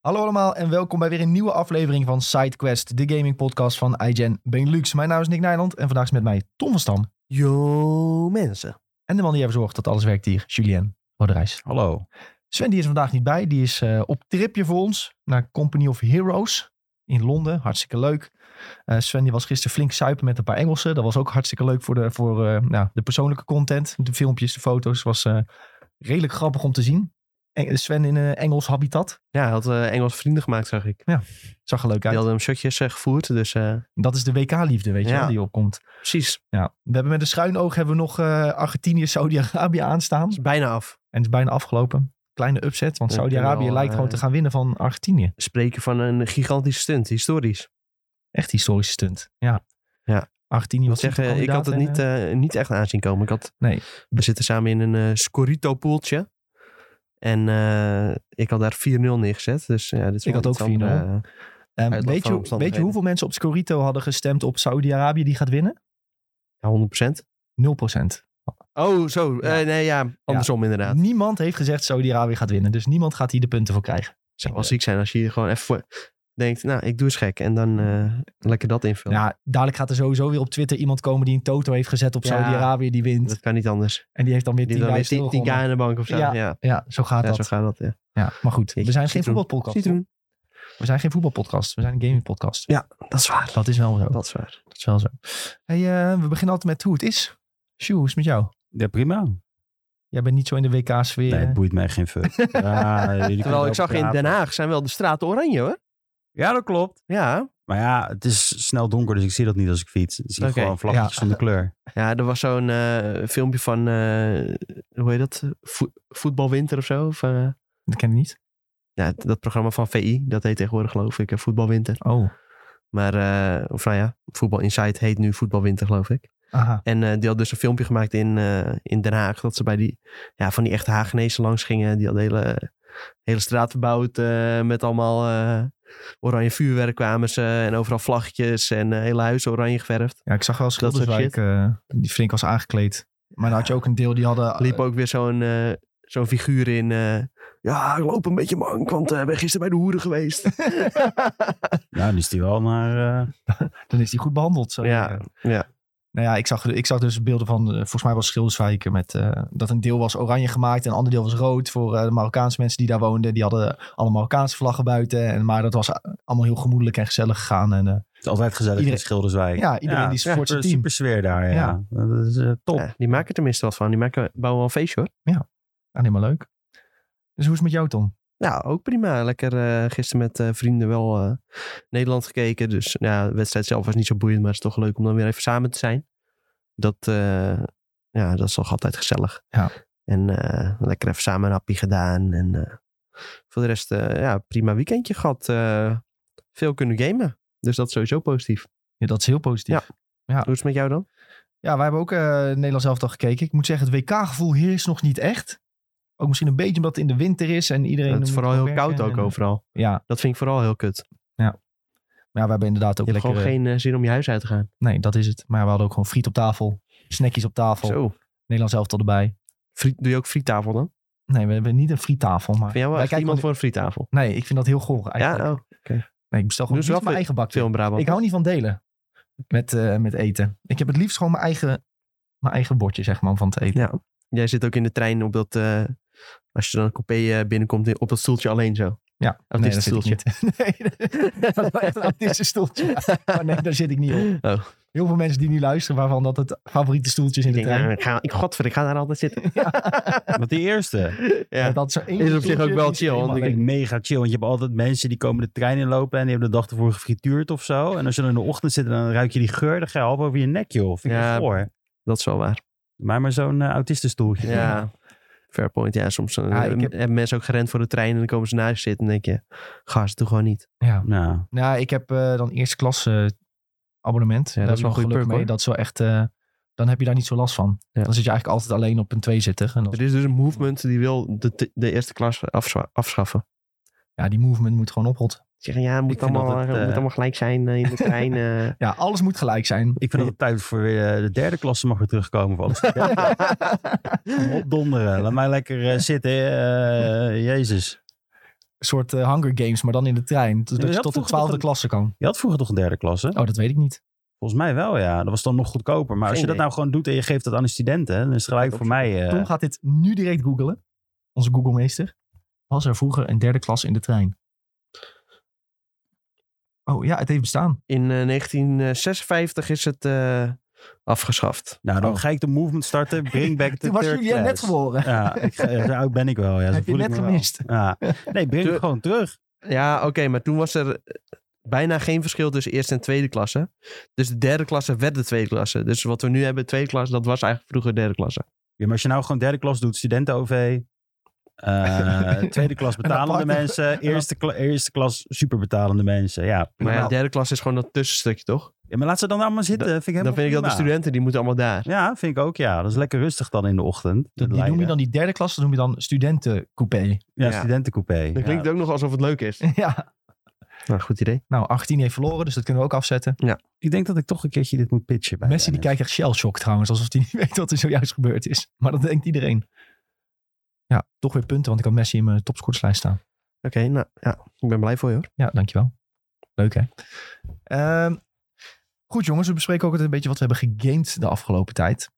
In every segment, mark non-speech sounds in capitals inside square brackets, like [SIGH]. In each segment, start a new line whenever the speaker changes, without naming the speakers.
Hallo allemaal en welkom bij weer een nieuwe aflevering van SideQuest, de gaming podcast van iGen Benelux. Mijn naam is Nick Nijland en vandaag is met mij Tom van Stam
Yo, mensen.
en de man die ervoor zorgt dat alles werkt hier, Julien Roderijs.
Hallo.
Sven die is er vandaag niet bij, die is eh, op tripje voor ons naar Company of Heroes in Londen. Hartstikke leuk. Eh, Sven die was gisteren flink suipen met een paar Engelsen. Dat was ook hartstikke leuk voor de, voor, eh, nou, de persoonlijke content. De filmpjes, de foto's was eh, redelijk grappig om te zien. En Sven in eh, Engels habitat.
Ja, hij had eh, Engels vrienden gemaakt, zag ik.
Zag er leuk
Die
uit.
hadden hem shotjes eh, gevoerd, dus eh,
Dat is de WK-liefde, weet je
Ja.
wel, die opkomt.
precies. Het
Ja, we hebben met een schuin oog hebben we nog eh, Argentinië, [LAUGHS] Saudi-Arabië aanstaan.
is bijna af.
En het is bijna afgelopen. Kleine upset, want
Ja,
Saudi-Arabië
wel,
lijkt
eh,
gewoon te gaan winnen van Argentinië.
Spreken van een gigantische stunt, historisch.
Echt historische stunt. Ja.
Ja.
Argentinië
Ik
was
moet zeggen, ik had het
superkandidaat
niet,
en,
eh, niet echt aanzien komen. Ik had,
Nee.
We zitten samen in een eh, Scorito-poeltje. En eh, ik had daar 4-0 neergezet. Dus ja, dit is
Ik
wel
had
iets
ook
andere,
4-0.
eh,
eh, ehm,
uitlag
weet, je,
van
weet je
omstandigheden.
hoeveel mensen op Scorito hadden gestemd op Saudi-Arabië die gaat winnen?
ja, 100%.
0%.
Oh, zo.
Ja.
eh, nee, ja, andersom inderdaad.
Niemand heeft gezegd Saudi-Arabië gaat winnen. Dus niemand gaat hier de punten voor krijgen.
zou wel ziek zijn als je hier gewoon even voor denkt, nou, ik doe eens gek. En dan eh, lekker dat invullen.
Ja, dadelijk gaat er sowieso weer op Twitter iemand komen die een toto heeft gezet op
Ja.
Saudi-Arabië die wint.
Dat kan niet anders.
En die heeft dan weer
Die
10
dan weer 10 10k in de bank of zo.
Ja.
Ja, ja.
Ja, zo gaat dat.
zo gaat dat. Ja.
Ja, maar goed, we
Jeetje,
zijn geen
citroen.
voetbalpodcast.
Citroen.
We zijn geen voetbalpodcast, we zijn een gamingpodcast.
Ja, dat is waar.
Dat is wel zo.
Dat is waar.
Dat is wel zo. Hey, eh, we beginnen altijd met hoe het is. Sjoe, hoe is het met jou?
Ja, prima.
Jij bent niet zo in de WK-sfeer.
Nee,
eh.
het boeit mij geen fuck. Ja, jullie kunnen
Terwijl
erover
ik zag in
praten.
Den Haag zijn wel de straten oranje hoor.
Ja, dat klopt.
Ja,
Maar ja, het is snel donker, dus ik zie dat niet als ik fiets. Dan zie ik
Oké,
gewoon vlaggetjes
ja.
van de kleur.
ja er was zo'n eh, filmpje van, eh, hoe heet dat? Vo- voetbalwinter of zo. Of, eh,
Dat ken ik niet.
ja, dat programma van VI, dat heet tegenwoordig geloof ik, eh, Voetbalwinter.
Oh,
Maar, eh, of nou ja, Voetbal Insight heet nu Voetbalwinter geloof ik.
aha.
En eh, die had dus een filmpje gemaakt in, eh, in Den Haag. Dat ze bij die, ja, van die echte Haagenezen langs gingen. Die had de hele, hele straat verbouwd eh, met allemaal eh, oranje vuurwerk kwamen ze. En overal vlaggetjes en eh, hele huizen oranje geverfd.
Ja, ik zag wel
soort
Schilderswijk, eh die flink was aangekleed. Maar dan had je ook een deel die hadden...
Er liep ook weer zo'n eh, zo'n figuur in. eh, ja, ik loop een beetje mank, want eh, ik ben gisteren bij de hoeren geweest.
Nou, dan is die wel naar... eh,
dan is die goed behandeld. Zo.
ja, ja.
Nou ja, ik zag, ik zag dus beelden van, eh, volgens mij was Schilderswijk met, eh, dat een deel was oranje gemaakt en een ander deel was rood voor eh, de Marokkaanse mensen die daar woonden. Die hadden alle Marokkaanse vlaggen buiten, en, maar dat was eh, allemaal heel gemoedelijk en gezellig gegaan. En, eh,
het is altijd gezellig
Iedereen-
in Schilderswijk.
ja, iedereen die
super-
supports het team.
Super sfeer daar, ja.
Ja.
Dat is eh, top.
[LAUGHS] [LAUGHS] Ja, die maken er tenminste wat van. Die maken, bouwen wel een feestje hoor.
Ah, helemaal leuk. Dus hoe is het met jou, Tom?
Nou, ook prima. Lekker eh, gisteren met eh, vrienden wel eh, Nederland gekeken. Dus ja, de wedstrijd zelf was niet zo boeiend, maar het is toch leuk om dan weer even samen te zijn. Dat, eh, ja, dat is toch altijd gezellig.
Ja.
En eh, lekker even samen een happy gedaan. En eh, voor de rest, eh, ja, prima weekendje gehad. Eh, veel kunnen gamen. Dus dat is sowieso positief.
Ja, dat is heel positief. Ja,
Hoe is het met jou dan?
wij hebben ook eh Nederlands elftal gekeken. Ik moet zeggen, het WK-gevoel heerst nog niet echt. Ook misschien een beetje omdat het in de winter is en iedereen...
het
moet
is vooral
nog
heel koud
werken
ook
en-
overal.
Ja, maar
Dat vind ik vooral heel kut.
ja, we hebben inderdaad ook
Je hebt
lekker...
gewoon geen eh, zin om je huis uit te gaan.
Nee, dat is het. Maar we hadden ook gewoon friet op tafel, snackjes op tafel,
Zo.
Nederlands elftal erbij.
Friet- doe je ook friettafel dan?
Nee, we hebben niet een friettafel. Maar
Vind jij wel
wij
echt
kijken
iemand
wel-
voor een friettafel?
Nee, ik vind dat heel goor. Eigenlijk.
Ja, oh,
nee, ik bestel gewoon
Doe ze
liefst
wel
mijn eigen bakje.
veel in Brabant.
Ik hou niet van delen met, eh, met eten. Ik heb het liefst gewoon mijn eigen, mijn eigen bordje, zeg maar, om van te eten.
Ja. Jij zit ook in de trein op dat. eh, als je dan een coupé eh, binnenkomt, op dat stoeltje alleen zo.
Ja,
Of
nee,
dit
dat zit ik
stoeltje.
niet. [LAUGHS] Nee, dat is wel echt een autistische stoeltje. Maar nee, daar zit ik niet op.
[LAUGHS] Oh,
Heel veel mensen die nu luisteren, waarvan dat het favoriete stoeltje is in
ik
de
denk,
trein.
nou, ik ga, ik, godver, ik ga daar altijd
[LAUGHS]
zitten.
Want die eerste
ja.
Dat zo één
Is op zich
stoeltje,
ook wel
die is
chill, want ik
helemaal
vind ik mega chill. Want je hebt altijd mensen die komen de trein inlopen en die hebben de dag ervoor gefrituurd of zo. En als je dan in de ochtend zit, dan ruik je die geur, dan ga je half over je nek, joh. Vind ik
Ja.
ja. voor.
Dat is wel waar.
Maar maar zo'n eh, autistenstoeltje.
Ja. Fair point. Ja, soms eh,
Ja, ik heb-
hebben mensen ook gerend voor de trein en dan komen ze naast je zitten. En dan denk je, gast, doe gewoon niet.
leeg. Ja.
Nou,
Nou, ik heb eh, dan eerste klas eh, abonnement.
Ja,
Daar heb
dat is
ik
wel
geluk
een goede perk,
mee.
hoor.
Dat is wel echt... eh, dan heb je daar niet zo last van.
Ja.
Dan zit je eigenlijk altijd alleen op een tweezitter. En dat
Er is dus een movement die wil de, de eerste klas afzwa- afschaffen.
Ja, die movement moet gewoon ophotten.
Zeggen, ja, het moet,
Ik vind
allemaal,
altijd,
het
eh,
moet allemaal gelijk zijn eh, in de trein.
[LAUGHS]
eh.
Ja, alles moet gelijk [LAUGHS] zijn.
Ik vind dat het tijd voor weer, eh, de derde klasse mag weer terugkomen. Voor alle studenten.
[LAUGHS]
Opdonderen. Laat mij lekker eh, zitten. eh, Jezus.
soort eh, Hunger Games, maar dan in de trein. Dus
Ja,
dat
je
je
had
tot de
vroeger toch
twaalfde
een-
klasse kan.
Je had vroeger toch een derde klasse?
Oh, dat weet ik niet.
Volgens mij wel, ja. Dat was dan nog goedkoper. Maar als
Geen
je dat
idee.
nou gewoon doet en je geeft dat aan de studenten, dan is het gelijk
Dat
voor mij. eh,
Tom gaat dit nu direct googelen. Onze Google-meester. Was er vroeger een derde klas in de trein? Oh ja, het heeft bestaan.
In eh, 1956 is het eh, afgeschaft.
nou, dan
Oh.
ga ik de movement starten. Bring back the
[LAUGHS] Toen was
third
jullie
class.
net geboren.
Ja, ik, ga- zo oud ben ik wel. Ja, zo
Heb je
voel ik
net
me wel.
gemist.
Ja. Nee, breng
Toen-
het gewoon terug.
Ja, oké, maar toen was er eh, bijna geen verschil tussen eerste en tweede klasse. Dus de derde klasse werd de tweede klasse. Dus wat we nu hebben, tweede klasse, dat was eigenlijk vroeger derde klasse.
Ja, maar als je nou gewoon derde klas doet, studenten-OV.
[LAUGHS]
eh, tweede klas betalende
aparte- [LAUGHS]
mensen. Eerste, kla- eerste klas superbetalende mensen. Ja,
Maar ja,
prima.
derde klasse is gewoon dat tussenstukje, toch?
Ja, maar laat ze dan allemaal zitten. vind ik
Dan
helemaal
vind ik dat de
prima.
studenten, die moeten allemaal daar.
Ja, vind ik ook, ja. Dat is lekker rustig dan in de ochtend.
Dat,
in
die noem je
Leiden.
dan die derde klas, dat noem je dan
[LAUGHS]
studentencoupé.
Ja,
Ja.
studentencoupé.
Dat klinkt
ja.
ook nog alsof het leuk is.
ja.
Nou, goed idee.
Nou, 18 heeft verloren, dus dat kunnen we ook afzetten.
Ik denk dat ik toch een keertje dit moet pitchen. Bij
Messi die
Dennis.
kijkt echt shellshock trouwens, alsof hij niet [LAUGHS] weet wat er zojuist gebeurd is. Maar dat denkt iedereen. Ja, toch weer punten, want ik had Messi in mijn topscorerslijst staan.
Oké, nou ja, ik ben blij voor je hoor.
Ja, dankjewel. Leuk hè? Ehm, goed jongens, we bespreken ook altijd een beetje wat we hebben gegamed de afgelopen tijd.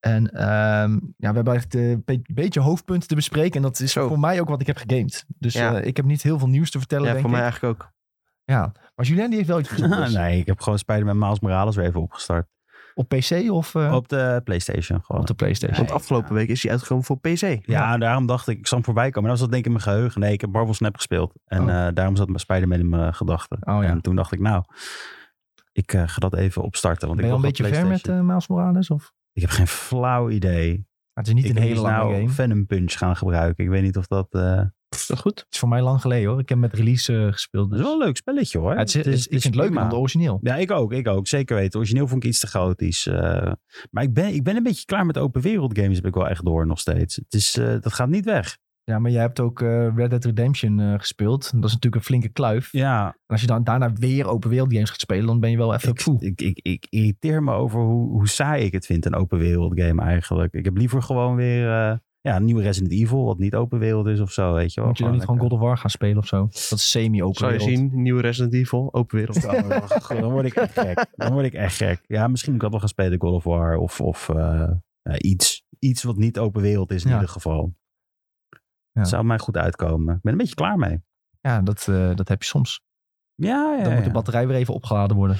En ehm, ja, we hebben eigenlijk een be- beetje hoofdpunten te bespreken. En dat is
Zo.
voor mij ook wat ik heb gegamed. Dus
Ja.
eh, ik heb niet heel veel nieuws te vertellen,
Ja,
denk
voor mij
ik.
eigenlijk ook.
Ja. Maar Julien die heeft wel iets bijzonders.
[LAUGHS] nee, ik heb gewoon Spider-Man Miles Morales weer even opgestart.
Op PC of eh, op,
Op de PlayStation gewoon.
de PlayStation?
Nee.
Want afgelopen week is hij uitgekomen voor PC.
Ja, daarom dacht ik, ik zal hem voorbij komen. Dat was dat denk ik in mijn geheugen. Nee, ik heb Marvel Snap gespeeld. En
Oh.
eh, daarom zat mijn Spider-Man in mijn gedachten.
Oh ja.
En toen dacht ik, nou, ik eh, ga dat even opstarten. Want
ben
ik
je al
wil
een
gewoon
beetje ver met eh
PlayStation.
Miles Morales? Of?
Ik heb geen flauw idee.
Nou, het is niet
ik
een hele
moest
lange
nou
game.
Venom Punch gaan gebruiken. Ik weet niet of dat... eh,
Is dat goed?
Het is voor mij lang geleden hoor. Ik heb met release eh, gespeeld. Dus.
Dat is wel een leuk spelletje hoor.
Ja, het is, het is- ik vind het leuk
prima.
dan het origineel.
Ja, ik ook, ik ook. Zeker weten. Origineel vond ik iets te chaotisch. eh. maar ik ben, ik ben een beetje klaar met open wereld games, heb ik wel echt door nog steeds. Het is, eh, dat gaat niet weg.
Ja, maar jij hebt ook eh, Red Dead Redemption eh, gespeeld. Dat is natuurlijk een flinke kluif.
Ja,
En als je dan daarna weer open wereld games gaat spelen, dan ben je wel even...
ik,
poeh.
ik, ik, ik irriteer me over hoe, hoe saai ik het vind, een open wereld game eigenlijk. Ik heb liever gewoon weer eh, ja, een nieuwe Resident Evil, wat niet open wereld is of zo, weet je wel.
Moet je dan niet gewoon God of War gaan spelen of zo? Dat is semi-open
Zou je
wereld.
zien, nieuwe Resident Evil, open [LAUGHS] wereld.
[LAUGHS] lekker- Dan word ik echt gek. Dan word ik echt gek. Ja, misschien moet ik dat wel gaan spelen, God of War of, of eh, eh, iets. Iets wat niet open wereld is in
Ja.
ieder geval.
Ja.
Zou mij goed uitkomen. Ik ben een beetje klaar mee.
Ja, dat, eh, dat heb je soms.
Ja, ja.
Dan moet de
ja.
batterij weer even opgeladen worden.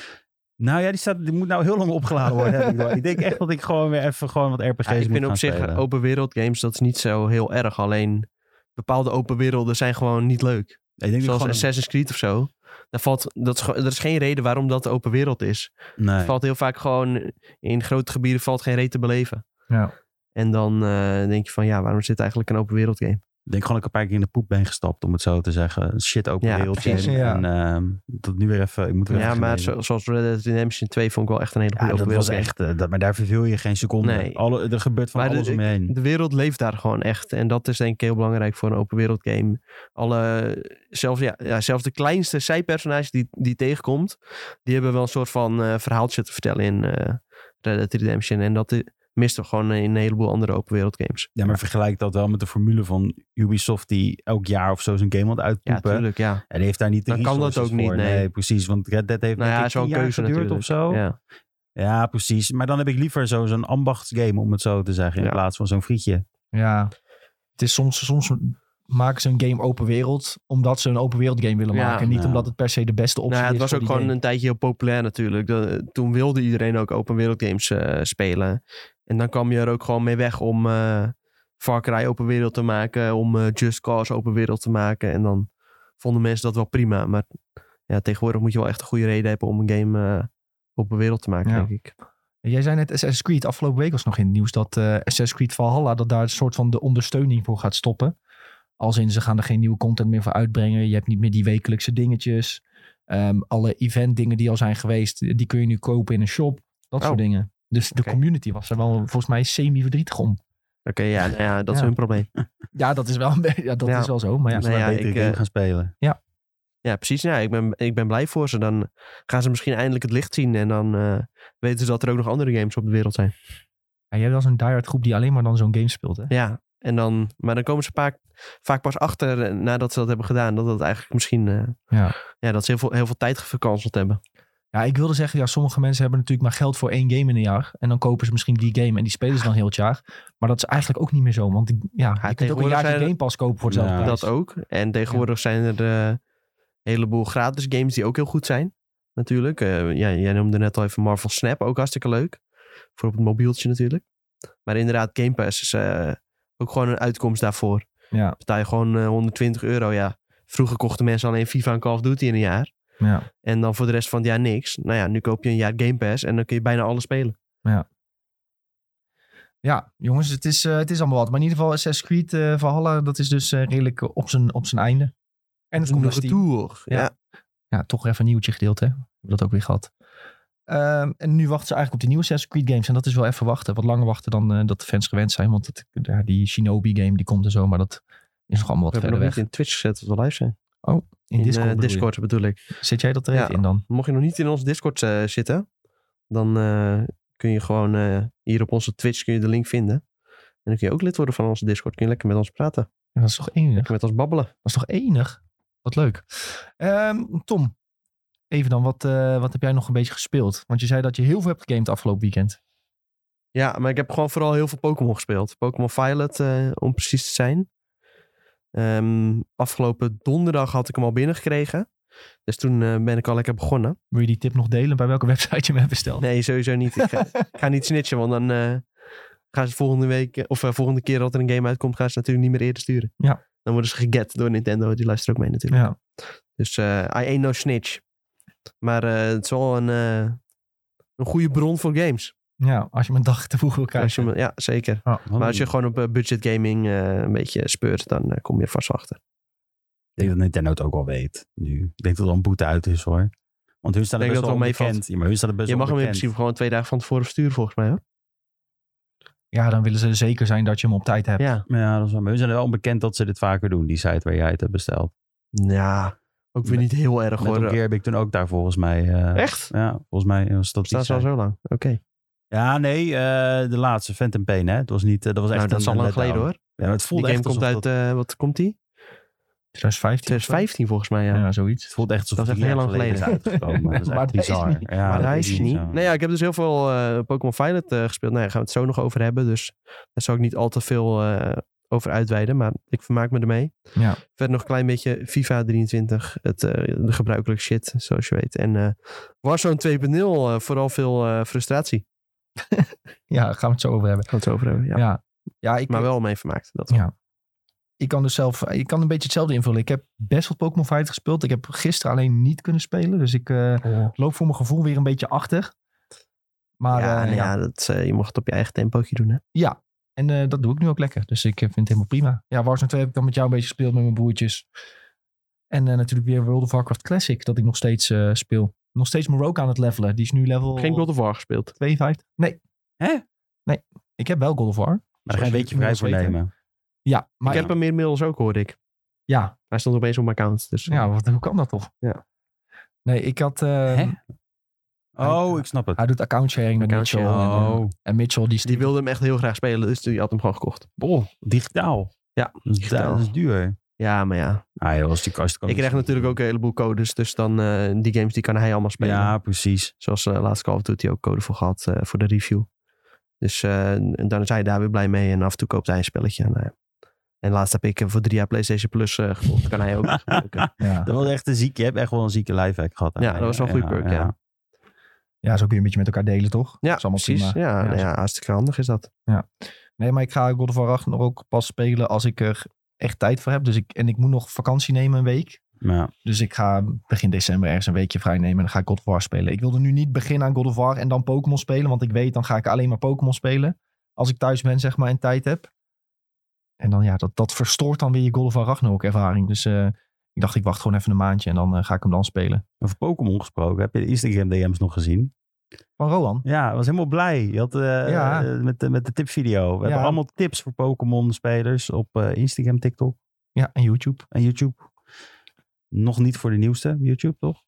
Nou ja, die, staat, die moet nou heel lang opgeladen worden. heb ik, door. ik denk echt dat ik gewoon weer even gewoon wat RPG's
Ja, ik
moet
vind
gaan
op zich
spelen.
open wereld games, dat is niet zo heel erg. Alleen bepaalde open werelden zijn gewoon niet leuk.
ik denk dat ik
Zoals
gewoon een-
Assassin's Creed of zo. Daar valt, dat, is, ge- er is geen reden waarom dat open wereld is.
Nee.
Het valt heel vaak gewoon, in grote gebieden valt geen reet te beleven.
Ja.
En dan eh, denk je van, ja, waarom zit eigenlijk een open wereld game?
Ik denk gewoon dat ik een paar keer in de poep ben gestapt, om het zo te zeggen. Een Shit open
Ja,
wereldje.
precies, ja.
En ehm, dat nu weer even... Ik moet weer
Ja,
even
maar
geleden.
zo- zoals Red Dead Redemption 2 vond ik wel echt een hele
Ja,
goede
dat
open wereld
was
game.
echt... eh, dat, maar daar verveel je geen seconde.
Nee.
Alle, er gebeurt van
Maar de-
alles om je heen.
De wereld leeft daar gewoon echt. En dat is denk ik heel belangrijk voor een open wereld game. Alle, zelfs, ja, ja, zelfs de kleinste zijpersonages die, die tegenkomt, die hebben wel een soort van eh, verhaaltje te vertellen in eh Red Dead Redemption. En dat i- misten we gewoon in een heleboel andere open wereld games.
Ja, maar vergelijk dat wel met de formule van Ubisoft... die elk jaar of zo zijn game aan het
Ja,
uitpoepen.
tuurlijk, ja.
en die heeft daar niet de
Dan kan dat
resources
ook niet,
voor.
nee.
precies. Want Red Dead heeft
Nou ja,
denk ik
zo'n
tien jaar
keuze
geduurd
natuurlijk.
of zo.
ja.
Ja, precies. Maar dan heb ik liever zo- zo'n ambachtsgame, om het zo te zeggen, in
Ja.
plaats van zo'n frietje.
Ja. Het is soms, soms maken ze een game open wereld, omdat ze een open wereld game willen
Ja,
maken. En niet
nou.
omdat het per se de beste optie
Nou ja, het
is
was
voor
ook
die
gewoon
game.
een tijdje heel populair natuurlijk. Dat- eh, toen wilde iedereen ook open wereld games eh, spelen. En dan kwam je er ook gewoon mee weg om eh Far Cry open wereld te maken. Om eh, Just Cause open wereld te maken. En dan vonden mensen dat wel prima. Maar ja, tegenwoordig moet je wel echt een goede reden hebben om een game eh, open wereld te maken,
Ja.
denk ik.
Jij zei net Assassin's Creed. Afgelopen week was nog in het nieuws dat eh Assassin's Creed Valhalla... dat daar een soort van de ondersteuning voor gaat stoppen. Als in, ze gaan er geen nieuwe content meer voor uitbrengen. Je hebt niet meer die wekelijkse dingetjes. Ehm, alle event dingen die al zijn geweest... die kun je nu kopen in een shop. Dat
Oh.
soort dingen. Dus de
Oké.
community was er wel volgens mij semi-verdrietig om.
Oké, ja, nou ja, dat is
Ja.
hun probleem.
Ja, dat is wel, een be- ja, dat
Ja.
Is wel zo. Maar ja.
Ja,
Nee,
maar
ja,
beter
ik,
game
eh,
gaan spelen.
Ja, precies. Ja, ik, ben, ik ben blij voor ze. Dan gaan ze misschien eindelijk het licht zien. En dan eh, weten ze dat er ook nog andere games op de wereld zijn.
Ja, jij hebt wel zo'n diehard groep die alleen maar dan zo'n game speelt. Hè?
Ja, En dan, maar dan komen ze vaak, vaak pas achter eh, nadat ze dat hebben gedaan. Dat dat eigenlijk misschien... eh,
Ja.
ja, dat ze heel veel, heel veel tijd verkanseld hebben.
Ja, ik wilde zeggen, ja, sommige mensen hebben natuurlijk maar geld voor één game in een jaar. En dan kopen ze misschien die game en die spelen ze dan heel het jaar. Maar dat is eigenlijk ook niet meer zo. Want die- ja, je kunt ook een
tegenwoordig
jaar
zijn er-
Game Pass kopen voor hetzelfde
Ja.
prijs.
Dat ook. En tegenwoordig zijn er eh, een heleboel gratis games die ook heel goed zijn. Natuurlijk. Eh, ja, jij noemde net al even Marvel Snap, ook hartstikke leuk. Voor op het mobieltje natuurlijk. Maar inderdaad, Game Pass is eh, ook gewoon een uitkomst daarvoor.
Ja,
Betaal je gewoon eh, 120 euro, ja. Vroeger kochten mensen alleen FIFA en Call of Duty in een jaar.
ja.
En dan voor de rest van het jaar niks. Nou ja, nu koop je een jaar Game Pass en dan kun je bijna alles spelen.
ja jongens, het is, eh, het is allemaal wat. Maar in ieder geval, Assassin's Creed eh Valhalla, dat is dus eh, redelijk eh, op zijn, op zijn einde. En het komt nog Steam.
retour. Ja.
Ja. ja, toch even een nieuwtje gedeeld, hè? We hebben dat ook weer gehad. Ehm, en nu wachten ze eigenlijk op die nieuwe Assassin's Creed games. En dat is wel even wachten. Wat langer wachten dan eh, dat de fans gewend zijn. Want het, ja, die Shinobi game die komt en zo. Maar dat is nog allemaal
We
wat verder
hebben nog
weg.
niet
In,
in Twitch gezet dat we live zijn.
Discord, bedoel
eh,
je?
Discord bedoel ik.
Zit jij dat er
Ja.
even in dan?
Mocht je nog niet in ons Discord eh, zitten, dan eh, kun je gewoon eh, hier op onze Twitch kun je de link vinden. En dan kun je ook lid worden van onze Discord. Kun je lekker met ons praten.
Ja, dat is toch enig?
Lekker met ons babbelen.
Dat is toch enig? Wat leuk. Ehm, Tom, even dan. Wat, eh, wat heb jij nog een beetje gespeeld? Want je zei dat je heel veel hebt gegamed afgelopen weekend.
Ja, maar ik heb gewoon vooral heel veel Pokémon gespeeld. Pokémon Violet, eh, om precies te zijn. Ehm, afgelopen donderdag had ik hem al binnengekregen. Dus toen eh, ben ik al lekker begonnen.
Wil je die tip nog delen bij welke [LAUGHS] website je hem hebt besteld?
[LAUGHS] Nee, sowieso niet. Ik ga, ik ga niet snitchen, want dan eh, gaan ze volgende week... eh, Of eh, volgende keer dat er een game uitkomt, gaan ze natuurlijk niet meer eerder sturen.
Ja.
Dan worden ze geget door Nintendo. Die luisteren ook mee natuurlijk.
Ja.
Dus eh, I ain't no snitch. Maar eh, het is wel een, eh, een goede bron voor games.
ja, als je hem een dag te vroeg wil
Als je,
krijgen.
me- ja, zeker.
Oh.
Maar als je gewoon op eh, budget gaming eh, een beetje speurt, dan eh, kom je er vast wel achter.
Ik denk dat Nintendo het ook wel weet nu. Ik denk dat er een boete uit is hoor. Want hun staan er
Ik denk
best
dat
wel
het wel
bekend. Ja, maar hun staan er best
je mag
wel
hem in
bekend.
principe gewoon twee dagen van tevoren versturen, volgens mij. Hoor.
Ja, dan willen ze zeker zijn dat je hem op tijd hebt.
Ja.
Ja, dat is wel. Maar hun zijn er wel bekend dat ze dit vaker doen. Die site waar jij het hebt besteld.
Ja, ook weer
Met-
niet heel erg
Met een
hoor.
keer heb ik toen ook daar volgens mij... eh,
Echt?
Ja, volgens mij was dat die
Staat ze al
site.
zo lang? Oké.
Ja, nee, eh, de laatste, Phantom Pain hè. Het was niet, eh, dat was echt
Nou, dat
een,
is al
een
lang
letdown.
geleden hoor.
Ja, maar het
Die
voelde
game
echt
komt
alsof
uit,
dat-
eh, wat komt die?
2015? of zo?
2015 volgens mij, ja.
Ja, zoiets.
Het voelt echt alsof
Dat is
het
echt
tien
heel
jaar
lang
is uitgekomen.
[LAUGHS]
Dat is
Maar
echt
dat is
bizar.
niet.
Ja,
maar
dat
hij
is
Ah, is niet.
zo.
Nee, ja, ik heb dus heel veel eh, Pokémon Violet eh, gespeeld. Nou, ja, daar gaan we het zo nog over hebben. Dus daar zal ik niet al te veel eh, over uitweiden. Maar ik vermaak me ermee.
Ja.
Verder nog een klein beetje FIFA 23. Het, eh, de gebruikelijke shit, zoals je weet. En eh Warzone 2.0. eh, vooral veel eh, frustratie.
Ja, daar gaan we het zo over hebben.
Daar gaan we het over hebben. Ja.
Ja, ja. ik,
Maar wel mee vermaakt. Dat
Ja. ik kan dus zelf ik kan een beetje hetzelfde invullen. Ik heb best wel Pokémon Fight gespeeld. Ik heb gisteren alleen niet kunnen spelen. Dus ik eh, loop voor mijn gevoel weer een beetje achter. Maar
ja,
eh,
nou
ja.
ja, dat, eh, je mag het op je eigen tempootje doen. Hè?
En eh, dat doe ik nu ook lekker. Dus ik eh, vind het helemaal prima. Ja, Warzone 2 heb ik dan met jou een beetje gespeeld met mijn broertjes. En eh, natuurlijk weer World of Warcraft Classic. Dat ik nog steeds eh, speel. Nog steeds mijn rogue aan het levelen. Die is nu level
Geen God of War gespeeld.
52. Nee.
Hè?
Nee. Ik heb wel God of War.
Maar daar ga je een beetje vrij voor nemen.
Ja,
Ik
maar
heb hem inmiddels ook, hoorde ik.
ja,
Hij stond opeens op mijn account. Dus
Ja, wat, hoe kan dat toch?
Ja.
Nee, ik had... eh,
Ehm,
Hè?
Hij-
Oh, ik snap het.
Hij doet accountsharing met
Account
Mitchell.
sharing.
En, eh,
Oh,
en Mitchell die...
die wilde hem echt heel graag spelen. Dus die had hem gewoon gekocht.
oh, digitaal.
Ja,
dat is,
digitaal.
dat is duur.
Ja, maar ja.
Ah joh, als die kast kan-
Ik krijg natuurlijk ook een heleboel codes. Dus dan eh, die games die kan hij allemaal spelen.
Ja, precies.
Zoals eh laatst Call of Duty ook code voor gehad eh, voor de review. Dus eh, en dan is hij daar weer blij mee. En af en toe koopt hij een spelletje. Nou ja. En laatst heb ik hem voor drie jaar PlayStation Plus eh gekocht. Kan hij ook eh, gebruiken.
Ja.
Dat was echt een zieke. Je hebt echt wel een zieke lifehack gehad.
Ja, dat was wel een goede perk, ja.
ja, zo kun je een beetje met elkaar delen, toch?
Ja,
Dat is allemaal
precies.
prima.
Ja, nou ja, hartstikke handig is dat.
Nee, maar ik ga God of War 8 nog ook pas spelen als ik er echt tijd voor heb. Dus ik, en ik moet nog vakantie nemen een week.
Ja.
Dus ik ga begin december ergens een weekje vrij nemen en dan ga ik God of War spelen. Ik wilde nu niet beginnen aan God of War en dan Pokémon spelen, want ik weet dan ga ik alleen maar Pokémon spelen. Als ik thuis ben, zeg maar, en tijd heb. En dan ja, dat, dat verstoort dan weer je God of War Ragnarok ervaring. Dus eh, ik dacht, ik wacht gewoon even een maandje en dan eh, ga ik hem dan spelen.
Over Pokémon gesproken, heb je de Instagram DM's nog gezien?
Van Roan?
Ja, was helemaal blij. Je had eh,
Ja.
eh, met, de- met de tipvideo. We hebben
Ja.
allemaal tips voor Pokémon spelers op eh, Instagram, TikTok
Ja, en YouTube.
en YouTube. Nog niet voor de nieuwste YouTube, toch?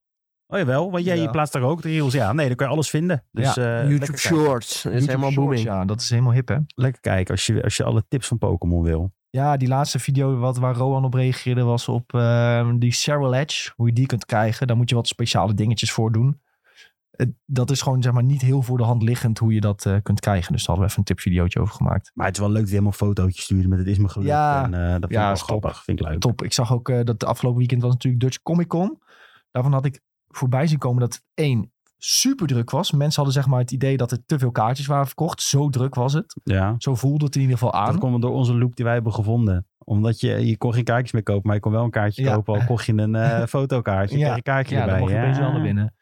Oh jawel, want jij
Ja.
je plaatst daar ook de reels. Ja, nee, dan kan je alles vinden. Dus
Ja,
eh, lekker
YouTube
kijken.
Shorts. Dat is
YouTube
helemaal
Shorts,
booming.
Ja, dat is helemaal hip, hè?
Lekker kijken als je, als je alle tips van Pokémon wil.
Ja, die laatste video wat, waar Roan op reageerde was op eh, die Serral Edge. Hoe je die kunt krijgen. Daar moet je wat speciale dingetjes voor doen. Eh, dat is gewoon zeg maar, niet heel voor de hand liggend hoe je dat eh, kunt krijgen. Dus daar hadden we even een tipvideootje over gemaakt.
Maar het is wel leuk dat hij helemaal een fotootje stuurde met het is me gelukt.
Ja.
En, eh, dat vind
Ja,
ik wel
is top.
grappig. Vind ik leuk.
Top. Ik zag ook eh, dat de afgelopen weekend was natuurlijk Dutch Comic Con. Daarvan had ik voorbij zien komen dat het één super druk was. Mensen hadden zeg maar het idee dat er te veel kaartjes waren verkocht. Zo druk was het.
Ja.
Zo voelde het in ieder geval
Dat
aan.
komt door onze loop die wij hebben gevonden. Omdat je, je kon geen kaartjes meer kopen, maar je kon wel een kaartje
Ja.
kopen. Al kocht je een
[LAUGHS]
eh, fotokaartje,
Ja.
kreeg je een kaartje
Ja,
erbij.
dan mocht je opeens wel naar binnen.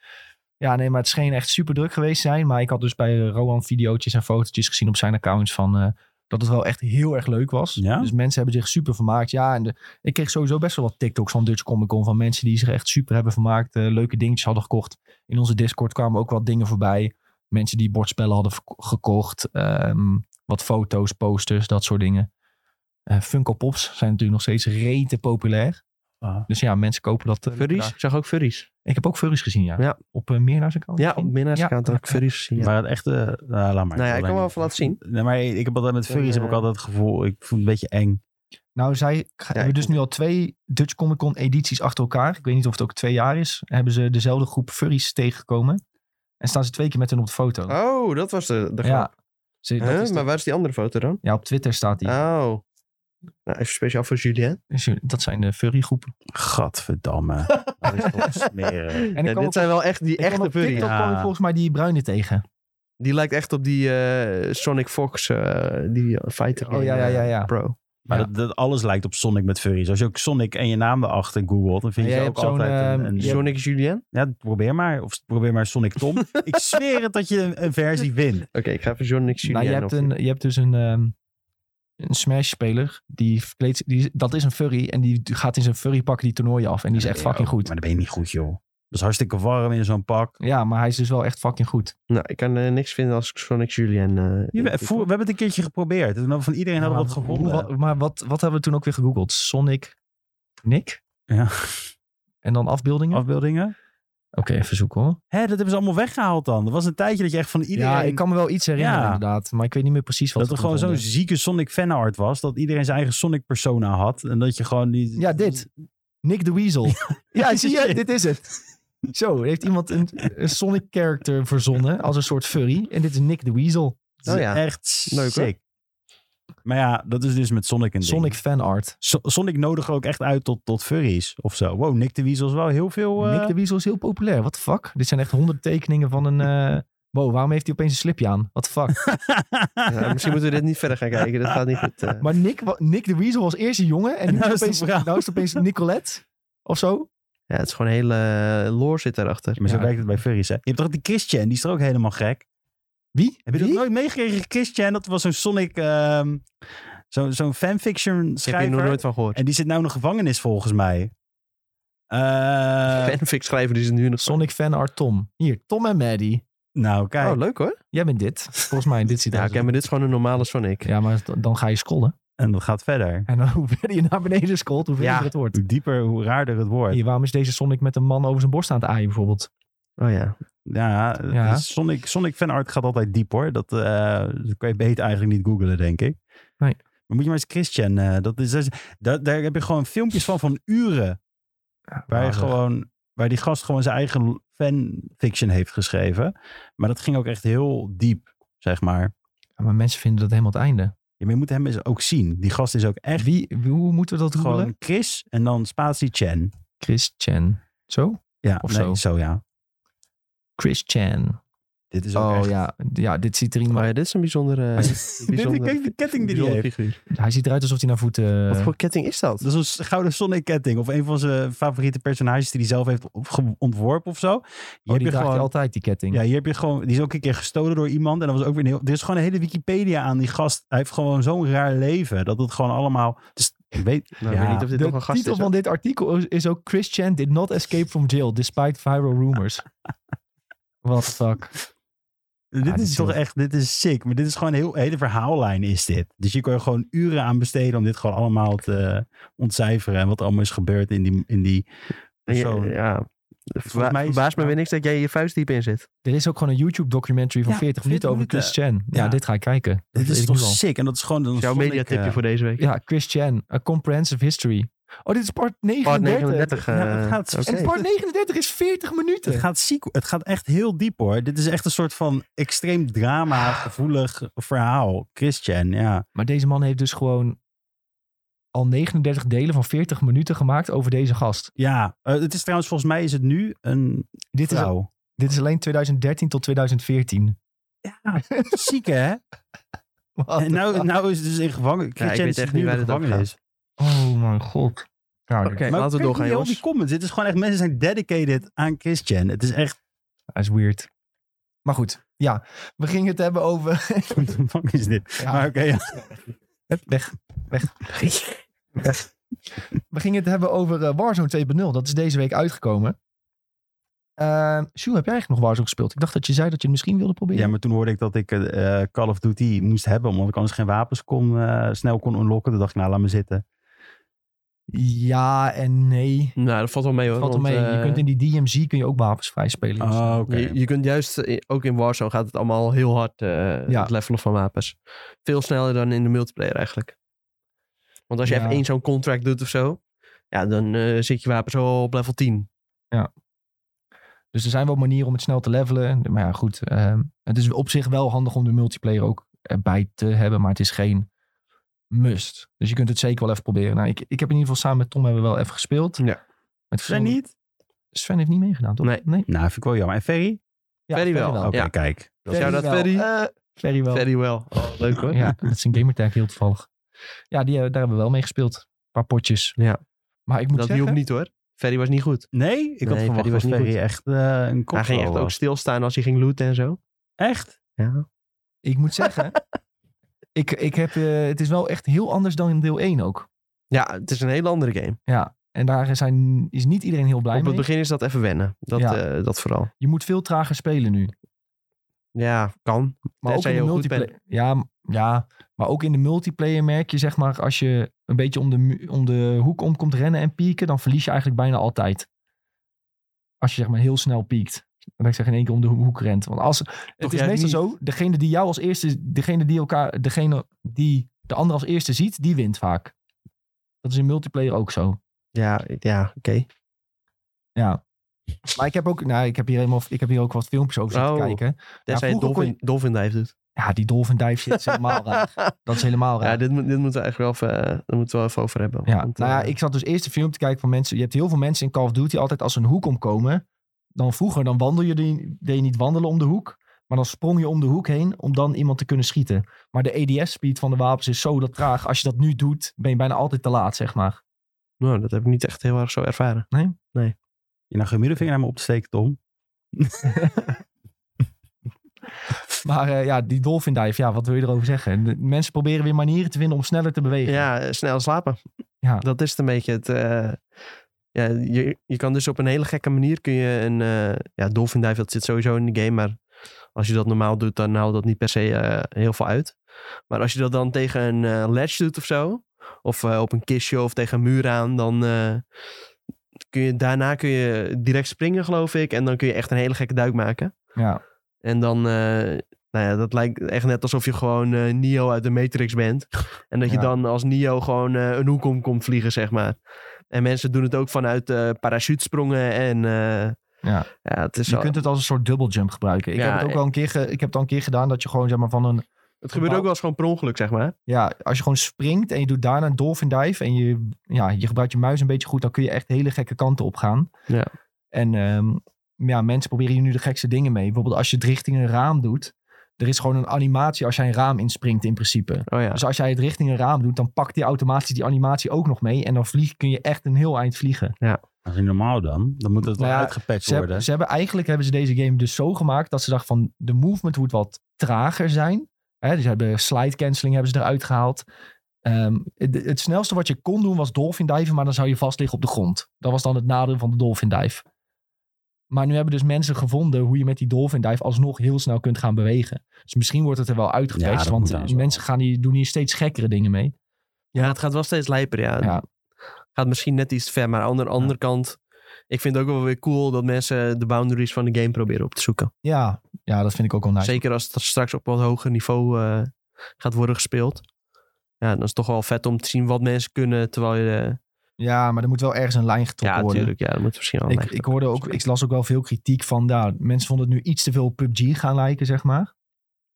Ja, nee, maar het scheen echt super druk geweest te zijn. Maar ik had dus bij eh, Roan videootjes en fotootjes gezien op zijn accounts van... eh, dat het wel echt heel erg leuk was.
Ja?
Dus mensen hebben zich super vermaakt. Ja, en de- ik kreeg sowieso best wel wat TikToks van Dutch Comic Con... van mensen die zich echt super hebben vermaakt. eh, leuke dingetjes hadden gekocht. In onze Discord kwamen ook wat dingen voorbij. Mensen die bordspellen hadden verko- gekocht. ehm, wat foto's, posters, dat soort dingen. Eh Funko Pops zijn natuurlijk nog steeds rete populair.
Ah.
Dus ja, mensen kopen dat. eh,
Furries? Ik zag ook furries.
ik heb ook furries gezien, ja.
Ja.
Op eh Meernaars account.
Ja,
misschien?
op minnaarsaccount
Ja.
had ik furries gezien. ja.
Maar het echte, eh, nou, laat maar.
Nou ja, ik kan wel
Alleen-
even laten zien.
Nee, maar ik heb altijd met furries heb ik
Eh,
altijd het gevoel, ik voel het een beetje eng.
Nou, zij k- hebben
ik
dus
vond-
nu al twee Dutch Comic Con edities achter elkaar. Ik weet niet of het ook twee jaar is. Hebben ze dezelfde groep furries tegengekomen. En staan ze twee keer met hen op de foto.
Oh, dat was de, de grap.
ja. Ze, dat
Huh?
is de-
Maar waar is die andere foto dan?
ja, op Twitter staat die.
Oh. Nou, even speciaal voor Julien.
Dus je- dat zijn de furry groepen. [LAUGHS]
Gadverdamme. Dat is toch smeren.
En ik
Ja,
kwam op-
dit zijn wel echt die
Ik kwam
echte
op
furry. Ah.
TikTok kwam ik
Ja.
volgens mij die bruine tegen.
Die lijkt echt op die eh, Sonic Fox, eh, die fighter. eh,
Oh, ja, ja, ja, ja.
Pro.
Maar
Ja.
dat, dat alles lijkt op Sonic met furries. Als je ook Sonic en je naam erachter googelt, dan vind
Maar
je
jij
ook
hebt zo'n,
altijd een...
eh,
een-
je hebt-
Sonic Julien? Oké,
Ja, probeer maar. Of probeer maar Sonic
[LAUGHS]
Tom. ik zweer het dat je een, een versie wint.
ik ga even Sonic Julien
Nou, je hebt,
opzoeken.
een, je hebt dus een, ehm, een Smash-speler. Die verkleedt, die, dat is een furry. En die gaat in zijn furry pakken die toernooien af. En die is echt fucking
oh,
goed.
Maar dan ben je niet goed, joh. Dat is hartstikke warm in zo'n pak.
Ja, maar hij is dus wel echt fucking goed.
Nou, ik kan eh, niks vinden als ik Sonic Julien... eh,
Je, we,
intik.
we hebben het een keertje geprobeerd. En dan van iedereen hadden we wat gevonden.
Hoe- wa- maar wat, wat hebben we toen ook weer gegoogeld? Sonic, Nick?
Ja.
En dan afbeeldingen?
Afbeeldingen.
Oké, even zoeken hoor.
Hè, dat hebben ze allemaal weggehaald dan. Dat was een tijdje dat je echt van iedereen...
Ja, ik kan me wel iets herinneren
Ja.
inderdaad. Maar ik weet niet meer precies wat
dat er
we
gewoon
toen
zo'n
vonden.
zieke Sonic fanart was. Dat iedereen zijn eigen Sonic persona had. En dat je gewoon die...
Ja,
[LAUGHS]
dit. Nick de Weasel. ja, zie je? Dit is het. Zo, heeft iemand een, een Sonic character verzonnen als een soort furry. En dit is Nick de Weasel.
Het is
Oh ja.
Echt
Leuk, hoor.
sick. Maar ja, dat is dus met Sonic en
Sonic fanart.
Sonic nodig ook echt uit tot, tot furries of zo. Wow, Nick de Weasel is wel heel veel... eh,
Nick
[LAUGHS]
de Weasel is heel populair. What the fuck? Dit zijn echt honderd tekeningen van een... eh, Wow, waarom heeft hij opeens een slipje aan? What the fuck?
Ja, misschien moeten we dit niet verder
[LAUGHS]
gaan kijken. Dat gaat niet goed. eh.
Maar Nick, wa- Nick de Weasel was eerst een jongen. En,
En
nu
nou
is
is het
opeens,
een vrouw.
nou is het opeens Nicolette. Of zo.
Ja, het is gewoon hele eh, lore zit daarachter.
Maar zo
Ja.
werkt het bij furries, hè? Je hebt toch die Christian, die is er ook helemaal gek.
Wie?
Heb je
Wie?
dat nooit meegekregen? Christian, dat was zo'n Sonic... ehm, zo- zo'n fanfiction
Ik heb hier
schrijver.
nog nooit van gehoord.
En die zit nou in de gevangenis, volgens mij. Eh,
Fanfic schrijver die ze nu nog...
Sonic fanart Tom. Hier, Tom en Maddie.
nou, kijk.
Oh, leuk hoor.
Jij bent dit. Volgens mij,
[LAUGHS]
dit ziet
Ja,
eruit.
oké, maar dit is gewoon een normale Sonic.
Ja, maar d- dan ga je scrollen.
En dat gaat verder.
En dan, [LAUGHS] hoe verder je naar beneden scrolt, hoe verder
Ja.
het wordt.
Hoe dieper, hoe raarder het wordt.
Hier, waarom is deze Sonic met een man over zijn borst aan het aaien bijvoorbeeld?
Oh ja.
Ja, eh,
Ja.
Sonic, Sonic fanart gaat altijd diep hoor. Dat, eh, dat kan je beter eigenlijk niet googlen, denk ik.
Nee.
Maar moet je maar eens Christian. eh, dat is, dat is- daar, daar heb je gewoon filmpjes van van uren. Waar, je
waardig.
gewoon, waar die gast gewoon zijn eigen fanfiction heeft geschreven. Maar dat ging ook echt heel diep, zeg maar.
Ja, maar mensen vinden dat helemaal het einde.
Ja, maar je moet hem eens ook zien. Die gast is ook echt
Wie, wie- hoe moeten we dat googelen?
gewoon Chris en dan spatie Chen.
Chris Chen. Zo?
Ja,
Of
nee,
zo.
zo. ja.
Chris Chen.
Dit is ook
Oh
echt...
ja. ja, dit ziet er iemand...
Maar ja, [LAUGHS] dit is een bijzondere...
[LAUGHS] Dit-
bijzonder-
Kijk de ketting die hij
bijzondere
heeft.
figuur.
Hij ziet eruit alsof hij naar voeten...
Wat voor ketting is dat?
Dat is een gouden Sonic-ketting. Of een van zijn favoriete personages die hij zelf heeft opge- ontworpen of zo.
Oh,
Hier
die
heb je
draagt hij
gewoon,
altijd, die ketting.
ja, hier heb je gewoon, die is ook een keer gestolen door iemand. En dat was ook weer een heel, er is gewoon een hele Wikipedia aan die gast. Hij heeft gewoon zo'n raar leven. Dat het gewoon allemaal... Dus, ik weet,
Nou, ik
ja,
weet niet of dit nog
De
een gast
titel
is.
van
hoor.
dit artikel is- is ook Christian did not escape from jail despite viral rumors. What the fuck.
dit
Ja,
is
dit is
toch
heel-
echt, dit is sick. Maar dit is gewoon een heel, hele verhaallijn is dit. Dus je kan er gewoon uren aan besteden om dit gewoon allemaal te eh, ontcijferen. En wat er allemaal is gebeurd in die, in die
En je-
persoon.
Ja, Volgens
mij
mij
is-
verbaast me weer niks dat jij je vuist diep in zit.
Er is ook gewoon een YouTube documentary van
Ja,
40 minuten
40
over Chris Chan. Ja,
Ja.
dit ga ik kijken. Dat
Dit
weet
is
ik nu
toch
al.
sick. En dat is gewoon... Dan
Dat is jouw
stond ik,
mediatipje
eh,
voor deze week.
Ja, Chris Chan, A Comprehensive History. Oh, dit is part 39.
Part 39.
Ja, dat
eh,
gaat-
oké.
En part 39 is 40 minuten.
Het gaat, ziek, het gaat echt heel diep hoor. Dit is echt een soort van extreem drama, gevoelig verhaal. Christian, ja.
Maar deze man heeft dus gewoon al 39 delen van 40 minuten gemaakt over deze gast.
Ja, eh, het is trouwens volgens mij is het nu een
Dit is,
vrouw.
dit is alleen 2013 tot 2014.
Ja, ziek
[LAUGHS]
hè? En nou, nou is het dus in
Ja,
gevangenis. Christian
ik weet
is
echt
nu
niet
in
waar
de
dit over
gevangenis.
gaat.
Oh mijn god. Nou,
Oké,
Maar
laten we
kijk
doorgaan,
die, al
jongens.
die comments. Het is gewoon echt, mensen zijn dedicated aan Christian. Het is echt, [LAUGHS]
dat is weird. Maar goed, ja. We gingen het hebben over... [LAUGHS]
what the fuck is dit?
Ja,
Maar oké, ja.
hup, weg, weg. Weg. We gingen het hebben over eh, Warzone 2.0. Dat is deze week uitgekomen. Eh Sjoe, heb jij eigenlijk nog Warzone gespeeld? Ik dacht dat je zei dat je het misschien wilde proberen.
ja, maar toen hoorde ik dat ik eh, Call of Duty moest hebben, omdat ik anders geen wapens kon, eh, snel kon unlocken. Toen dacht ik, nou laat me zitten.
ja en nee.
Nou, dat valt wel mee hoor.
Valt er
want,
mee. je
eh, Ah.
kunt in die DMZ kun je ook wapens vrij spelen.
Oh, oké.
Je, je kunt juist, eh, ook in Warzone gaat het allemaal heel hard, eh
Ja.
het levelen van wapens. Veel sneller dan in de multiplayer eigenlijk. Want als je
Ja.
even één zo'n contract doet of zo, ja, dan eh, zit je wapen zo op level 10.
Dus er zijn wel manieren om het snel te levelen. Maar ja, goed. ehm, het is op zich wel handig om de multiplayer ook erbij te hebben. Maar het is geen must. Dus je kunt het zeker wel even proberen. Nou, ik, ik heb in ieder geval samen met Tom hebben we wel even gespeeld.
Ja.
Met
Zijn
verschillende-
niet?
Sven heeft niet meegedaan, toch?
Nee.
Nou, vind ik wel jammer. En Ferry?
Ja,
Ferry wel.
Oké,
Ferry
Ja.
kijk.
Dat zou dat
wel.
Ferry?
Eh, Ferry wel.
Very well. Oh, leuk hoor.
Ja, dat is een gamertag heel toevallig. Ja, die, eh, daar hebben we wel mee gespeeld. Een paar potjes.
Ja.
Maar ik moet
dat
zeggen...
hielp niet hoor. Ferry was niet goed.
Nee, ik had
Nee,
verwacht
Ferry
dat
was niet
Ferry
goed.
echt eh, een kop
Hij ging echt ook stilstaan als hij ging looten en zo.
Echt?
Ja.
Ik moet zeggen,
[LAUGHS]
ik, ik heb, eh, het is wel echt heel anders dan in deel 1 ook.
Ja, het is een hele andere game.
En daar zijn, is niet iedereen heel blij
Op het
mee.
begin is dat even wennen. Dat,
Ja.
eh, dat vooral.
Je moet veel trager spelen nu.
Ja, kan.
Maar ook
Tenzij
in de
je heel goed
multiplayer. Ja, m- ja, maar ook in de multiplayer merk je, zeg maar, als je een beetje om de, mu- om de hoek om komt rennen en pieken, dan verlies je eigenlijk bijna altijd. Als je zeg maar heel snel piekt. Dat ik zeg in één keer om de ho- hoek rent. Want als, het is
juist
meestal
niet.
zo, degene die jou als eerste, degene die elkaar, degene die de ander als eerste ziet, die wint vaak. Dat is in multiplayer ook zo.
Ja, ja oké.
Ja. Maar ik heb ook, nou, ik heb hier helemaal, ik heb hier ook wat filmpjes over zitten
Oh.
kijken.
Tenzij je
vroeger kon
dolfin, dolfin dive doet.
Ja, die dolphin dive shit is helemaal raar. Dat is helemaal raar.
[LAUGHS] Ja, dit, moet- dit moeten we eigenlijk wel even, eh, daar moeten we wel even over hebben.
Ja,
Want,
nou ja,
eh,
ik zat dus eerst een film te kijken van mensen. Je hebt heel veel mensen in Call of Duty altijd als ze een hoek omkomen. Dan vroeger, dan wandel je, die- deed je niet wandelen om de hoek. Maar dan sprong je om de hoek heen om dan iemand te kunnen schieten. Maar de ADS-speed van de wapens is zo dat traag. Als je dat nu doet, ben je bijna altijd te laat, zeg maar.
nou, dat heb ik niet echt heel erg zo ervaren.
Je nou geen middelvinger naar me op te steken, Tom.
Maar eh, ja, die dolphin dive, ja, wat wil je erover zeggen? De mensen proberen weer manieren te vinden om sneller te bewegen.
Ja, eh, snel slapen.
Ja.
Dat is het een beetje het... eh, ja, je, je kan dus op een hele gekke manier kun je een... eh, ja, dolphin dive, dat zit sowieso in de game, maar... Als je dat normaal doet, dan houdt dat niet per se eh, heel veel uit. Maar als je dat dan tegen een eh, ledge doet of zo... Of eh, op een kistje of tegen een muur aan, dan... eh, kun je, daarna kun je direct springen, geloof ik. En dan kun je echt een hele gekke duik maken.
Ja.
En dan, eh, nou ja, dat lijkt echt net alsof je gewoon eh, Neo uit de Matrix bent. En dat je
Ja.
dan als Neo gewoon eh, een hoek om komt vliegen, zeg maar. En mensen doen het ook vanuit eh parachutesprongen en... eh,
Ja.
het is
Je
wel-
kunt het als een soort double jump gebruiken. Ik
Ja, eh,
heb het ook
ja.
wel een keer, ge- ik heb het al een keer gedaan dat je gewoon zeg maar van een
het gebeurt ook wel eens gewoon per ongeluk, zeg maar.
Ja, als je gewoon springt en je doet daarna een dolphin dive en je, ja, je gebruikt je muis een beetje goed, dan kun je echt hele gekke kanten op gaan.
Ja.
En ehm, ja, mensen proberen hier nu de gekste dingen mee. Bijvoorbeeld als je het richting een raam doet, er is gewoon een animatie als jij een raam inspringt in principe.
Oh ja.
Dus als jij het richting een raam doet, dan pakt die automatisch die animatie ook nog mee en dan vlieg, kun je echt een heel eind vliegen.
Als je normaal dan, dan moet het wel
Nou ja,
uitgepatcht
Ze,
worden.
hebben- ze hebben eigenlijk hebben ze deze game dus zo gemaakt dat ze dachten van de movement moet wat trager zijn. Hè, dus ze hebben slide canceling hebben ze eruit gehaald. Ehm, het, het snelste wat je kon doen was dolphin diven, maar dan zou je vast liggen op de grond. Dat was dan het nadeel van de dolphin dive. Maar nu hebben dus mensen gevonden hoe je met die dolphin dive alsnog heel snel kunt gaan bewegen. Dus misschien wordt het er wel
Ja,
uitgepatcht,
dat moet dan
want
zo.
mensen gaan hier, doen hier steeds gekkere dingen mee.
ja, het gaat wel steeds lijper, ja.
Ja.
Gaat misschien net iets te ver, maar aan de andere kant... Ik vind het ook wel weer cool dat mensen de boundaries van de game proberen op te zoeken.
Ja, ja, dat vind ik ook wel nice.
Zeker als het straks op wat hoger niveau eh, gaat worden gespeeld. Ja, dan is het toch wel vet om te zien wat mensen kunnen terwijl je... eh, de-
Ja, maar er moet wel ergens een lijn getrokken
ja,
worden.
natuurlijk. Ja, dat moet misschien wel.
Ik,
echt-
ik, hoorde ook, ik las ook wel veel kritiek van, ja, mensen vonden het nu iets te veel op PUBG gaan lijken, zeg maar.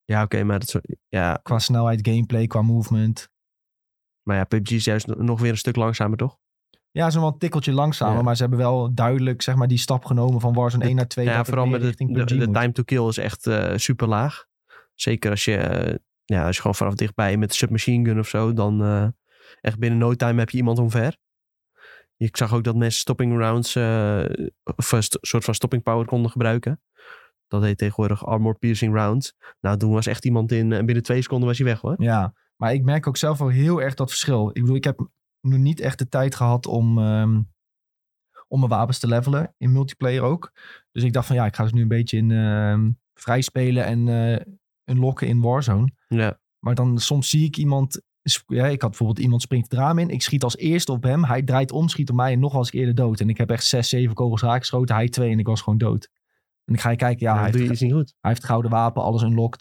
Ja, oké, maar dat soort... Ja,
Qua snelheid, gameplay, qua movement.
maar ja, PUBG is juist no- nog weer een stuk langzamer, toch?
Ja, zo'n wel een tikkeltje langzamer,
Ja.
maar ze hebben wel duidelijk zeg maar, die stap genomen van Warzone
De-
1 naar 2.
ja,
dat het
vooral
meer
met de,
richting
de,
PUBG
de
moet.
time to kill is echt super laag. Zeker als je, eh, ja, als je gewoon vanaf dichtbij met een submachine gun of zo, dan eh, echt binnen no time heb je iemand omver. Ik zag ook dat mensen stopping rounds, eh, of een st- soort van stopping power konden gebruiken. Dat heet tegenwoordig armor piercing rounds. Nou, toen was echt iemand in, eh, binnen twee seconden was hij weg hoor.
Ja, maar ik merk ook zelf wel heel erg dat verschil. Ik bedoel, ik heb nog niet echt de tijd gehad om, ehm, om mijn wapens te levelen. In multiplayer ook. Dus ik dacht van ja, ik ga dus nu een beetje in ehm vrij spelen en eh unlocken in Warzone.
Ja,
Maar dan soms zie ik iemand... sp- Ja, ik had bijvoorbeeld iemand springt het raam in. Ik schiet als eerste op hem. Hij draait om, schiet op mij en nog was ik eerder dood. En ik heb echt zes, zeven kogels raakgeschoten. Hij twee en ik was gewoon dood. En ik ga je kijken, ja, hij
dat doe
heeft,
je iets niet goed.
hij heeft gouden wapen, alles unlocked.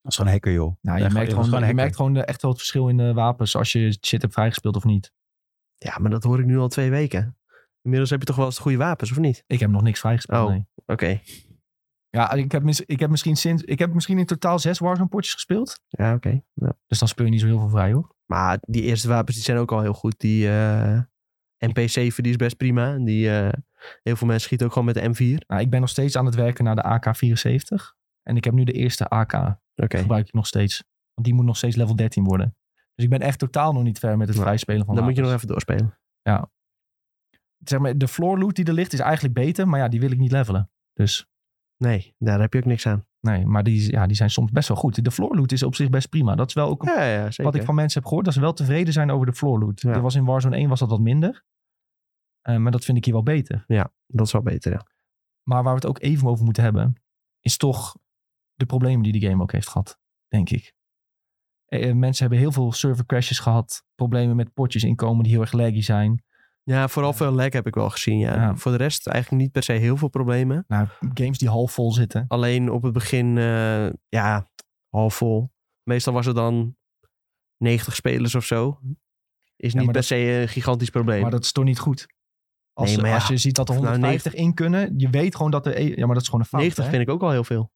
Dat is gewoon een hacker, joh.
Nou, je,
Ja,
merkt
dat is
gewoon, je
een
merkt
hacker.
gewoon eh, echt wel het verschil in de wapens als je shit hebt vrijgespeeld of niet.
Ja, maar dat hoor ik nu al twee weken. Inmiddels heb je toch wel eens de goede wapens, of niet?
Ik heb nog niks vrijgespeeld.
Oh.
nee.
Oké.
Ja, ik heb, mis- ik, heb misschien sinds, ik heb misschien in totaal zes Warzone potjes gespeeld.
Ja, oké. Ja.
Dus dan speel je niet zo heel veel vrij hoor.
Maar die eerste wapens die zijn ook al heel goed. Die eh, MP7 die is best prima. En Die, eh, heel veel mensen schieten ook gewoon met de M4.
Nou, ik ben nog steeds aan het werken naar de AK-74. En ik heb nu de eerste AK.
Oké.
Gebruik ik nog steeds. Want die moet nog steeds level 13 worden. Dus ik ben echt totaal nog niet ver met het
Nou,
vrijspelen van
Dan moet je nog
wapens.
even doorspelen.
Zeg maar, de floor loot die er ligt is eigenlijk beter. Maar ja, die wil ik niet levelen. Dus
Nee, daar heb je ook niks aan.
nee, maar die, ja, die zijn soms best wel goed. De floor loot is op zich best prima. Dat is wel ook een
Ja, ja zeker.
Wat ik van mensen heb gehoord, dat ze wel tevreden zijn over de floor loot.
Ja.
Er was in Warzone 1 was dat wat minder. Eh, maar dat vind ik hier wel beter.
Dat is wel beter, ja.
Maar waar we het ook even over moeten hebben, is toch de problemen die de game ook heeft gehad, denk ik. Eh, eh, mensen hebben heel veel server crashes gehad, problemen met potjes inkomen die heel erg laggy zijn.
Ja, vooral veel lag heb ik wel gezien, ja.
Ja.
Voor de rest eigenlijk niet per se heel veel problemen.
Nou, games die half vol zitten.
Alleen op het begin, eh, ja, half vol. Meestal was er dan 90 spelers of zo. Is
maar
niet per
dat-
se een gigantisch probleem.
Maar dat is toch niet goed. Als,
Nee, maar ja,
als je ziet dat er
of nou
150 in kunnen, je weet gewoon dat er... e- Ja, maar dat is gewoon een fout.
90
hè?
vind ik ook al heel veel.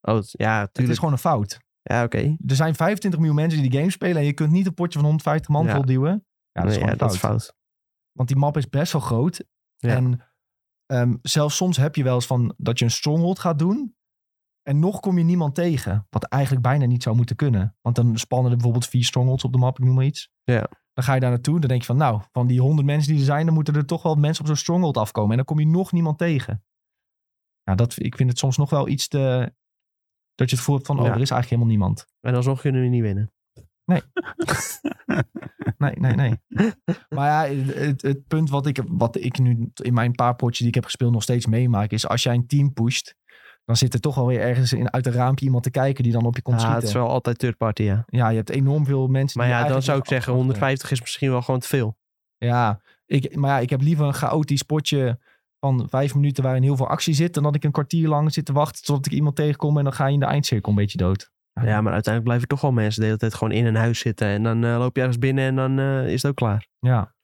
Oh, het- ja,
Het is
tuurlijk.
gewoon een fout.
Ja, oké.
er zijn 25 miljoen mensen die die game spelen en je kunt niet een potje van 150 man
Ja.
volduwen. Ja, dat is
Nee,
gewoon fout.
fout.
Want die map is best wel groot.
Ja.
En ehm, zelfs soms heb je wel eens van dat je een stronghold gaat doen. En nog kom je niemand tegen. Wat eigenlijk bijna niet zou moeten kunnen. Want dan spannen er bijvoorbeeld vier strongholds op de map, ik noem maar iets.
Ja.
Dan ga je daar naartoe. Dan denk je van nou, van die 100 mensen die er zijn, dan moeten er toch wel mensen op zo'n stronghold afkomen. En dan kom je nog niemand tegen. Ja, dat, ik vind het soms nog wel iets te... Dat je het voelt van, oh,
Ja.
er is eigenlijk helemaal niemand.
En alsnog kunnen we niet winnen.
Nee, nee, nee. [LAUGHS] maar ja, het, het punt wat ik, wat ik nu in mijn paar potjes die ik heb gespeeld nog steeds meemaak, is als jij een team pusht, dan zit er toch wel weer ergens in, uit een raampje iemand te kijken die dan op je komt
Ja, het is
schieten.
wel altijd third party, ja.
Ja, je hebt enorm veel mensen.
Maar
die
ja, dan
eigenlijk
zou ik
niet
zeggen,
afwachten.
150 is misschien wel gewoon te veel.
Ja, ik, maar ja, ik heb liever een chaotisch potje van vijf minuten waarin heel veel actie zit, dan dat ik een kwartier lang zit te wachten totdat ik iemand tegenkom en dan ga je in de eindcirkel een beetje dood.
Ja, maar uiteindelijk blijven toch wel mensen de hele tijd gewoon in een huis zitten. En dan eh, loop je ergens binnen en dan eh, is het ook klaar.
Ja,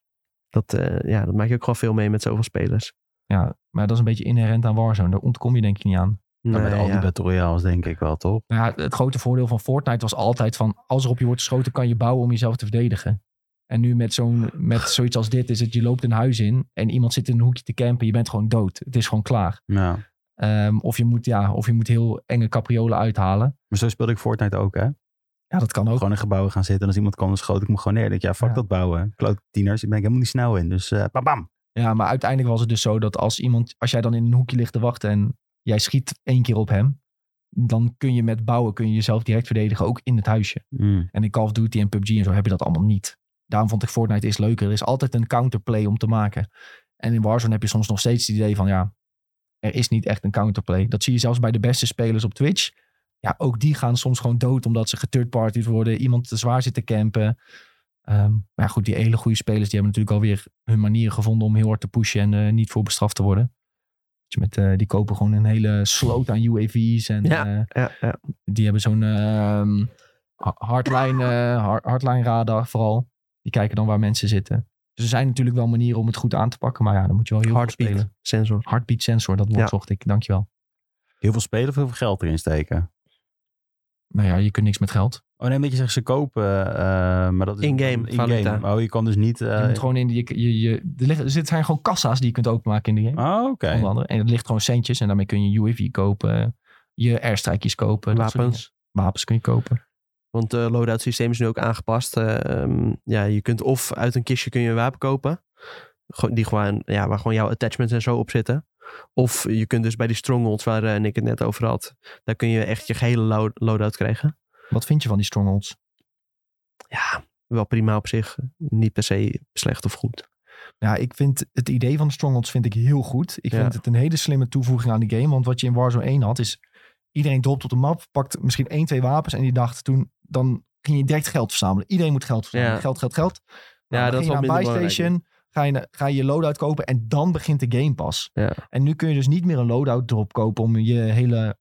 Dat, eh, ja, dat maak je ook gewoon veel mee met zoveel spelers.
ja, maar dat is een beetje inherent aan Warzone. Daar ontkom je denk ik niet aan.
Ja, met
Nee,
al die
ja.
battle royales denk ik wel, toch?
Nou ja, het grote voordeel van Fortnite was altijd van... als er op je wordt geschoten, kan je bouwen om jezelf te verdedigen. En nu met, zo'n, met zoiets als dit is het... je loopt een huis in en iemand zit in een hoekje te campen... je bent gewoon dood. Het is gewoon klaar.
Ja.
Ehm, of, je moet, ja, of je moet heel enge capriolen uithalen.
Maar zo speelde ik Fortnite ook, hè?
Ja, dat kan ook.
Gewoon in gebouwen gaan zitten. En als iemand kwam, dan schoot ik me gewoon neer. Ik, ja, fuck
Ja.
dat bouwen. Kloot tieners, daar ben ik helemaal niet snel in. Dus eh bam, bam.
Ja, maar uiteindelijk was het dus zo dat als iemand... als jij dan in een hoekje ligt te wachten en jij schiet één keer op hem... dan kun je met bouwen kun je jezelf direct verdedigen, ook in het huisje.
Hmm.
En in Call of Duty en PUBG en zo heb je dat allemaal niet. Daarom vond ik Fortnite is leuker. Er is altijd een counterplay om te maken. En in Warzone heb je soms nog steeds het idee van ja, er is niet echt een counterplay. Dat zie je zelfs bij de beste spelers op Twitch. Ja, ook die gaan soms gewoon dood omdat ze gethird-partied worden. Iemand te zwaar zit te campen. Ehm, maar ja, goed, die hele goede spelers die hebben natuurlijk alweer hun manieren gevonden om heel hard te pushen en eh, niet voor bestraft te worden. Dus met, eh, die kopen gewoon een hele sloot aan UAV's en eh,
Ja, ja.
die hebben zo'n ehm, ha- hardline, eh, har- hardline radar vooral. Die kijken dan waar mensen zitten. Dus er zijn natuurlijk wel manieren om het goed aan te pakken, maar ja, dan moet je wel heel goed
Heartbeat
spelen.
sensor.
Heartbeat sensor, dat woord
Ja.
zocht ik, dankjewel.
Heel veel spelen of heel veel geld erin steken?
Nou ja, je kunt niks met geld.
Oh nee, omdat je zegt ze kopen, eh, maar dat is...
In-game valuta.
Oh, je kan dus niet... eh,
je moet gewoon in, je, je, je, er, liggen, er zijn gewoon kassa's die je kunt openmaken in de game.
Oh, oké.
Onder andere. En dat ligt gewoon centjes. En daarmee kun je UAV kopen. Je airstrikejes kopen. dat soort
Wapens.
dingen. Wapens kun je kopen.
Want het loadout systeem is nu ook aangepast. Eh, ehm, ja, je kunt of uit een kistje kun je een wapen kopen. Gewoon- Die gewoon, ja, waar gewoon jouw attachments en zo op zitten. Of je kunt dus bij die strongholds waar eh, Nick het net over had. Daar kun je echt je gehele lo- loadout krijgen.
Wat vind je van die strongholds?
Ja, wel prima op zich. Niet per se slecht of goed.
Ja, ik vind het idee van de strongholds vind ik heel goed. Ik
Ja.
vind het een hele slimme toevoeging aan die game. Want wat je in Warzone 1 had is... Iedereen dropt op de map, pakt misschien één, twee wapens. En die dacht toen, dan ging je direct geld verzamelen. Iedereen moet geld verzamelen.
Ja.
Geld, geld, geld.
ja,
Nou,
dat
dan ging
is
je
wel minder
naar
belangrijk.
Playstation, ga je, na- ga je je loadout kopen en dan begint de game pas.
Ja.
En nu kun je dus niet meer een loadout drop kopen om je hele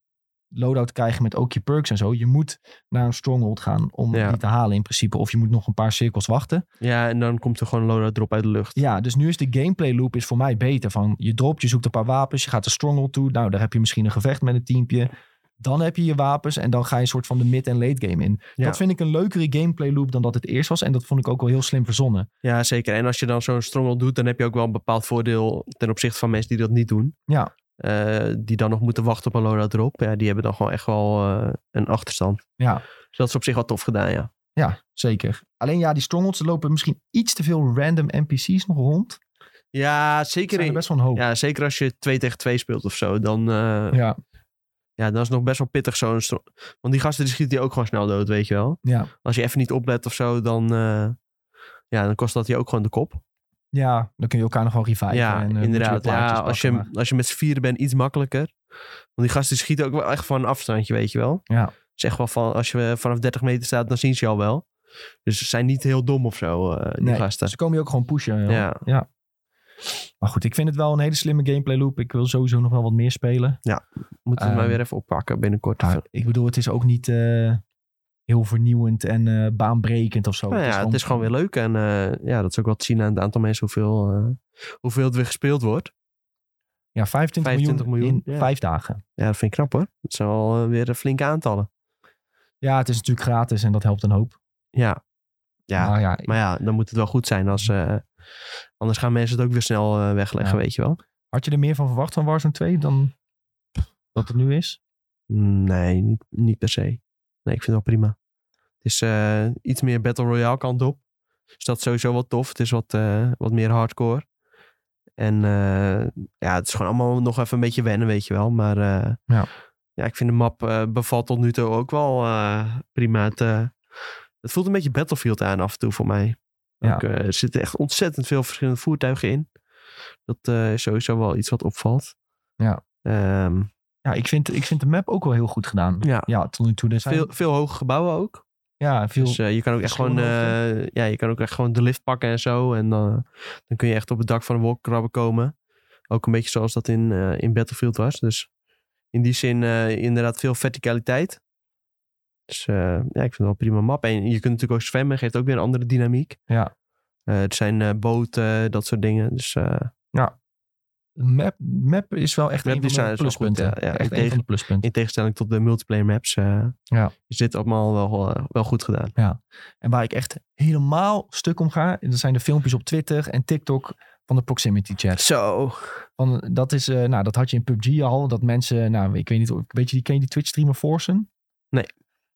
loadout te krijgen met ook je perks en zo. Je moet naar een stronghold gaan om
Ja.
die te halen in principe. Of je moet nog een paar cirkels wachten.
Ja, en dan komt er gewoon een loadout drop uit de lucht.
Ja, dus nu is de gameplay loop is voor mij beter. Van je dropt, je zoekt een paar wapens, je gaat de stronghold toe. Nou, daar heb je misschien een gevecht met een teampje. Dan heb je je wapens en dan ga je een soort van de mid- en late game in.
Ja.
Dat vind ik een leukere gameplay loop dan dat het eerst was. En dat vond ik ook wel heel slim verzonnen.
Ja, zeker. En als je dan zo'n stronghold doet, dan heb je ook wel een bepaald voordeel ten opzichte van mensen die dat niet doen.
Ja.
Eh, die dan nog moeten wachten op een loadout erop. Ja, die hebben dan gewoon echt wel eh, een achterstand.
Ja.
Dus dat is op zich wel tof gedaan, ja.
Ja, zeker. Alleen ja, die strongholds er lopen misschien iets te veel random NPC's nog rond.
Ja,
Ik
zeker.
er
in-
best wel een hoop. Ja.
Ja, zeker als je 2 tegen 2 speelt of zo. Dan, eh, ja.
Ja,
dan is het nog best wel pittig zo'n... stro- Want die gasten die schieten je ook gewoon snel dood, weet je wel.
ja.
Als je even niet oplet of zo, dan, eh, ja, dan kost dat je ook gewoon de kop.
dan kun je elkaar nog wel reviven. en, eh,
Ja,
moet je weer
inderdaad.
plaatjes
Ja, als,
pakken,
je,
maar-
als je met z'n vieren bent, iets makkelijker. Want die gasten schieten ook wel echt van een afstandje, weet je wel.
Ja.
Zeg wel van, als je eh, vanaf 30 meter staat, dan zien ze je al wel. Dus ze zijn niet heel dom of zo, eh, die
Nee,
gasten.
Ze komen je ook gewoon pushen. hoor.
Ja.
Maar goed, ik vind het wel een hele slimme gameplay loop. Ik wil sowieso nog wel wat meer spelen.
Moeten we
Ehm,
maar weer even oppakken binnenkort.
Nou, ik bedoel, het is ook niet eh, heel vernieuwend en eh, baanbrekend of zo.
nou ja, het is gewoon weer leuk. En eh, ja, dat is ook wel te zien aan het aantal mensen hoeveel, eh, hoeveel het weer gespeeld wordt.
Ja, 25,
25 miljoen,
in
ja.
vijf dagen.
Ja, dat vind ik knap hoor. Dat zijn wel eh, weer flinke aantallen.
Ja, het is natuurlijk gratis en dat helpt een hoop.
Ja. Ja,
Maar ja,
maar ja, dan moet het wel goed zijn. Als, eh, anders gaan mensen het ook weer snel eh, wegleggen,
Ja.
weet je wel.
had je er meer van verwacht van Warzone 2 dan dat het nu is?
Nee, niet, niet per se. Nee, ik vind het wel prima. Het is eh, iets meer Battle Royale kant op. Dus dat is sowieso wel tof. Het is wat, eh, wat meer hardcore. En eh, ja, het is gewoon allemaal nog even een beetje wennen, weet je wel. Maar eh,
Ja.
ja, ik vind de map eh, bevalt tot nu toe ook wel eh, prima. Het, eh, het voelt een beetje Battlefield aan af en toe voor mij.
Ja.
Ook, eh, er zitten echt ontzettend veel verschillende voertuigen in. Dat eh, is sowieso wel iets wat opvalt.
Ja.
Ehm,
Ja, ik vind, ik vind de map ook wel heel goed gedaan.
ja.
Ja, tot nu toe. Er zijn,
Veel, veel hoge gebouwen ook.
ja, veel,
Dus eh, je kan ook echt gewoon,
verschillende
eh, ja, je kan ook echt gewoon de lift pakken en zo. En dan, dan kun je echt op het dak van een wolkenkrabber komen. Ook een beetje zoals dat in, eh, in Battlefield was. Dus in die zin eh, inderdaad veel verticaliteit. Dus eh, ja, ik vind het wel een prima map. En je kunt natuurlijk ook zwemmen, geeft ook weer een andere dynamiek.
Ja.
Eh, het zijn eh, boten, dat soort dingen. Dus eh,
map, map is wel echt
Map
een van
design
de
is wel goed,
pluspunten.
ja. Ja,
echt
ik
een
tegen-
van de pluspunten.
in tegenstelling tot de multiplayer maps eh,
Ja.
is dit allemaal wel, eh, wel goed gedaan.
En waar ik echt helemaal stuk om ga, dat zijn de filmpjes op Twitter en TikTok van de proximity chat.
Zo.
Van, dat, is, eh, nou, dat had je in PUBG al, dat mensen, nou, ik weet niet, of- weet je, die, ken je die Twitch streamer Forsen?
Nee.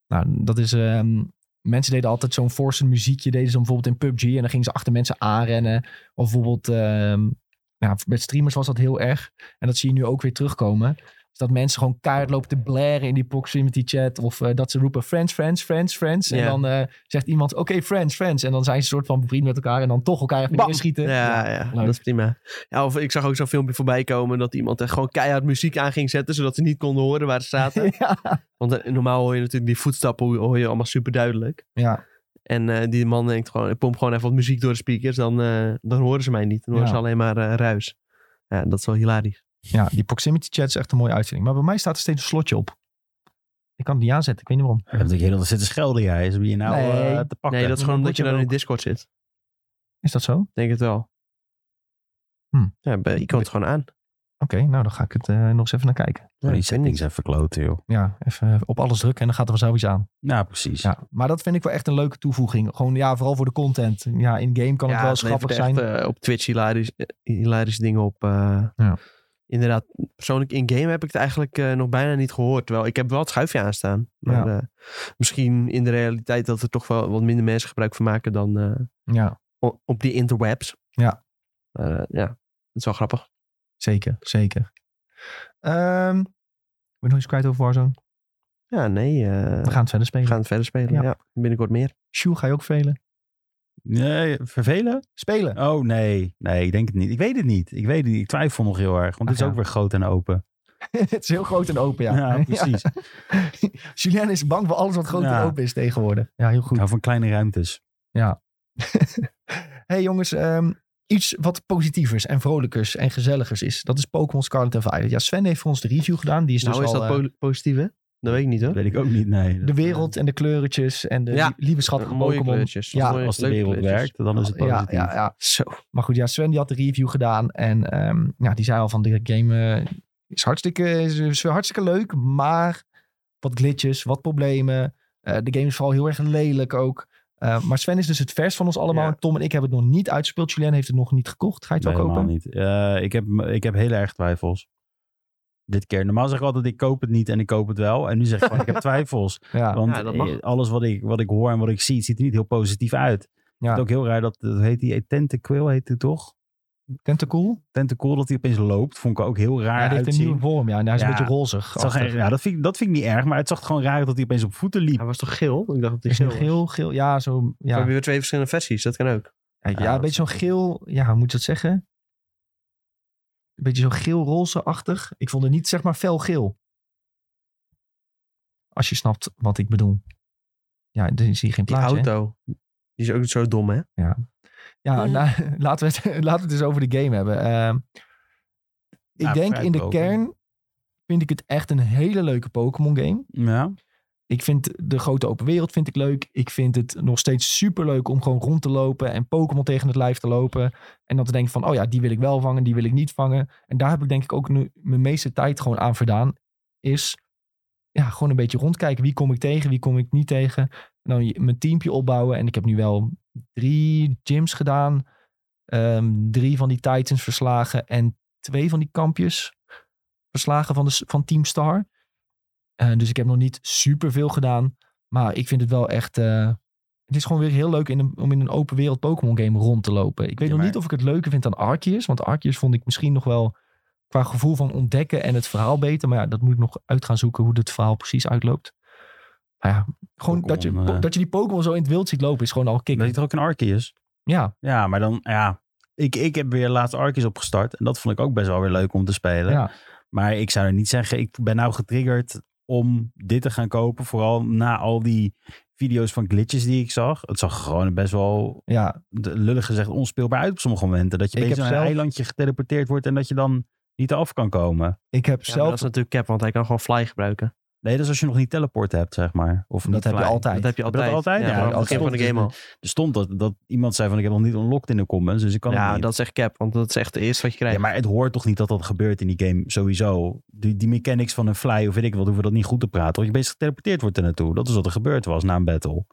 Nou, dat is, ehm, mensen deden altijd zo'n Forsen muziekje, deden ze dan bijvoorbeeld in PUBG en dan gingen ze achter mensen aanrennen. Of bijvoorbeeld, ehm, nou, met streamers was dat heel erg. En dat zie je nu ook weer terugkomen. Dus dat mensen gewoon kaart lopen te blaren in die proximity chat. Of eh, dat ze roepen friends, friends, friends, friends. En
Ja.
dan eh, zegt iemand, oké, friends, friends. En dan zijn ze een soort van bevriend met elkaar. En dan toch elkaar even
Bam!
neerschieten.
Ja, ja
leuk.
dat is prima. Ja, of ik zag ook zo'n filmpje voorbij komen dat iemand echt gewoon keihard muziek aan ging zetten, zodat ze niet konden horen [LAUGHS] waar ze zaten.
[LAUGHS] ja.
Want eh, normaal hoor je natuurlijk die voetstappen, hoor je allemaal super duidelijk.
ja.
En eh, die man denkt gewoon, ik pomp gewoon even wat muziek door de speakers. Dan, eh, dan horen ze mij niet. Dan horen
Ja.
ze alleen maar eh, ruis. Ja, dat is wel hilarisch.
Ja, die proximity chat is echt een mooie uitzending. Maar bij mij staat er steeds een slotje op. Ik kan het niet aanzetten, ik weet niet waarom.
Je hebt natuurlijk heel zitten schelden, jij. Is om je nou
Nee.
eh, te pakken?
maar
Nee, dat is gewoon
moet
omdat
je
je dan
wel-
in Discord zit.
Is dat zo? Oké,
Denk het wel.
Hm.
Ja, bij- je kan het gewoon aan.
nou dan ga ik het eh, nog eens even naar kijken.
Maar
Oh,
die
ik weet
settings
niet.
zijn verkloten, joh.
Ja, even op alles drukken en dan gaat er vanzelf iets aan.
Ja, precies.
Ja, maar dat vind ik wel echt een leuke toevoeging. Gewoon ja, vooral voor de content. Ja, in game kan het
ja,
wel eens
het
grappig
levert
zijn.
echt, eh, op Twitch hilarische, hilarische dingen op. eh.
Ja.
Inderdaad, persoonlijk in-game heb ik het eigenlijk eh, nog bijna niet gehoord. Terwijl ik heb wel het schuifje aanstaan. Maar eh, misschien in de realiteit dat er toch wel wat minder mensen gebruik van maken dan eh,
Ja,
o- op die interwebs.
Ja.
Maar, eh, ja, dat is wel grappig.
zeker, zeker. Ehm ik ben nog iets kwijt over Warzone.
Ja, nee. eh,
We gaan het verder
we
spelen.
gaan het verder spelen.
Ja.
Ja. binnenkort meer.
Sjoe, ga je ook velen?
Nee, vervelen?
Spelen. [LAUGHS]
Oh, nee. Nee, ik denk het niet. Ik weet het niet. Ik weet het niet. Ik twijfel nog heel erg. Want dit
Ach,
is
Ah, ja.
ook weer groot en open.
het is heel groot en open, [LAUGHS] ja.
Ja, precies.
Julien is bang voor alles wat groot
Ja.
en open is tegenwoordig. Ja, heel
Ik
goed.
hou van kleine ruimtes.
hey jongens, ehm, iets wat positievers en vrolijkers en gezelligers is. Dat is Pokémon Scarlet en Violet. Ja, Sven heeft voor ons de review gedaan. Die is
nou,
dus
is
al,
dat
eh,
po- positief, hè? Dat weet ik niet, hoor.
Dat weet ik ook niet, nee.
de wereld en de kleuretjes en de
Ja.
lie- lieve schattige
mooie
Pokémon.
kleurtjes.
Ja,
mooie,
Als de
leuke
wereld
kleurtjes.
werkt, dan is het
Ja,
positief.
ja, ja.
Zo.
Maar goed, ja, Sven die had de review gedaan. En ehm, ja, die zei al van de game eh, is, hartstikke, is, is wel hartstikke leuk, maar wat glitches, wat problemen. Eh, de game is vooral heel erg lelijk ook. Eh, maar Sven is dus het vers van ons allemaal.
Ja.
En Tom en ik hebben het nog niet uitgespeeld. Julien heeft het nog niet gekocht. Ga je het
Nee,
ook
helemaal
kopen?
niet. Eh, ik, heb, ik heb heel erg twijfels. Dit keer. Normaal zeg ik altijd, ik koop het niet en ik koop het wel. En nu zeg ik gewoon, ik heb
[LAUGHS]
twijfels.
Ja.
Want
Ja, dat mag.
eh, alles wat ik, wat ik hoor en wat ik zie, het ziet er niet heel positief uit. Ik
Ja.
vind Het is ook heel raar dat, dat heet die Tentacle, heet die toch?
Tentacool?
Tentacle, dat die opeens loopt, vond ik ook heel raar
Ja, die heeft een
uitzien.
nieuwe vorm. Ja, en hij is een
Ja.
beetje rozig.
Het zag er- ja, dat, vind ik, dat vind ik niet erg, maar het zag er gewoon raar uit dat hij opeens op voeten liep.
Hij was toch geel? Ik dacht dat hij
Is
geel
een
was.
geel, geel. Ja, zo.
We
Ja,
hebben weer twee verschillende versies, dat kan ook.
ja,
Ja,
een
dat
beetje zo'n geel. Ja, hoe moet je dat zeggen? Een beetje zo'n geel-roze-achtig. Ik vond het niet, zeg maar, fel geel. Als je snapt wat ik bedoel. Ja, dan zie je geen
Die
plaatje. hè?
auto, die is ook zo dom, hè?
Ja,
Eh.
nou, [LAUGHS] laten, we het, laten we het eens over de game hebben. Ehm, ik
Ja,
denk
vrij
in de
broken.
kern vind ik het echt een hele leuke Pokémon game.
Ja.
Ik vind de grote open wereld vind ik leuk. Ik vind het nog steeds superleuk om gewoon rond te lopen en Pokémon tegen het lijf te lopen. En dan te denken van, oh ja, die wil ik wel vangen, die wil ik niet vangen. En daar heb ik denk ik ook nu mijn meeste tijd gewoon aan verdaan. Is ja, gewoon een beetje rondkijken. Wie kom ik tegen, wie kom ik niet tegen. En dan je- mijn teampje opbouwen. En ik heb nu wel drie gyms gedaan. ehm, drie van die Titans verslagen. En twee van die kampjes verslagen van, de, s- van Team Star. Eh, dus ik heb nog niet superveel gedaan. Maar ik vind het wel echt... eh, het is gewoon weer heel leuk in een, om in een open wereld Pokémon game rond te lopen. Ik weet
Ja,
nog
maar-
niet of ik het leuker vind dan Arceus. Want Arceus vond ik misschien nog wel qua gevoel van ontdekken en het verhaal beter. Maar ja, dat moet ik nog uit gaan zoeken hoe dit verhaal precies uitloopt. Maar Nou ja, gewoon dat je,
Pokémon, eh.
dat je die Pokémon zo in het wild ziet lopen is gewoon al kick.
Weet je toch ook een Arceus?
Ja,
Ja, maar dan, ja. Ik, ik heb weer laatst Arceus opgestart. En dat vond ik ook best wel weer leuk om te spelen.
Ja.
Maar ik zou er niet zeggen, ik ben nou getriggerd om dit te gaan kopen. Vooral na al die video's van glitches die ik zag. Het zag er gewoon best wel,
ja,
de- lullig gezegd, onspeelbaar uit op sommige momenten. Dat je
Ik
opeens
heb
naar een
zelf-
eilandje geteleporteerd wordt en dat je dan niet af kan komen.
ik heb
Ja, maar
zelf...
Dat is natuurlijk cap, want hij kan gewoon fly gebruiken.
Nee, dat is als je nog niet teleport hebt, zeg maar. Of
Dat
niet
heb je
fly.
altijd.
Dat heb je
Heb je
altijd.
dat altijd? Ja,
vanaf het begin van
dat
de
stond
game al.
Er stond dat, dat iemand zei van, ik heb nog niet unlocked in de comments, dus ik kan het
Ja,
niet.
dat is echt cap, want dat is echt het eerste wat je
Ja,
krijgt.
maar het hoort toch niet dat dat gebeurt in die game sowieso. Die, die mechanics van een fly of weet ik wat, hoeven we dat niet goed te praten. Want je bezig geteleporteerd wordt er naartoe. Dat is wat er gebeurd was na een battle.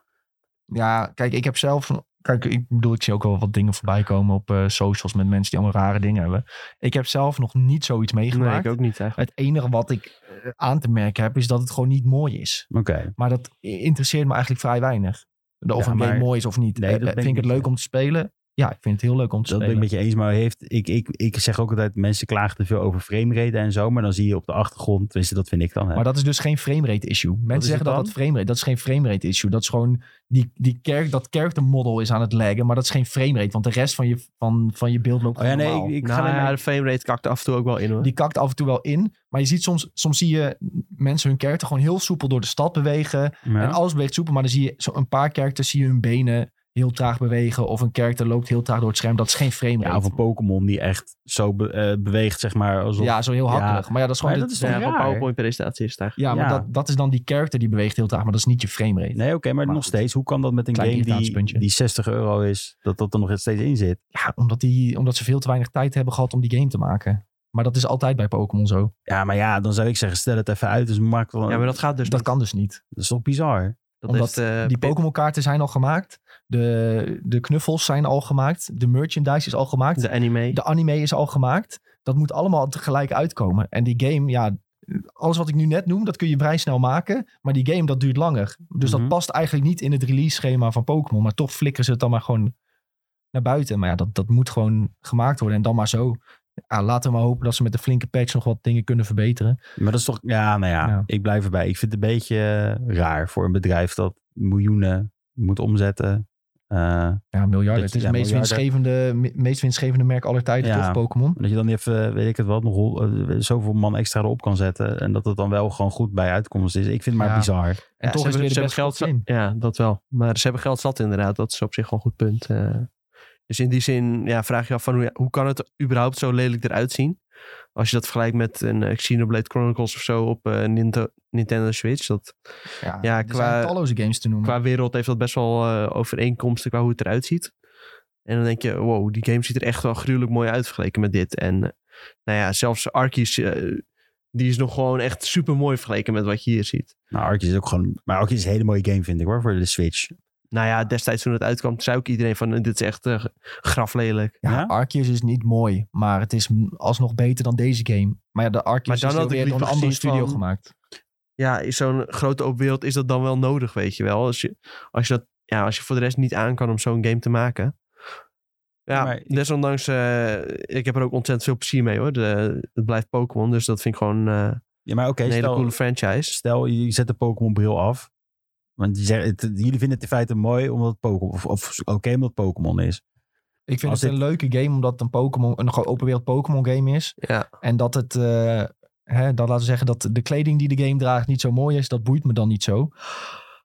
Ja, kijk, ik heb zelf... Kijk, ik bedoel, ik zie ook wel wat dingen voorbij komen op eh, socials met mensen die allemaal rare dingen hebben. Ik heb zelf nog niet zoiets
nee,
meegemaakt.
ik ook niet eigenlijk.
Het enige wat ik eh, aan te merken heb, is dat het gewoon niet mooi is.
Oké.
Maar dat interesseert me eigenlijk vrij weinig. Of
Ja,
een game
maar-
mooi is of niet.
Nee,
Eh,
dat ben
vind
ik
ik het
niet,
leuk
ja.
om te spelen? Ja, ik vind het heel leuk om te
Dat ben ik
spelen.
met je eens. Maar heeft, ik, ik, ik zeg ook altijd, mensen klagen te veel over framerate en zo. Maar dan zie je op de achtergrond, tenminste dat vind ik dan. Hè.
Maar dat is dus geen framerate issue.
is
Mensen zeggen
het
dat
dan?
dat framerate, dat is geen framerate issue. Dat is gewoon die, die kerk, dat character model is aan het laggen, maar dat is geen framerate, want de rest van je, van, van je beeld loopt
oh ja,
gewoon
nee,
normaal.
ik, ik
nou,
ga alleen
ja,
maar...
de framerate kakt af en toe ook wel in hoor.
Die kakt af en toe wel in, maar je ziet soms, soms zie je mensen hun character gewoon heel soepel door de stad bewegen. En
Ja.
alles beweegt soepel, maar dan zie je zo een paar characters zie je hun benen heel traag bewegen. Of een character loopt heel traag door het scherm. Dat is geen frame
Ja, of
rate.
een Pokémon die echt zo be- eh, beweegt, zeg maar. Alsof...
Ja, zo heel
Ja.
hakkelig. Maar ja, dat is gewoon...
Maar
de-
dat is
Ja,
toch
gewoon
raar?
PowerPoint-presentatie is daar.
ja, maar
ja.
Dat, dat is dan die character die beweegt heel traag. Maar dat is niet je frame rate.
Nee, oké, maar,
Maar
nog
goed.
steeds. Hoe kan dat met een
Klein
game die,
irritatiepuntje.
die 60 euro is, dat dat er nog steeds in zit?
Ja, omdat, die, omdat ze veel te weinig tijd hebben gehad om die game te maken. Maar dat is altijd bij Pokémon zo.
Ja, maar ja, dan zou ik zeggen, stel het even uit. Dus maak wel...
Ja, maar dat gaat dus
Dus dat
niet.
kan dus niet.
Dat is toch bizar?
Dat
Omdat
heeft, eh,
Die
Pip-
Pokémon kaarten zijn al gemaakt. De, de knuffels zijn al gemaakt. De merchandise is al gemaakt.
De anime.
De anime is al gemaakt. Dat moet allemaal tegelijk uitkomen. En die game, ja, alles wat ik nu net noem, dat kun je vrij snel maken. Maar die game, dat duurt langer. Dus
Mhm.
dat past eigenlijk niet in het release schema van Pokémon. Maar toch flikkeren ze het dan maar gewoon naar buiten. Maar ja, dat, dat moet gewoon gemaakt worden. En dan maar zo. Ja, laten we maar hopen dat ze met een flinke patch nog wat dingen kunnen verbeteren.
Maar dat is toch... Ja, nou ja,
Ja.
ik blijf erbij. Ik vind het een beetje eh, raar voor een bedrijf dat miljoenen moet omzetten. Eh,
Ja, miljarden.
Dat
Het
je-
is het
ja,
meest,
miljarden.
winstgevende, me- meest winstgevende merk aller tijden,
Ja.
toch, Pokémon?
En dat je dan even, weet ik het wat, nog hol- eh, zoveel man extra erop kan zetten. En dat het dan wel gewoon goed bij uitkomst is. Ik vind het maar
Ja.
bizar.
En toch
ze
is het
hebben-
weer
ze
de
hebben
beste
geld
geld
za-
in.
Ja, dat wel. Maar ze hebben geld zat inderdaad. Dat is op zich wel een goed punt. eh. dus in die zin ja, vraag je je af van hoe, hoe kan het überhaupt zo lelijk eruit zien? Als je dat vergelijkt met een eh, Xenoblade Chronicles of zo op eh, Ninto- Nintendo Switch. Dat,
Ja,
Ja,
er
qua-
zijn talloze games te noemen.
qua wereld heeft dat best wel eh, overeenkomsten qua hoe het eruit ziet. En dan denk je, wow, die game ziet er echt wel gruwelijk mooi uit vergeleken met dit. En eh, nou ja, zelfs Arkies, eh, die is nog gewoon echt super mooi vergeleken met wat je hier ziet.
Nou, Arkje is ook gewoon... Maar Arkje is een hele mooie game, vind ik hoor, voor de Switch.
Nou ja, destijds toen het uitkwam, zei ook iedereen van dit is echt eh, graflelijk.
Ja,
Ja?
Arceus is niet mooi, maar het is m- alsnog beter dan deze game. Maar ja, de
Maar
Arceus
dan
is
had
ook
ik
weer door een
liever
andere
gezien
studio
van-
gemaakt.
Ja, is zo'n grote open wereld is dat dan wel nodig, weet je wel. Als je, als je, dat, ja, als je voor de rest niet aan kan om zo'n game te maken. Ja,
Maar ik-
desondanks, eh, ik heb er ook ontzettend veel plezier mee hoor. De, het blijft Pokémon, dus dat vind ik gewoon eh,
Ja, maar oké,
een hele
stel,
coole franchise.
stel je zet de Pokémon bril af. Want je zegt, het- jullie vinden het in feite mooi omdat het Pokémon... Of, of oké omdat het Pokémon is.
Ik vind
Als
het een leuke game, omdat het een, Pokémon, een gewoon open wereld Pokémon game is.
Ja,
En dat het, eh, hè, dat laten we zeggen, dat de kleding die de game draagt niet zo mooi is, dat boeit me dan niet zo.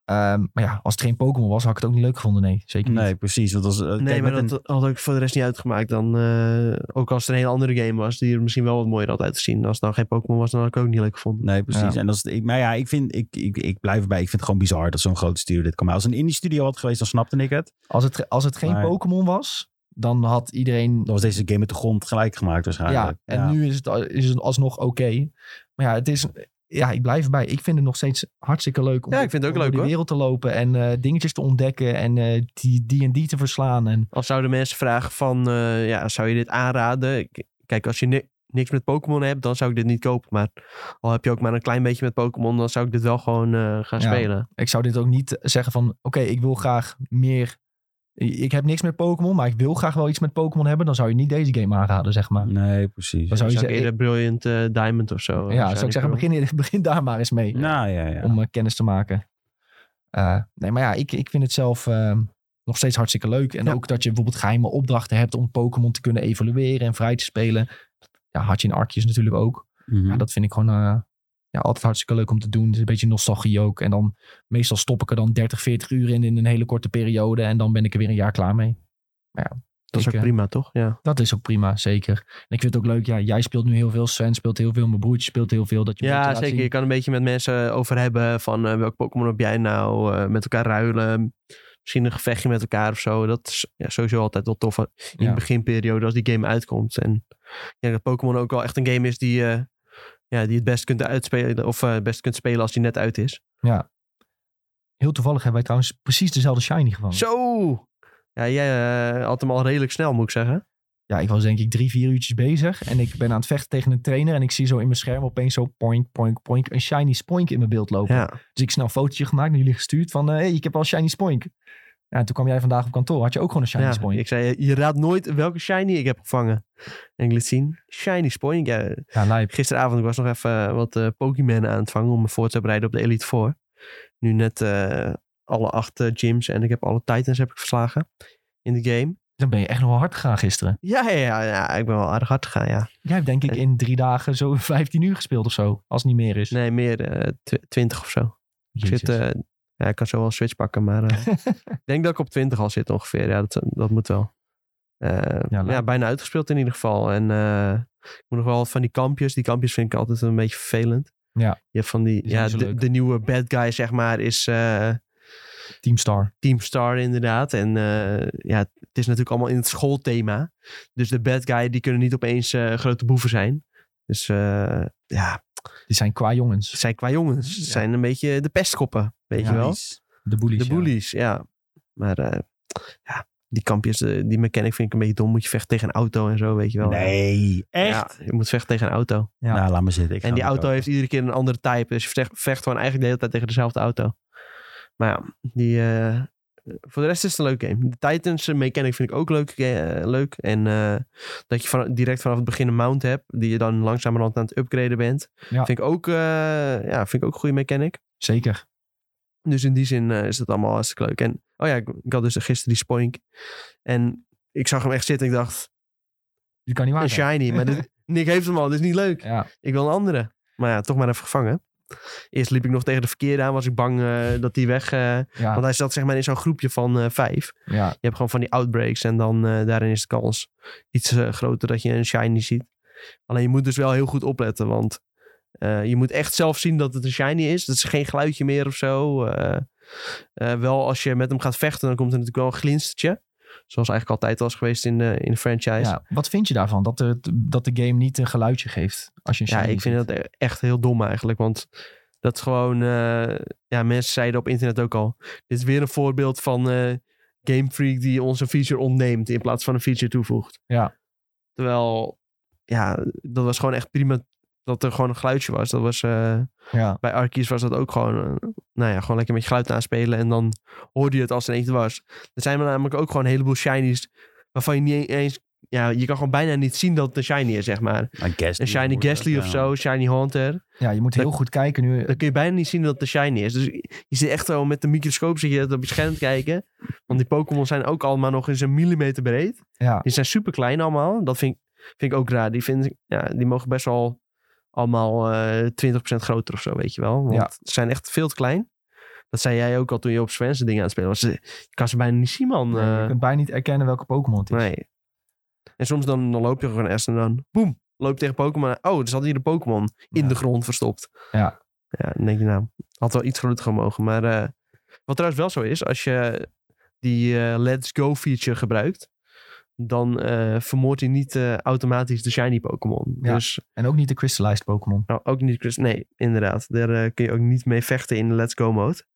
Ehm, maar ja, als het geen Pokémon was, had ik het ook niet leuk gevonden. Nee, zeker niet.
Nee, precies. Want als, eh,
nee,
kijk,
maar
met
dat had ook voor de rest niet uitgemaakt. Dan, eh, ook als het een hele andere game was, die er misschien wel wat mooier had uit te zien. Als het dan geen Pokémon was, dan had ik het ook niet leuk gevonden.
Nee, precies.
Ja.
En dat is, het- ik, maar ja, ik, vind, ik, ik, ik blijf erbij. Ik vind het gewoon bizar dat zo'n grote studio dit kan maken. Als een indie studio had geweest, dan snapte ik het.
Als het, ge- als het geen
Maar-
Pokémon was, dan had iedereen
Dan was deze game met de grond gelijk gemaakt waarschijnlijk.
Ja, en nu is het, al- is het alsnog oké. Maar ja, het is, ja, ik blijf erbij. Ik vind het nog steeds hartstikke leuk om,
Ja, ik vind het ook
om door
leuk,
de
hoor.
wereld te lopen en eh, dingetjes te ontdekken en eh, die, die en die te verslaan. En
Als zouden mensen vragen van, eh, ja, zou je dit aanraden? K- Kijk, als je ni- niks met Pokémon hebt, dan zou ik dit niet kopen. Maar al heb je ook maar een klein beetje met Pokémon, dan zou ik dit wel gewoon eh, gaan
Ja.
spelen.
ik zou dit ook niet zeggen van, oké, ik wil graag meer. Ik heb niks met Pokémon, maar ik wil graag wel iets met Pokémon hebben. Dan zou je niet deze game aanraden, zeg maar.
Nee, precies.
Dan zou
Zou,
je
ik
zeggen,
eerder Brilliant eh, Diamond of zo. eh,
ja, zou
die
ik zeggen,
pro-
begin, [LAUGHS] begin daar maar eens mee.
Nou ja, ja.
om eh, kennis te maken. Eh, nee, maar ja, ik, ik vind het zelf eh, nog steeds hartstikke leuk. En
Ja.
ook dat je bijvoorbeeld geheime opdrachten hebt om Pokémon te kunnen evalueren en vrij te spelen. Ja, had je in Arkjes natuurlijk ook.
Mhm.
Ja, dat vind ik gewoon eh, ja, altijd hartstikke leuk om te doen. Het is een beetje nostalgie ook. En dan meestal stop ik er dan 30, 40 uur in in een hele korte periode. En dan ben ik er weer een jaar klaar mee. Maar ja,
Dat is
ik,
ook
eh,
prima, toch? Ja.
dat is ook prima, zeker. En ik vind het ook leuk. Ja, jij speelt nu heel veel. Sven speelt heel veel. Mijn broertje speelt heel veel. Dat je een beetje
Ja,
laat
zeker.
zien.
Je kan een beetje met mensen over hebben van eh, welk Pokémon heb jij nou? eh, met elkaar ruilen. Misschien een gevechtje met elkaar of zo. Dat is ja, sowieso altijd wel tof eh, in
Ja.
de beginperiode als die game uitkomt. En ik denk dat Pokémon ook wel echt een game is die, eh, ja, die het best kunt uitspelen. Of eh, het best kunt spelen als die net uit is.
Heel toevallig hebben wij trouwens precies dezelfde shiny gevangen.
Zo! Ja, jij eh, had hem al redelijk snel, moet ik zeggen.
ja, ik was denk ik drie, vier uurtjes bezig. En ik ben aan het vechten tegen een trainer. En ik zie zo in mijn scherm opeens zo poink, poink, poink. Een shiny spoink in mijn beeld lopen.
Ja.
Dus ik snel een fotootje gemaakt naar jullie gestuurd. Van, hé, hey, ik heb al een shiny spoink. Ja, en toen kwam jij vandaag op kantoor. Had je ook gewoon een shiny
ja.
spoink.
Ik zei, eh, je raadt nooit welke shiny ik heb gevangen. En ik liet zien, shiny spoink. Ja,
Ja, lijp.
gisteravond ik was nog even wat eh Pokémon aan het vangen om me voor te bereiden op de Elite Four. Nu net eh, alle acht eh, gyms en ik heb alle Titans heb ik verslagen in de game.
Dan ben je echt nog wel hard gegaan gisteren.
Ja, ja, ja, ja, ik ben wel aardig hard gegaan, ja.
Jij hebt denk ik
Eh.
in drie dagen zo [LAUGHS] 15 uur gespeeld of zo. Als het niet meer is.
Nee, meer eh, tw- 20 of zo. Ik,
Jezus.
zit, eh, ja, ik kan zo wel een switch pakken, maar eh, ik denk dat ik op 20 al zit ongeveer. Ja, dat, dat moet wel. Eh,
Ja,
ja,
laat-
bijna uitgespeeld in ieder geval. En eh, ik moet nog wel wat van die kampjes. Die kampjes vind ik altijd een beetje vervelend.
Ja.
Je hebt van die,
Die zijn
ja,
niet zo
de,
leuk.
de nieuwe bad guy, zeg maar, is eh,
Team Star.
Team Star inderdaad. En eh, ja, het is natuurlijk allemaal in het schoolthema. Dus de bad guy, die kunnen niet opeens eh, grote boeven zijn. Dus eh, ja,
Die zijn qua jongens.
het zijn qua jongens. Het
Ja.
zijn een beetje de pestkoppen, weet
Ja,
je wel.
Nice.
De bullies.
De
ja.
bullies, ja. Maar eh, ja, die kampjes, eh, die mechanic vind ik een beetje dom. Moet je vechten tegen een auto en zo, weet je wel.
Nee, echt?
Ja, je moet vechten tegen een auto.
Ja.
Nou, laat maar zitten. Ik ga
en die
hem
auto
kopen.
heeft iedere keer een andere type. Dus je vecht, vecht gewoon eigenlijk de hele tijd tegen dezelfde auto. Maar ja, die, eh, voor de rest is het een leuk game. De Titans eh, mechanic vind ik ook leuk. eh, leuk. En eh, dat je van, direct vanaf het begin een mount hebt. Die je dan langzamerhand aan het upgraden bent.
Ja.
Vind ik ook, eh, ja, vind ik ook een goede mechanic.
Zeker.
Dus in die zin eh, is dat allemaal hartstikke leuk. En oh ja, ik, ik had dus gisteren die spoink. En ik zag hem echt zitten. Ik dacht,
Die kan niet
een
waar zijn.
shiny. Maar
[LAUGHS]
dit, Nick heeft hem al, dit is niet leuk.
Ja.
Ik wil een andere. Maar ja, toch maar even gevangen. Eerst liep ik nog tegen de verkeerde aan. Was ik bang eh, dat die weg... eh,
Ja.
Want hij zat zeg maar in zo'n groepje van eh, vijf.
ja.
Je hebt gewoon van die outbreaks. En dan eh, daarin is de kans iets eh, groter dat je een shiny ziet. Alleen je moet dus wel heel goed opletten. Want eh, je moet echt zelf zien dat het een shiny is. Dat is geen geluidje meer of zo. Eh, eh, wel als je met hem gaat vechten, dan komt er natuurlijk wel een glinstertje. Zoals eigenlijk altijd was geweest in de, in de franchise. Ja,
Ja. Wat vind je daarvan? Dat de, dat de game niet een geluidje geeft. Als je een shiny
ik vind
ziet?
dat e- echt heel dom eigenlijk. Want dat is gewoon... eh, ja, mensen zeiden op internet ook al. Dit is weer een voorbeeld van eh, Game Freak die ons een feature ontneemt... in plaats van een feature toevoegt.
Ja.
Terwijl, ja, dat was gewoon echt prima... dat er gewoon een geluidje was. Dat was... eh,
Ja.
bij Arkies was dat ook gewoon, eh, nou ja, gewoon lekker met je geluid naspelen. En dan hoorde je het als er eentje was. Er zijn er namelijk ook gewoon een heleboel shinies waarvan je niet e-, eens, ja, je kan gewoon bijna niet zien dat het een shiny is, zeg maar.
Een Ghastly.
Een shiny
wordt
Ghastly
het,
of
ja.
zo, shiny Haunter.
ja, je moet heel goed kijken nu. eh,
Dan kun je bijna niet zien dat het een shiny is. Dus je zit echt zo met de microscoop zit je dat op je scherm te kijken. Want die Pokémon zijn ook allemaal nog eens een millimeter breed.
Ja.
Die zijn super klein allemaal. Dat vind, ik- vind ik ook raar. Die, vind, ik- ja, die mogen best wel allemaal eh 20% groter of zo, weet je wel. Want
Ja.
ze zijn echt veel te klein. Dat zei jij ook al toen je op Sven's dingen aan het spelen was. Ze- Je kan ze bijna niet zien, man.
Nee, je
Eh,
kunt bijna niet erkennen welke Pokémon het is.
nee. En soms dan, dan loop je gewoon ergens en dan... Boem! Loop je tegen Pokémon. aan. Oh, er zat hier de Pokémon in
Ja.
de grond verstopt.
Ja.
Ja, dan denk je nou, had wel iets groter gemogen. Maar eh, wat trouwens wel zo is, als je die eh, Let's Go feature gebruikt... dan eh vermoordt hij niet eh, automatisch de shiny Pokémon.
Ja.
Dus
En ook niet de crystallized Pokémon.
nou, ook niet... Chris- Nee, inderdaad. Daar eh, kun je ook niet mee vechten in de Let's Go mode.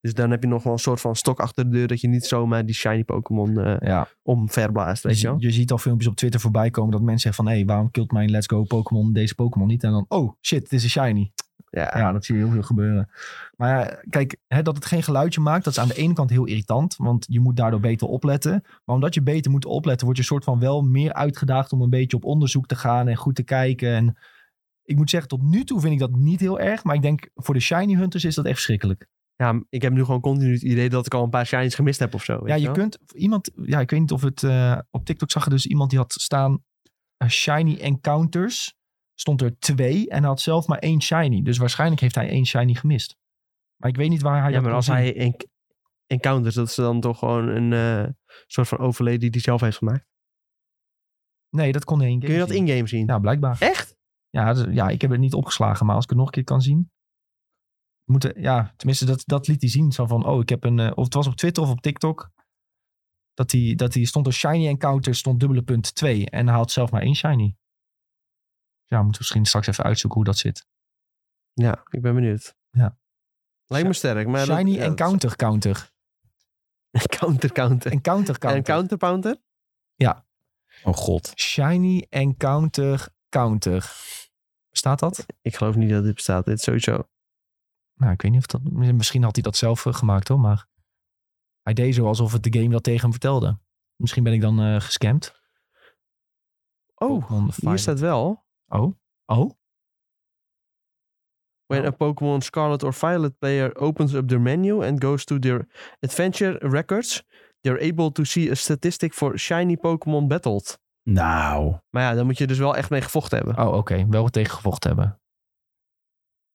Dus dan heb je nog wel een soort van stok achter de deur... dat je niet zomaar die shiny Pokémon eh
Ja.
omverblaast, weet je
Je,
wel.
je ziet al filmpjes op Twitter voorbij komen dat mensen zeggen van... hé, hey, waarom kilt mijn Let's Go Pokémon deze Pokémon niet? En dan, oh shit, het is een shiny.
Ja,
Ja, dat zie je heel veel gebeuren. Maar ja, kijk, hè, dat het geen geluidje maakt, dat is aan de ene kant heel irritant. Want je moet daardoor beter opletten. Maar omdat je beter moet opletten, word je soort van wel meer uitgedaagd om een beetje op onderzoek te gaan en goed te kijken. En ik moet zeggen, tot nu toe vind ik dat niet heel erg. Maar ik denk, voor de shiny hunters is dat echt verschrikkelijk.
ja, ik heb nu gewoon continu het idee dat ik al een paar shinies gemist heb of zo. weet
Ja, je
wel?
kunt iemand, ja, ik weet niet of het eh, op TikTok zag er dus iemand die had staan eh, shiny encounters. Stond er twee en hij had zelf maar één shiny. Dus waarschijnlijk heeft hij één shiny gemist. Maar ik weet niet waar hij
Ja,
dat
maar
kon
als
zien.
hij enc- encounters, dat is dan toch gewoon een eh, soort van overleden die hij zelf heeft gemaakt.
Nee, dat kon hij in game
Kun je dat
zien.
in-game zien?
Ja, blijkbaar.
Echt?
Ja, dus- ja, ik heb het niet opgeslagen, maar als ik het nog een keer kan zien. Moeten, ja, tenminste, dat, dat liet hij zien. Zo van, oh, ik heb een... eh, of het was op Twitter of op TikTok. Dat hij, dat hij stond er shiny encounter, stond dubbele punt 2. En hij had zelf maar één shiny. Dus Ja, moeten we misschien straks even uitzoeken hoe dat zit.
Ja, ik ben benieuwd.
Ja.
Lijkt me sterk. Maar dat-
shiny
ja, dat-
encounter, counter.
Encounter, [LAUGHS] counter. [LAUGHS]
Encounter, counter.
Encounter, counter?
Oh god.
Shiny encounter, counter. Staat dat?
Ik geloof niet dat dit bestaat. Dit is sowieso...
Nou, ik weet niet of dat... Misschien had hij dat zelf eh, gemaakt hoor, maar... Hij deed zo alsof het de game dat tegen hem vertelde. Misschien ben ik dan eh, gescamd.
Oh,
Pokémon
hier
Violet.
staat wel.
Oh, oh.
When a Pokémon Scarlet or Violet player opens up their menu and goes to their adventure records, You're able to see a statistic for shiny Pokémon battled.
Nou,
Maar ja, daar moet je dus wel echt mee gevochten hebben.
Oh, oké. Wel tegengevochten hebben.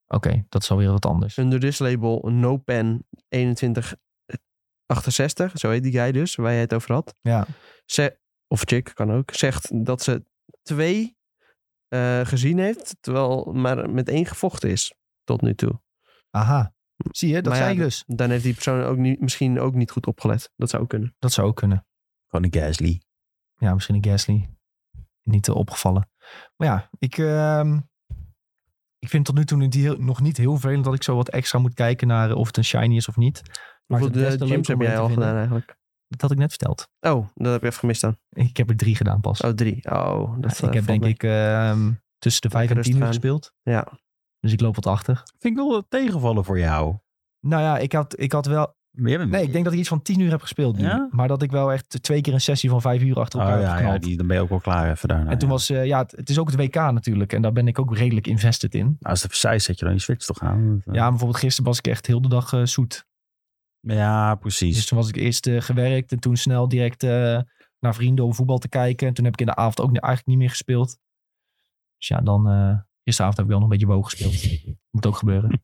Oké, dat is alweer wat anders.
Under this label, no pen 2168, zo heet die guy dus, waar jij het over had.
Ja.
Ze- of chick, kan ook. Zegt dat ze twee eh, gezien heeft, terwijl maar met één gevochten is tot nu toe.
Aha. Zie je, dat
Maar ja,
zei ik dus.
Dan heeft die persoon ook niet, misschien ook niet goed opgelet. Dat zou kunnen.
Dat zou ook kunnen.
gewoon een Gasly.
Ja, misschien een Gasly. Niet eh, opgevallen. Maar ja, ik, ehm, ik vind tot nu toe niet heel- nog niet heel vervelend dat ik zo wat extra moet kijken naar eh, of het een shiny is of niet. Maar
Hoeveel
het is best
eh,
een
gyms
leuke om
heb
in
jij
te
al
vinden.
gedaan eigenlijk?
Dat had ik net verteld.
Oh, dat heb je even gemist dan.
Ik heb er drie gedaan pas.
Oh, drie. Oh, dat
ik heb denk ik ehm, tussen de vijf en
Lekker
tien uur
rustig
gespeeld.
Ja.
Dus ik loop wat achter.
Vind ik wel wat tegenvallen voor jou.
Nou ja, ik had, ik had wel...
Maar jij bent-
Nee, ik denk dat ik iets van tien uur heb gespeeld nu.
Ja?
Maar dat ik wel echt twee keer een sessie van vijf uur achter
Oh
elkaar heb
ja, ja
geknald.
die, dan ben je ook wel klaar even daarna.
en toen
ja.
was... eh, ja, het, het is ook het WK natuurlijk. En daar ben ik ook redelijk invested in.
Nou, Als het verzijst, zet je dan je switch toch aan? Want, eh,
Ja, maar bijvoorbeeld gisteren was ik echt heel de dag eh, zoet.
ja,
Dus
precies.
toen was ik eerst eh, gewerkt en toen snel direct eh, naar vrienden om voetbal te kijken. En toen heb ik in de avond ook ni- eigenlijk niet meer gespeeld. Dus ja, dan... eh gisteravond heb ik wel nog een beetje boog gespeeld. Moet ook gebeuren.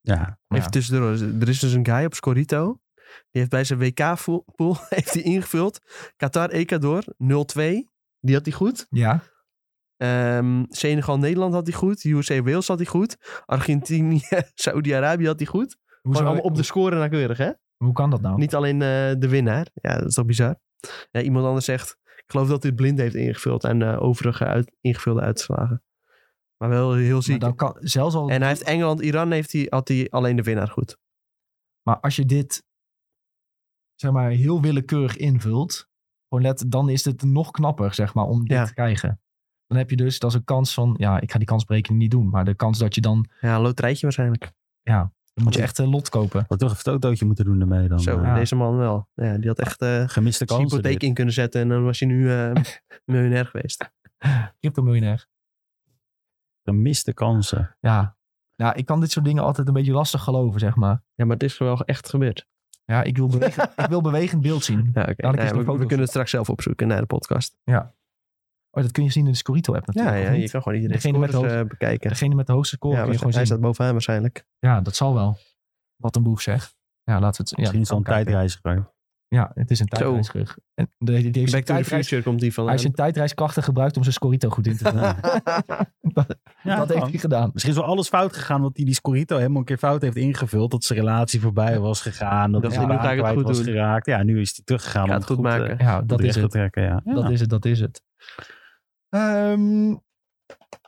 Ja.
Ja.
Even tussendoor. Er is dus een guy op Scorito. Die heeft bij zijn WK-pool [LAUGHS] heeft hij ingevuld. Qatar, Ecuador, 0-2. Die had hij goed.
Ja.
Ehm, Senegal, Nederland had hij goed. USA, Wales had hij goed. Argentinië, [LAUGHS] Saudi-Arabië had hij goed.
Hoe,
Gewoon
zou-
allemaal op de score nauwkeurig, hè?
hoe kan dat nou?
Niet alleen eh, de winnaar. Ja, dat is toch bizar. Ja, iemand anders zegt... Ik geloof dat dit blind heeft ingevuld aan de overige uit, ingevulde uitslagen. Maar wel heel
Maar
ziek.
dan kan, zelfs al,
En hij heeft Engeland, Iran heeft hij, had hij alleen de winnaar goed.
maar als je dit zeg maar heel willekeurig invult, gewoon let, dan is het nog knapper zeg maar om dit
Ja.
te krijgen. Dan heb je dus, dat is een kans van, ja, ik ga die kansberekening niet doen, maar de kans dat je dan,
Ja, een loterijtje waarschijnlijk.
dan moet je echt een lot kopen.
Wat toch even fotootje moeten doen ermee dan.
Zo,
eh,
ja.
deze man wel. Ja, die had echt eh
gemiste
zijn
kansen.
hypotheek
dit.
in kunnen zetten en dan was hij nu [LAUGHS] eh, miljonair geweest.
Crypto-miljonair.
Gemiste kansen.
Ja. Nou, ik kan dit soort dingen altijd een beetje lastig geloven, zeg maar.
Ja, maar het is wel echt gebeurd.
Ja, ik wil,
[LAUGHS]
bewegen, ik wil bewegend beeld zien.
Ja, oké.
Dadelijk is
Nou ja,
er
we, we
foto's.
kunnen het straks zelf opzoeken naar de podcast.
Oh, dat kun je zien in de Scorito-app natuurlijk.
Ja, ja
of
je
niet?
kan gewoon iedereen
Degene met de
scores eh, bekijken.
Degene met de hoogste score
ja,
kun je gewoon zien.
hij staat bovenaan waarschijnlijk.
Ja, dat zal wel. Wat een boef zeg. Ja, laten we het...
Misschien
ja,
is het al een
kijken.
tijdreiziger.
[LAUGHS] Ja, het is een tijdreisrug. En de, die heeft zijn
Back to the
tijdreis-
Future komt die van.
hij heeft zijn tijdreiskrachten gebruikt om zijn Scorito goed in te [LAUGHS] vullen.
Ja,
dat heeft
kan.
hij gedaan.
Misschien is wel alles fout gegaan, want die, die Scorito helemaal een keer fout heeft ingevuld. Dat zijn relatie voorbij was gegaan. Dat,
Dat
hij
hij
nu
baan
ga ik het
kwijt
goed
was
doen.
geraakt. Ja, nu is hij teruggegaan.
Ja,
om
het goed
eh,
maken.
Ja, dat is
recht te
het.
trekken, ja. Ja.
Dat is het, dat is het. Ehm,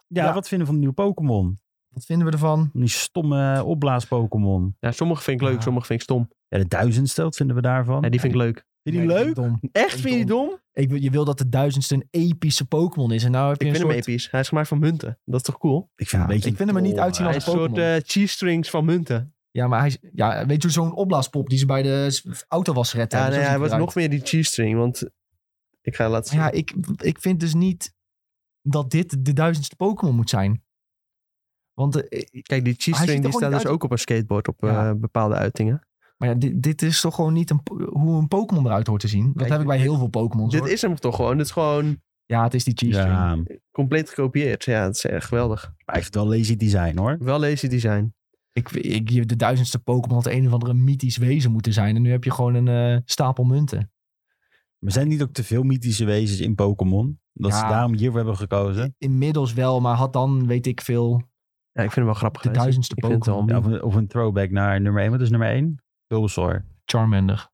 Ja,
Ja.
wat vinden we van de nieuwe Pokémon?
wat vinden we ervan?
Die stomme opblaas-Pokémon.
Ja, sommige vind ik leuk,
Ja.
sommige vind ik stom.
Ja, de duizendste, wat vinden we daarvan?
Ja, die vind ik leuk.
Vind je die
Nee,
leuk?
Dom.
Echt? Vind je die dom?
Ik, wil- je wil dat de duizendste een epische Pokémon is. En nou heb je
Ik vind
een
hem
soort...
episch. Hij is gemaakt van munten. Dat is toch cool?
Ik vind,
Ja,
een beetje
ik vind hem er niet
dom,
uitzien
hè.
Hij
als
is een
Pokémon.
soort eh, cheese strings van munten.
Ja, maar hij is, ja, weet je zo'n opblaaspop die ze bij de auto was redden.
Ja,
hebben?
nee,
Zo
hij
ziet eruit.
was nog meer die cheese string, want ik ga laten zien.
Maar ja, ik, ik vind dus niet dat dit de duizendste Pokémon moet zijn. Want eh,
Kijk,
Hij
die cheese
ziet
string
er
die
gewoon
staat
niet
dus
uit.
ook op een skateboard op
Ja.
eh, bepaalde uitingen.
Maar ja, dit, dit is toch gewoon niet een, po- hoe een Pokémon eruit hoort te zien. Dat
Kijk,
heb ik bij
dit-
heel veel Pokémon.
Dit is hem toch gewoon. Dit is gewoon
Ja, het is die cheese string.
Ja,
compleet gekopieerd. Ja, het is echt geweldig.
maar hij heeft wel lazy design hoor.
Wel lazy design.
Ik, ik, je- de duizendste Pokémon had een of andere mythisch wezen moeten zijn. En nu heb je gewoon een eh, stapel munten.
Maar zijn er niet ook te veel mythische wezens in Pokémon? Dat ze
Ja.
daarom hiervoor hebben gekozen?
Inmiddels wel, maar had dan, weet ik veel,
Ja, ik vind hem wel grappig.
de
geweest.
duizendste
Ik vind het wel
Pokémon.
Ja, of, een, of een throwback naar nummer 1. Wat is nummer 1? Bulbasaur.
Charmander.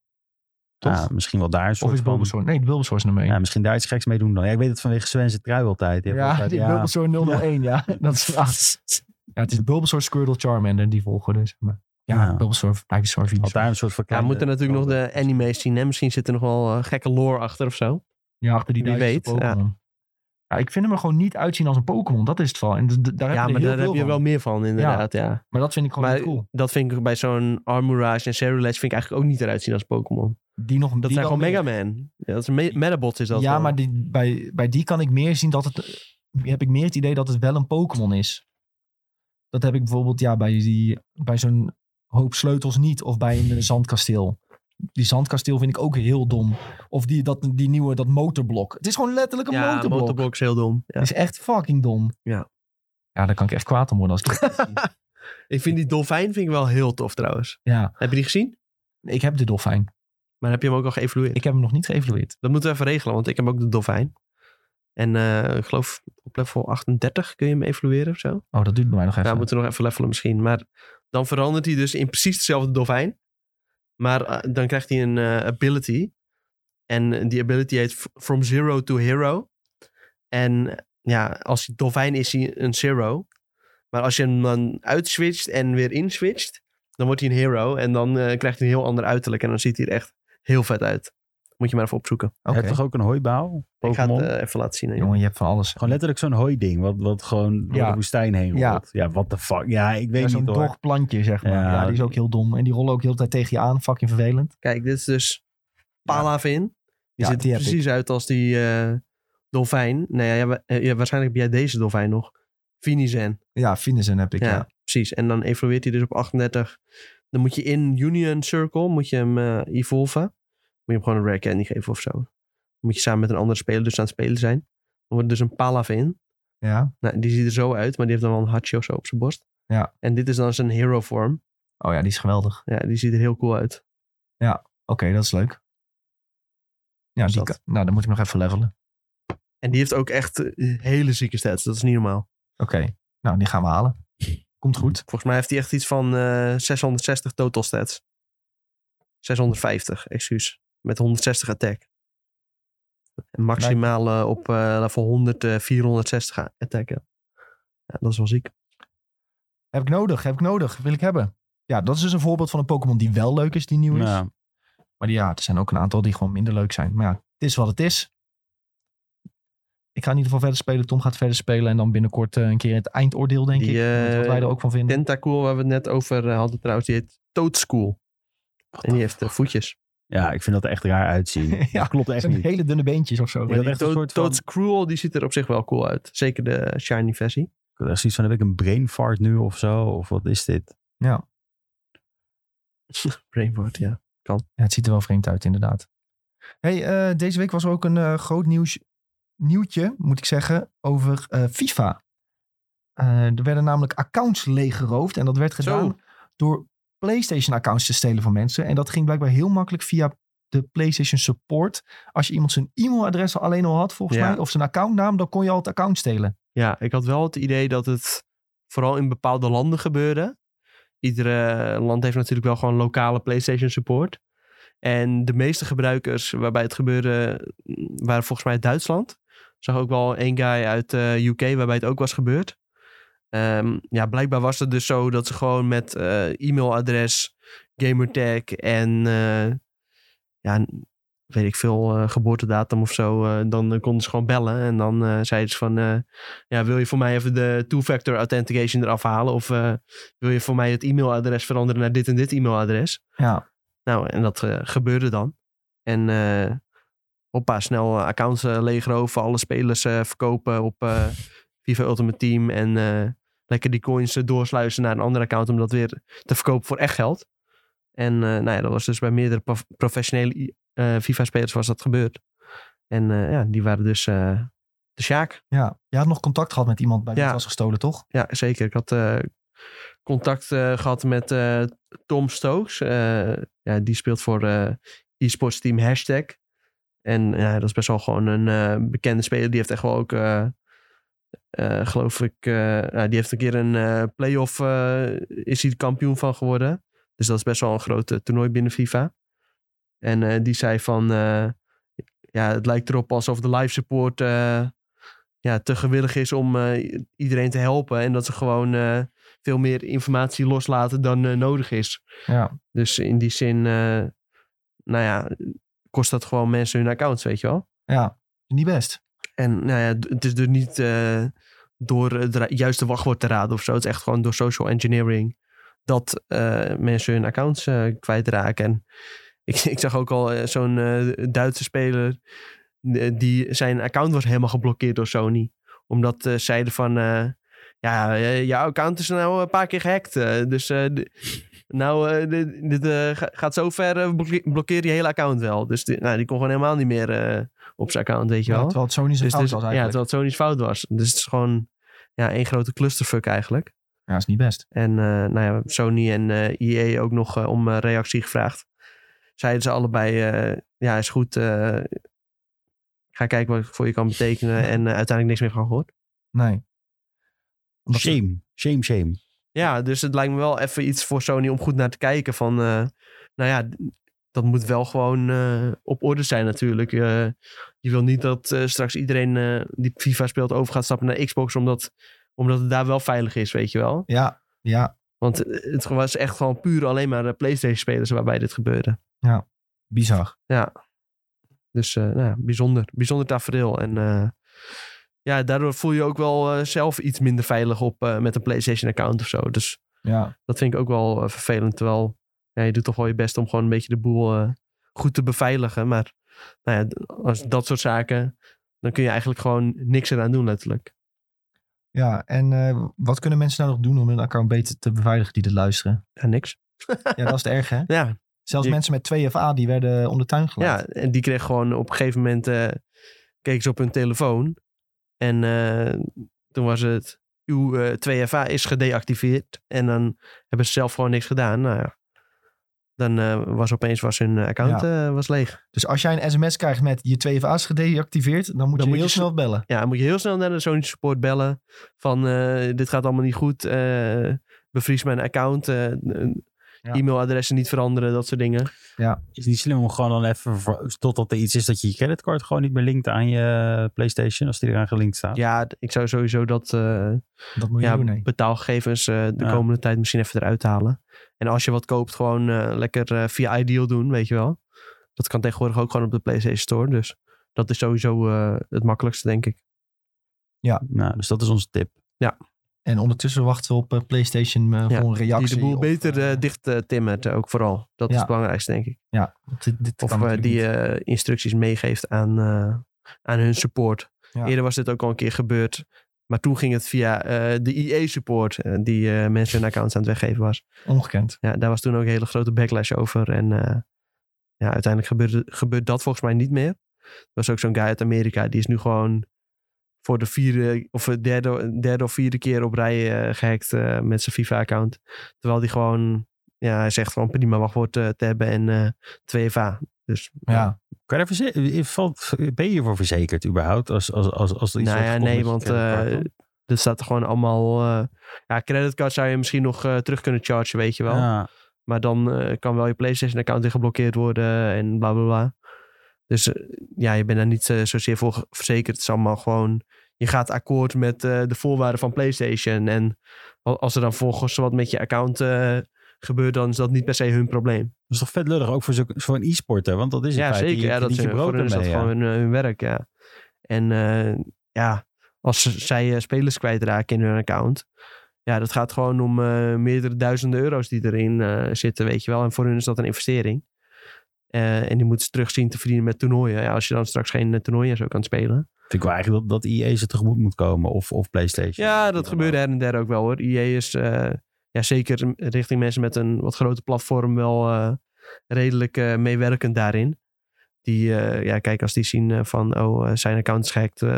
Toch?
Ja, misschien wel daar een soort
of is
van-
Bulbasaur? Nee, Bulbasaur is nummer 1.
Ja,
Ja,
misschien daar iets geks mee doen dan. Ja, ik weet het vanwege Sven zijn trui altijd. Die heeft altijd-
die
ja.
Bulbasaur 001, ja. Dat is, ah, ja, het is Bulbasaur, Squirtle, Charmander, die volgorde. Zeg maar. Ja,
Ja.
Bulbasaur blijkt een soort
Had
video.
daar een soort van...
Ja, we moeten natuurlijk nog de anime's zien. Hè? Misschien zit er nog wel eh, gekke lore achter of zo.
Ja, achter die
Wie
duizendste
weet, ja.
Pokémon. Ja, ik vind hem er gewoon niet uitzien als een Pokémon. Dat is het van. En d- d- daar heb
Ja,
je
maar
er heel
daar heb
veel
je
van.
wel meer van inderdaad. Ja.
Maar dat vind ik gewoon
Maar
niet cool.
dat vind ik bij zo'n Armorage en Cerulege vind ik eigenlijk ook niet eruit zien als Pokémon.
Die nog,
Dat zijn gewoon Mega Man. Ja, dat is me Metabots is dat.
Ja,
dan.
maar die, bij, bij die kan ik meer zien dat het... eh, Heb ik meer het idee dat het wel een Pokémon is. Dat heb ik bijvoorbeeld ja, bij, die- bij zo'n hoop sleutels niet. Of bij een eh, zandkasteel. die zandkasteel vind ik ook heel dom. Of die, dat, die nieuwe, dat motorblok. Het is gewoon letterlijk een
ja,
motorblok.
motorblok is heel dom. Ja.
Het is echt fucking dom.
Ja.
Ja, daar kan ik echt kwaad om worden als ik dat zie.
Ik vind die dolfijn vind ik wel heel tof trouwens.
Ja,
Heb je die gezien?
ik heb de dolfijn.
Maar heb je hem ook al geëvalueerd?
Ik heb hem nog niet geëvalueerd.
Dat moeten we even regelen, want ik heb ook de dolfijn. En eh, ik geloof op level 38 kun je hem evalueren of zo.
Oh, dat duurt bij mij nog even.
Ja, we moeten nog even levelen misschien. Maar dan verandert hij dus in precies hetzelfde dolfijn. Maar eh, dan krijgt hij een eh, ability. En die ability heet f- From Zero to Hero. En ja, als hij dolfijn is hij een zero. Maar als je hem dan uitswitcht en weer inswitcht, dan wordt hij een hero. En dan eh, krijgt hij een heel ander uiterlijk. En dan ziet hij er echt heel vet uit. Moet je maar even opzoeken.
Oké.
Je hebt toch ook een hooibaal?
Ik ga het
Pokémon?
eh, even laten zien. aan jullie.
Oh, Jongen, je hebt van alles.
Gewoon letterlijk zo'n hooiding, wat, wat gewoon door
Ja.
de woestijn heen
Ja.
rolt. Ja, what the fuck. Ja, ik weet
Ja, Zo'n
niet hoor.
dog plantje, zeg maar. Ja.
Ja.
die is ook heel dom. En die rollen ook heel de tijd tegen je aan. Fucking vervelend.
Kijk, dit is dus Palavin. Die
Ja,
ziet
die
er
heb ik.
precies uit als die eh, dolfijn. Nou ja, ja, wa- eh, ja, waarschijnlijk heb jij deze dolfijn nog. Finizen.
Ja, Finizen heb ik,
Ja,
ja.
precies. En dan evolueert hij dus op 38. Dan moet je in Union Circle moet je hem eh, evolven. Moet je hem gewoon een rare candy geven of zo. Dan moet je samen met een andere speler dus aan het spelen zijn. Dan wordt het dus een Palavin.
Ja.
Nou, die ziet er zo uit, maar die heeft dan wel een hartje of zo op zijn borst.
Ja.
En dit is dan zijn hero vorm.
Oh ja, die is geweldig.
Ja, die ziet er heel cool uit.
Oké, dat is leuk. Ja,
Dus
die
dat.
kan- nou, dan moet ik nog even levelen.
En die heeft ook echt eh, hele zieke stats. Dat is niet normaal.
Oké, nou, die gaan we halen. Komt goed.
Volgens mij heeft hij echt iets van eh, 660 total stats. 650, excuus. Met 160 attack. En maximaal eh, op eh, level 100, eh, 460 a- attack. Ja. Ja, dat is wel ziek.
Heb ik nodig, heb ik nodig, wil ik hebben. Ja, dat is dus een voorbeeld van een Pokémon die wel leuk is, die nieuw is.
Ja.
Maar die, ja, er zijn ook een aantal die gewoon minder leuk zijn. Maar ja, het is wat het is. Ik ga in ieder geval verder spelen. Tom gaat verder spelen. En dan binnenkort eh, een keer het eindoordeel, denk
Die,
ik.
eh,
wat wij er ook van
Mm.
vinden.
Tentacool, waar we het net over eh, hadden trouwens, die heet Toadschool. En die heeft eh, voetjes.
ja, ik vind dat er echt raar
[LAUGHS]
uitzien.
Ja,
dat klopt echt
Het zijn
niet.
hele dunne beentjes of zo.
Ja.
Ja,
dat echt een soort van-
Toadschool, die ziet er op zich wel cool uit. Zeker de shiny versie.
Ik had echt zoiets van, heb ik een brain fart nu of zo? Of wat is dit?
Brainward, ja.
het ziet er wel vreemd uit, inderdaad. Hey, eh, deze week was er ook een eh, groot nieuws, nieuwtje, moet ik zeggen, over eh, FIFA. Eh, er werden namelijk accounts leeggeroofd. En dat werd gedaan
Zo.
door PlayStation-accounts te stelen van mensen. En dat ging blijkbaar heel makkelijk via de PlayStation Support. Als je iemand zijn e-mailadres alleen al had, volgens
Ja.
mij, of zijn accountnaam, dan kon je al het account stelen.
Ja, ik had wel het idee dat het vooral in bepaalde landen gebeurde. Iedere land heeft natuurlijk wel gewoon lokale PlayStation support. En de meeste gebruikers waarbij het gebeurde mm, waren volgens mij uit Duitsland. Ik zag ook wel één guy uit de UK waarbij het ook was gebeurd. Ehm, ja, blijkbaar was het dus zo dat ze gewoon met eh, e-mailadres, gamertag en eh, ja, n- weet ik veel, eh, geboortedatum of zo, eh, dan eh, konden ze gewoon bellen. En dan eh, zeiden ze van, eh, ja, wil je voor mij even de two-factor authentication eraf halen? Of eh, wil je voor mij het e-mailadres veranderen naar dit en dit e-mailadres?
Ja,
Nou, en dat eh, gebeurde dan. En eh hoppa, snel eh, accounts eh, leegroven, alle spelers eh, verkopen op eh FIFA Ultimate Team. En eh, lekker die coins eh, doorsluizen naar een ander account om dat weer te verkopen voor echt geld. En eh, nou ja, dat was dus bij meerdere prof- professionele eh, FIFA-spelers was dat gebeurd. En eh, ja, die waren dus eh, de Sjaak.
ja. Je had nog contact gehad met iemand bij wie
Ja.
het was gestolen, toch?
Ja, zeker. Ik had eh, contact eh, gehad met eh, Tom Stokes. Eh, ja, die speelt voor eh e-sports team Hashtag. En ja, dat is best wel gewoon een eh, bekende speler. Die heeft echt wel ook, eh, eh, geloof ik, eh, nou, die heeft een keer een eh, playoff, eh, is hij kampioen van geworden. Dus dat is best wel een groot eh, toernooi binnen FIFA. En eh, die zei van, eh, ja, het lijkt erop alsof de live support eh, ja, te gewillig is om eh, iedereen te helpen. En dat ze gewoon eh, veel meer informatie loslaten dan eh, nodig is.
Ja.
Dus in die zin, eh, nou ja, kost dat gewoon mensen hun accounts, weet je wel.
Ja, niet best.
En nou ja, d- het is dus niet eh, door het ra- juiste wachtwoord te raden of zo. Het is echt gewoon door social engineering dat eh, mensen hun accounts eh, kwijtraken. En ik, [LAUGHS] ik zag ook al eh, zo'n eh, Duitse speler, eh, die, zijn account was helemaal geblokkeerd door Sony. Omdat eh, zeiden van, eh, ja, eh, jouw account is nou een paar keer gehackt. eh, dus eh, d- Nou, eh, dit, dit, eh, ga- gaat zo ver, eh, blokke- blokkeer je hele account wel. Dus die, nou, die kon gewoon helemaal niet meer eh, op zijn account, weet je
Ja,
wel.
terwijl het zo niet zo
dus,
fout
dus-
was
ja,
eigenlijk. Ja,
terwijl het zo niet fout was. Dus het is gewoon ja, één grote clusterfuck eigenlijk.
is niet best.
En eh, nou ja, Sony en eh EA ook nog eh, om eh, reactie gevraagd. Zeiden ze allebei, eh, ja is goed, eh, ga kijken wat ik voor je kan
[LAUGHS]
betekenen. En eh, uiteindelijk niks meer van gehoord.
Nee. Omdat ze-
Shame. Shame, shame.
Ja, dus het lijkt me wel even iets voor Sony om goed naar te kijken. Van, eh, nou ja, d- dat moet wel gewoon eh, op orde zijn natuurlijk. Eh, je wil niet dat eh, straks iedereen eh, die FIFA speelt over gaat stappen naar Xbox. Omdat, omdat het daar wel veilig is, weet je wel.
Ja, ja.
Want eh, het was echt gewoon puur alleen maar de PlayStation spelers waarbij dit gebeurde.
Bizar.
Dus eh, nou ja, bijzonder. Bijzonder tafereel. En eh, ja, daardoor voel je ook wel eh, zelf iets minder veilig op eh, met een PlayStation-account of zo. Dus
Ja.
dat vind ik ook wel eh, vervelend. Terwijl ja, je doet toch wel je best om gewoon een beetje de boel eh, goed te beveiligen. Maar nou ja, d- als dat soort zaken, dan kun je eigenlijk gewoon niks eraan doen letterlijk.
Ja, en eh, wat kunnen mensen nou nog doen om hun account beter te beveiligen die dit luisteren?
Ja, niks.
Ja, dat is het erg,
[LAUGHS]
hè?
Ja,
Zelfs
Je-
mensen met 2FA, die werden eh, om de tuin gelaten.
ja, en die kreeg gewoon op een gegeven moment, eh keken ze op hun telefoon. En eh, toen was het, uw eh, 2FA is gedeactiveerd. En dan hebben ze zelf gewoon niks gedaan. Nou ja, dan eh, was opeens was hun account eh, was leeg.
Dus als jij een sms krijgt met je 2FA is gedeactiveerd, dan moet je
Dan moet
heel
je
snel bellen.
Ja, dan moet je heel snel naar de Sony support bellen. Van eh, dit gaat allemaal niet goed. eh, bevries mijn account. eh, n-
Ja.
E-mailadressen niet veranderen, dat soort dingen.
Is het niet slim om gewoon dan even, voor- totdat er iets is dat je je creditcard gewoon niet meer linkt aan je PlayStation, als die eraan gelinkt staat.
Ja, d- ik zou sowieso dat eh,
Dat moet je
ja,
doen, nee.
betaalgegevens eh, de
Ja.
komende tijd misschien even eruit halen. En als je wat koopt, gewoon eh, lekker eh, via Ideal doen, weet je wel. Dat kan tegenwoordig ook gewoon op de PlayStation Store. Dus dat is sowieso eh, het makkelijkste, denk ik.
Nou, dus dat is onze tip.
En ondertussen wachten we op eh, PlayStation eh,
Ja,
voor een
Die
reactie.
de boel
of,
beter
eh,
eh, dicht eh, timmert, eh, ook vooral. Dat is
Ja.
het belangrijkste, denk ik.
dit, dit
Of
kan
eh,
natuurlijk
die
niet.
eh, instructies meegeeft aan, eh, aan hun support.
Ja.
Eerder was dit ook al een keer gebeurd. Maar toen ging het via eh, de IE-support die eh, mensen hun accounts aan het weggeven was.
Ongekend.
Ja, daar was toen ook een hele grote backlash over. En eh, ja, uiteindelijk gebeurde, gebeurt dat volgens mij niet meer. Er was ook zo'n guy uit Amerika. Die is nu gewoon voor de vierde of de derde, derde of vierde keer op rij eh, gehackt eh, met zijn FIFA-account. Terwijl die gewoon, ja, hij zegt gewoon prima wachtwoord eh, te hebben en eh 2FA. Dus
Ja.
Kan je daar verze- valt, ben je hiervoor verzekerd überhaupt? Als, als, als, als er iets
Nou
wordt
ja,
gekocht
nee,
met je
want
creditcard
eh
dan?
er staat er gewoon allemaal... eh, ja, creditcard zou je misschien nog eh, terug kunnen chargen, weet je wel.
Ja,
Maar dan eh, kan wel je PlayStation-account weer geblokkeerd worden en bla bla bla. Dus eh, ja, je bent daar niet eh, zozeer voor ge- verzekerd. Het is allemaal gewoon... Je gaat akkoord met eh, de voorwaarden van PlayStation. En al- als er dan volgens wat met je account eh, gebeurt, dan is dat niet per se hun probleem.
dat is toch vet lullig ook voor, zo'n- voor een e-sporter, want dat is in
ja,
feite
zeker.
je
ja, dat
verdientje
zijn, voor
brood
hun is dat
ermee, ja.
gewoon hun, eh, hun werk, ja. En eh, ja, als ze- zij eh, spelers kwijtraken in hun account... Ja, dat gaat gewoon om eh, meerdere duizenden euro's die erin eh, zitten, weet je wel. En voor hun is dat een investering. Eh, en die moeten ze terug zien te verdienen met toernooien. Ja, als je dan straks geen eh, toernooien zo kan spelen.
Vind ik wel eigenlijk dat, dat EA ze tegemoet moet komen of, of PlayStation.
Ja,
Die
dat
dan
gebeurde her en der ook wel hoor. EA is eh, ja, zeker richting mensen met een wat groter platform wel eh, redelijk eh, meewerkend daarin. Die, eh, ja, kijk, als die zien eh, van, oh, eh, zijn account is gehackt, eh,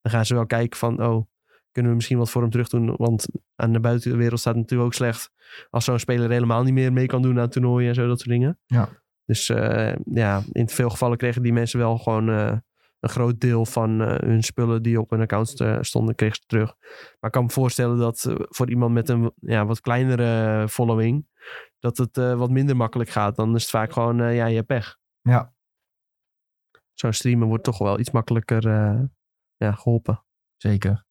dan gaan ze wel kijken van, oh, kunnen we misschien wat voor hem terug doen? Want aan de buitenwereld staat het natuurlijk ook slecht als zo'n speler helemaal niet meer mee kan doen aan toernooien en zo, dat soort dingen.
Ja.
Dus eh, ja, in veel gevallen kregen die mensen wel gewoon eh, een groot deel van eh, hun spullen die op hun account eh, stonden, kregen ze terug. Maar ik kan me voorstellen dat eh, voor iemand met een ja, wat kleinere following, dat het eh, wat minder makkelijk gaat. Dan is het vaak gewoon, eh, ja, je hebt pech.
Ja.
Zo'n streamen wordt toch wel iets makkelijker eh, ja, geholpen.
Zeker.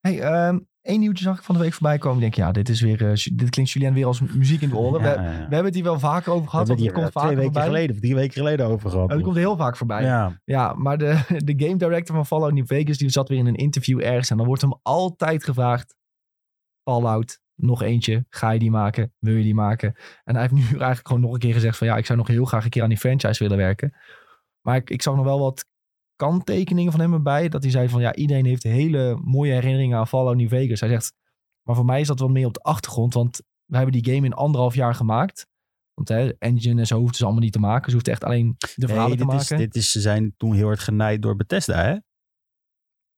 Hey, ehm, één nieuwtje zag ik van de week voorbij komen. Ik denk, ja, dit, is weer, eh, Ju- dit klinkt Julien weer als mu- muziek in de oren.
Ja,
we,
ja, ja.
we hebben het hier wel vaker over gehad.
hebben
want
die
het komt vaker
twee weken
voorbij.
geleden of drie weken geleden over gehad.
Het komt heel vaak voorbij. Ja,
ja.
maar de, [LAUGHS] de game director van Fallout New Vegas, die zat weer in een interview ergens. En dan wordt hem altijd gevraagd, Fallout, nog eentje. Ga je die maken? Wil je die maken? En hij heeft nu [LAUGHS] eigenlijk gewoon nog een keer gezegd van, ja, ik zou nog heel graag een keer aan die franchise willen werken. Maar ik, ik zag nog wel wat kanttekeningen van hem erbij. Dat hij zei van, ja, iedereen heeft hele mooie herinneringen aan Fallout New Vegas. Hij zegt, maar voor mij is dat wat meer op de achtergrond. Want we hebben die game in anderhalf jaar gemaakt. Want hè, engine en zo hoeft ze allemaal niet te maken. Ze hoeft echt alleen de verhalen
Nee,
te
dit
maken.
is, dit is, ze zijn toen heel hard genaaid door Bethesda, hè?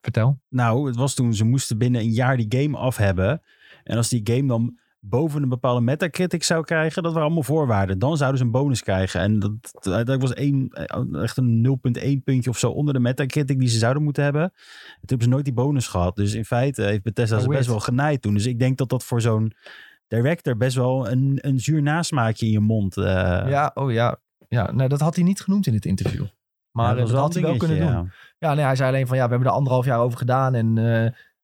Vertel.
Nou, het was toen ze moesten binnen een jaar die game af hebben. En als die game dan boven een bepaalde metacritic zou krijgen, dat waren allemaal voorwaarden. Dan zouden ze een bonus krijgen. En dat, dat was één, eh, echt een 0.1 puntje of zo onder de metacritic die ze zouden moeten hebben. En toen hebben ze nooit die bonus gehad. Dus in feite heeft Bethesda
Oh,
ze best
weird.
wel genaaid toen. Dus ik denk dat dat voor zo'n director best wel een, een zuur nasmaakje in je mond... eh,
Ja, oh ja. ja nou, dat had hij niet genoemd in het interview. Maar
dat
eh, dat,
was wel
had hij
een
wel kunnen
dingetje,
doen.
ja.
Ja, nee, hij zei alleen van ja, we hebben er anderhalf jaar over gedaan. En eh,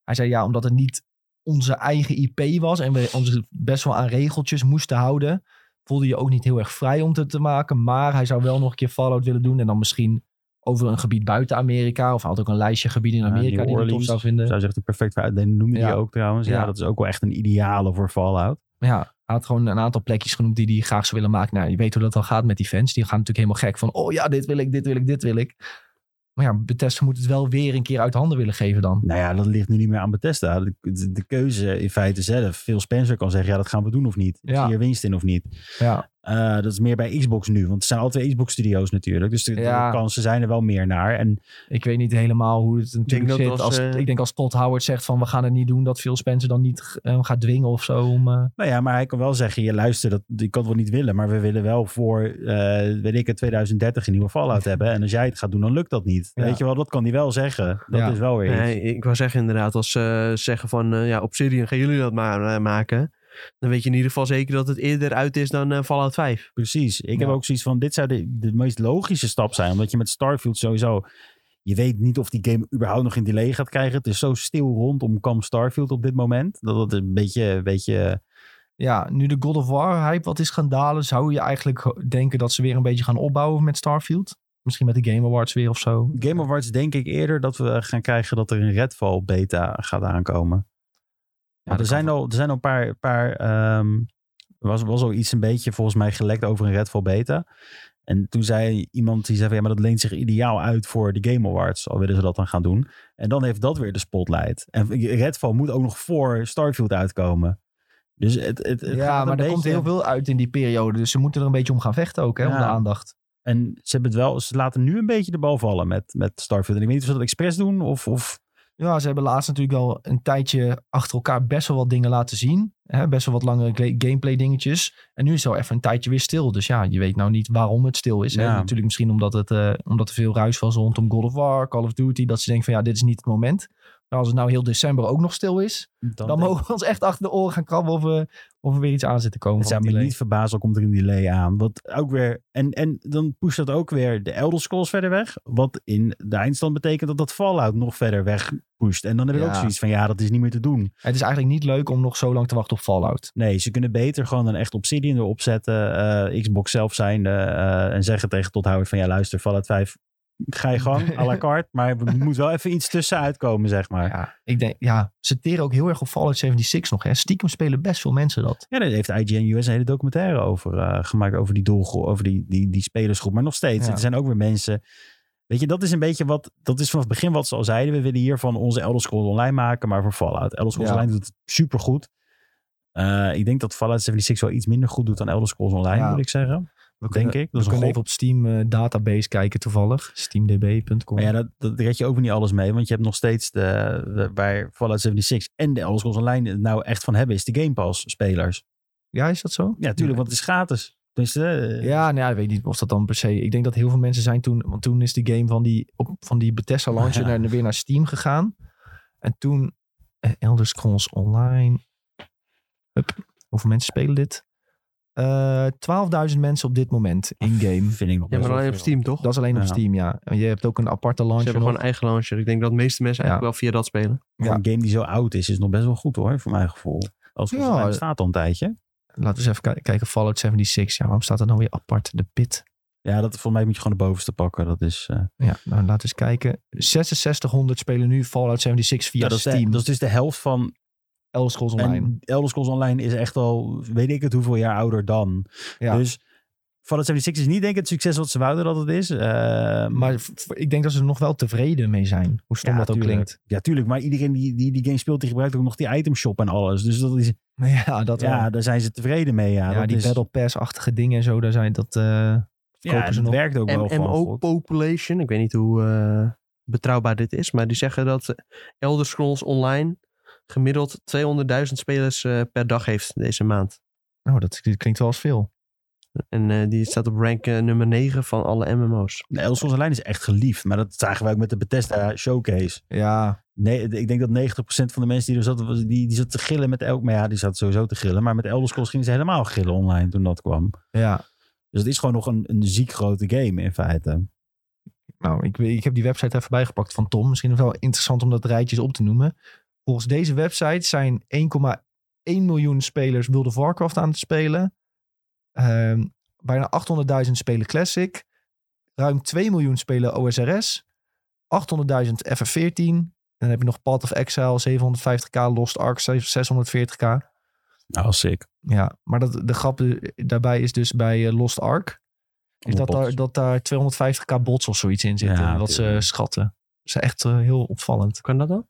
hij zei ja, omdat het niet onze eigen IP was en we ons best wel aan regeltjes moesten houden, voelde je ook niet heel erg vrij om het te maken. Maar hij zou wel nog een keer Fallout willen doen en dan misschien over een gebied buiten Amerika. Of hij had ook een lijstje gebieden in
Ja,
Amerika
New
die hij tof
Orleans
zou vinden.
Zou zegt er perfect voor uitdelen. Noemde die
Ja.
ook trouwens. Ja,
Ja.
dat is ook wel echt een ideale voor Fallout.
Ja, hij had gewoon een aantal plekjes genoemd die hij graag zou willen maken. Nou, je weet hoe dat dan gaat met die fans. Die gaan natuurlijk helemaal gek van, oh ja, dit wil ik, dit wil ik, dit wil ik. Maar ja, Bethesda moet het wel weer een keer uit handen willen geven dan.
Nou ja, dat ligt nu niet meer aan Bethesda. De, de, de keuze in feite zelf. Phil Spencer kan zeggen, ja, dat gaan we doen of niet.
Ja.
Zie je winst in of niet.
Ja,
Eh, dat is meer bij Xbox nu. Want het zijn altijd Xbox studios natuurlijk. Dus de, de
Ja.
kansen zijn er wel meer naar. En
ik weet niet helemaal hoe het natuurlijk
dat
zit.
als,
Als,
eh,
Ik denk als Todd Howard zegt van, we gaan het niet doen, dat Phil Spencer dan niet eh, gaat dwingen of zo. Om, eh,
nou ja, maar hij kan wel zeggen, je luister, dat, je kan het wel niet willen. Maar we willen wel voor, eh, weet ik het, 2030 een nieuwe
[LAUGHS]
Fallout hebben. En als jij het gaat doen, dan lukt dat niet.
Ja.
Weet je wel, dat kan hij wel zeggen. Dat
Ja.
is wel weer iets.
Nee, ik wou zeggen inderdaad, als ze zeggen van eh, ja, Obsidian gaan jullie dat maar eh, maken. Dan weet je in ieder geval zeker dat het eerder uit is dan eh, Fallout 5.
Precies. Ik heb
Ja.
ook zoiets van, dit zou de, de meest logische stap zijn. Omdat je met Starfield sowieso... Je weet niet of die game überhaupt nog in delay gaat krijgen. Het is zo stil rondom Camp Starfield op dit moment. Dat het een beetje... Een beetje
ja, nu de God of War hype wat is gaan dalen, zou je eigenlijk ho- denken dat ze weer een beetje gaan opbouwen met Starfield? Misschien met de Game Awards weer of zo.
Game Awards denk ik eerder dat we gaan krijgen dat er een Redfall beta gaat aankomen. Want er,
dat
zijn
kan
al, er zijn al een paar... paar ehm, was, was al iets een beetje volgens mij gelekt over een Redfall beta. En toen zei iemand die zei van ja, maar dat leent zich ideaal uit voor de Game Awards. Al willen ze dat dan gaan doen. En dan heeft dat weer de spotlight. En Redfall moet ook nog voor Starfield uitkomen. Dus het, het, het gaat
ja,
een
maar er komt
beetje-
heel veel uit in die periode. Dus ze moeten er een beetje om gaan vechten ook, hè, om
Ja.
de aandacht.
En ze, hebben het wel, ze laten nu een beetje de bal vallen met, met Starfield. En ik weet niet of ze dat expres doen of... of
Ja, ze hebben laatst natuurlijk al een tijdje achter elkaar best wel wat dingen laten zien. Hè? Best wel wat langere ga- gameplay dingetjes. En nu is het al even een tijdje weer stil. Dus ja, je weet nou niet waarom het stil is. Hè?
Ja.
Natuurlijk misschien omdat, het, eh, omdat er veel ruis was rondom God of War, Call of Duty. Dat ze denken van ja, dit is niet het moment. Maar als het nou heel december ook nog stil is, dan, mogen we ons echt achter de oren gaan krabben of, we of er weer iets aan zit te komen.
Het
van
zou me
delay.
niet verbazen, al komt er een delay aan. Wat ook weer, en, en dan pusht dat ook weer de Elder Scrolls verder weg. Wat in de eindstand betekent dat dat Fallout nog verder weg pusht. En dan heb ik
Ja.
ook zoiets van, ja, dat is niet meer te doen.
Het is eigenlijk niet leuk om nog zo lang te wachten op Fallout.
Nee, ze kunnen beter gewoon een echt Obsidian erop zetten. eh, Xbox zelf zijn en zeggen tegen Todd Howard van, ja, luister, Fallout 5, ga je
[LAUGHS]
gang, à la carte. Maar er moet wel even iets tussenuit komen, zeg maar. Ja,
Ja, ik denk, ja, ze teren ook heel erg op Fallout 76 nog. Hè. Stiekem spelen best veel mensen dat.
daar heeft IGN US een hele documentaire over eh, gemaakt, over die doelgroep, over die, die, die spelersgroep. Maar nog steeds,
Ja.
er zijn ook weer mensen Weet je, dat is een beetje wat. Dat is vanaf het begin wat ze al zeiden. We willen hiervan onze Elder Scrolls Online maken, maar voor Fallout. Elder Scrolls
Ja.
Online doet het supergoed. Eh ik denk dat Fallout 76 wel iets minder goed doet dan Elder Scrolls Online,
Ja.
moet ik zeggen.
We
Denk ik. Dat is
we
een
kunnen
gok.
even op Steam eh, database kijken toevallig. Steamdb.com.
Maar Oh ja, dat, dat red je ook niet alles mee. Want je hebt nog steeds de, de- waar Fallout 76 en de Elder Scrolls Online het nou echt van hebben, is de Game Pass spelers.
Ja, is dat zo?
Ja, tuurlijk, want het is gratis. Dus, eh,
Ja, nou ja, ik weet niet of dat dan per se... Ik denk dat heel veel mensen zijn toen... Want toen is die game van die, op, van die Bethesda
[LAUGHS]
launcher
Ja.
naar, weer naar Steam gegaan. En toen eh, Elder Scrolls Online... Hup, hoeveel mensen spelen dit? Eh 12.000 mensen op dit moment in-game.
vind ik nog
Ja, maar
best wel
alleen op
veel.
Steam toch?
Dat is alleen op
Ja.
Steam, ja. En je hebt ook een aparte
Ze
launcher
hebben gewoon
nog.
een eigen launcher. Ik denk dat de meeste mensen
Ja.
eigenlijk wel via dat spelen.
Voor
Ja.
Een game die zo oud is, is nog best wel goed hoor, voor mijn gevoel. Als
Ja.
ja. staat al een tijdje.
Laten we eens even ki- kijken. Fallout 76. Ja, waarom staat dat nou weer apart? De pit.
Ja, dat, volgens mij moet je gewoon de bovenste pakken. Dat is, eh,
Ja, nou laten we eens kijken. 6600 spelen nu Fallout 76 via
ja, dat, is de,
Steam.
dat is dus de helft van...
Elder Scrolls Online.
En Elder Scrolls Online is echt al, weet ik het, hoeveel jaar ouder dan.
Ja.
Dus Fallout 76 is niet denk ik het succes wat ze wouden dat het is. eh,
maar v- v- ik denk dat ze er nog wel tevreden mee zijn. Hoe stom
Ja,
dat ook
tuurlijk.
klinkt. [LAUGHS]
ja, tuurlijk. Maar iedereen die die, die game speelt, die gebruikt ook nog die itemshop en alles. Dus dat is,
Ja, dat wel.
Ja, daar zijn ze tevreden mee. Ja,
Ja,
dat
die
is,
Battle Pass-achtige dingen en zo, daar zijn dat... eh,
ja,
kopen ze
dat
nog.
werkt ook wel gewoon
MMO
goed.
Population. Ik weet niet hoe eh, betrouwbaar dit is. Maar die zeggen dat eh, Elder Scrolls Online gemiddeld 200.000 spelers eh, per dag heeft deze maand.
nou, dat klinkt wel als veel.
En eh, die staat op rank eh, nummer 9 van alle MMO's.
Nee, Elder Scrolls Online is echt geliefd. Maar dat zagen wij ook met de Bethesda Showcase.
Ja,
Nee, ik denk dat 90% van de mensen die er zaten, was- die, die zat te gillen met elk. Maar ja, die zat sowieso te gillen. Maar met Elder Scrolls gingen ze helemaal gillen online toen dat kwam.
ja.
Dus het is gewoon nog een, een ziek grote game in feite.
Nou, ik, ik heb die website even bijgepakt van Tom. Misschien wel interessant om dat rijtjes op te noemen. Volgens deze website zijn 1,1 miljoen spelers World of Warcraft aan het spelen. Ehm, bijna 800.000 spelen Classic. Ruim 2 miljoen spelen OSRS. 800.000 FF14. Dan heb je nog Path of Exile, 750k, Lost Ark, 640k.
Nou, sick.
Ja, maar dat, de grap eh, daarbij is dus bij eh, Lost Ark. Is
Allemaal
dat daar,
bots.
dat daar 250k bots of zoiets in zitten.
Ja,
wat ze
tuurlijk.
schatten. Dat is echt eh, heel opvallend.
Kan dat dan?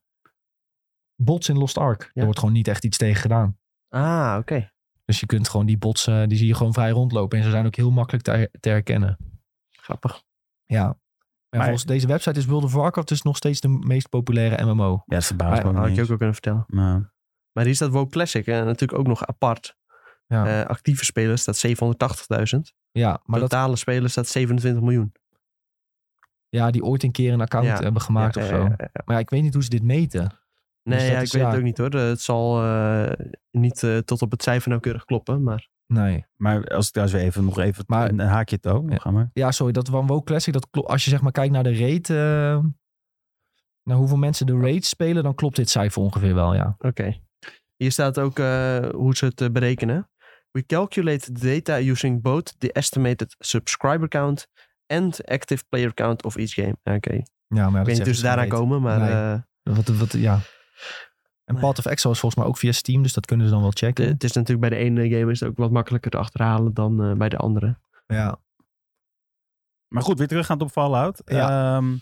Bots in Lost Ark.
Ja.
Er wordt gewoon niet echt iets tegen gedaan.
Ah, oké.
Dus je kunt gewoon die bots, eh, die zie je gewoon vrij rondlopen. En ze zijn ook heel makkelijk te, her- te herkennen.
Grappig.
Ja. Maar,
Maar-
volgens deze website is World of Warcraft dus nog steeds de meest populaire MMO.
Ja, dat verbaast
Maar,
me ook
had
niet
ik je ook
eens.
al kunnen vertellen.
Maar-
Maar hier staat WoW Classic eh, natuurlijk ook nog apart.
Ja,
Eh, actieve spelers staat 780.000.
ja maar dat,
Totale spelers staat 27 miljoen.
ja, die ooit een keer een account
Ja.
hebben gemaakt
Ja,
of
ja,
zo.
ja, ja.
Maar ja, ik weet niet hoe ze dit meten.
Nee,
Dus dat
ja, ik
is-
weet
ja.
het ook niet hoor. Eh, Het zal eh, niet eh, tot op het cijfer nauwkeurig kloppen, maar
Nee.
Maar als ik trouwens weer even nog even
Maar-
een, een haakje toe.
Ja.
Ga maar.
Ja, sorry, dat One WoW Classic, dat klopt. Als je zeg maar kijkt naar de rate, eh, naar hoeveel mensen de rate spelen, dan klopt dit cijfer ongeveer wel, ja.
oké. Hier staat ook eh, hoe ze het eh, berekenen. We calculate the data using both the estimated subscriber count and active player count of each game. Oké,
Ja, maar
ik weet niet hoe ze daaraan komen, maar
Nee.
eh,
Wat, wat, ja. En
Nee.
Path of Exile is volgens mij ook via Steam, dus dat kunnen ze dan wel
de-
checken.
het is natuurlijk bij de ene game is het ook wat makkelijker te achterhalen dan eh, bij de andere.
Ja,
Maar goed, weer teruggaand op Fallout. Ehm,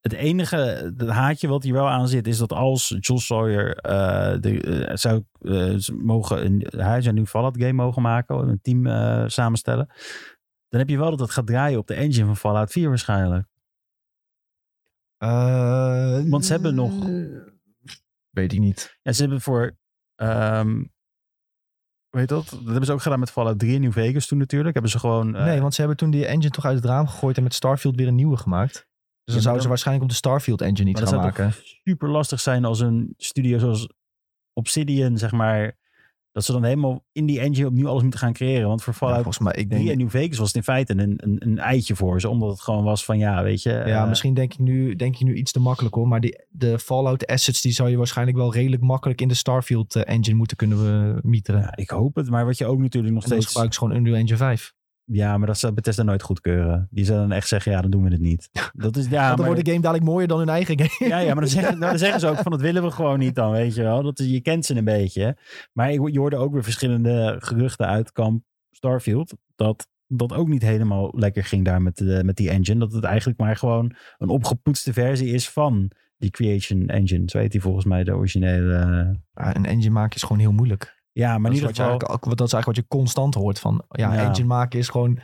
het enige het haatje wat hier wel aan zit, is dat als Josh Sawyer eh, de, eh, zou eh, ze mogen een, hij zou nu Fallout game mogen maken, een team eh, samenstellen, dan heb je wel dat het gaat draaien op de engine van Fallout 4 waarschijnlijk.
Eh,
Want ze hebben nog-
Weet ik niet.
Ja, ze hebben voor. ehm, weet dat? Dat hebben ze ook gedaan met Fallout 3 in New Vegas toen natuurlijk. Hebben ze gewoon. eh,
nee, want ze hebben toen die engine toch uit het raam gegooid en met Starfield weer een nieuwe gemaakt. Dus dan
maar
zouden
dan-
ze waarschijnlijk op de Starfield engine iets
Maar dat
gaan
zou toch
maken.
super lastig zijn als een studio zoals Obsidian, zeg maar. Dat ze dan helemaal in die engine opnieuw alles moeten gaan creëren. Want voor
Ja,
Fallout
volgens mij, ik
3
denk
en New Vegas was het in feite een, een, een eitje voor ze. Omdat het gewoon was van, ja, weet je.
Ja,
eh,
misschien denk je, nu, denk je nu iets te makkelijk hoor. Maar die, de Fallout assets die zou je waarschijnlijk wel redelijk makkelijk in de Starfield eh, engine moeten kunnen we mieteren.
ja, ik hoop het. Maar wat je ook natuurlijk nog
en dat
steeds...
gebruiken ze gewoon Unreal Engine 5.
Ja, maar dat zou Bethesda nooit goedkeuren. Die zullen dan echt zeggen, ja, dan doen we het niet. Dat is, ja,
Want dan
maar,
wordt de game dadelijk mooier dan hun eigen game.
ja, ja, maar dan zeggen, nou, dan zeggen ze ook van, dat willen we gewoon niet dan, weet je wel. Dat is, je kent ze een beetje. Maar ik- je hoorde ook weer verschillende geruchten uit kamp Starfield. Dat dat ook niet helemaal lekker ging daar met, de, met die engine. Dat het eigenlijk maar gewoon een opgepoetste versie is van die Creation Engine. Zo heet die volgens mij de originele...
[LAUGHS]
eh,
Ja, een engine maken is gewoon heel moeilijk.
Ja, maar
dat,
in
is
ieder
wat je
geval...
eigenlijk, ook- dat is eigenlijk wat je constant hoort. Van, ja,
Ja.
engine maken is gewoon...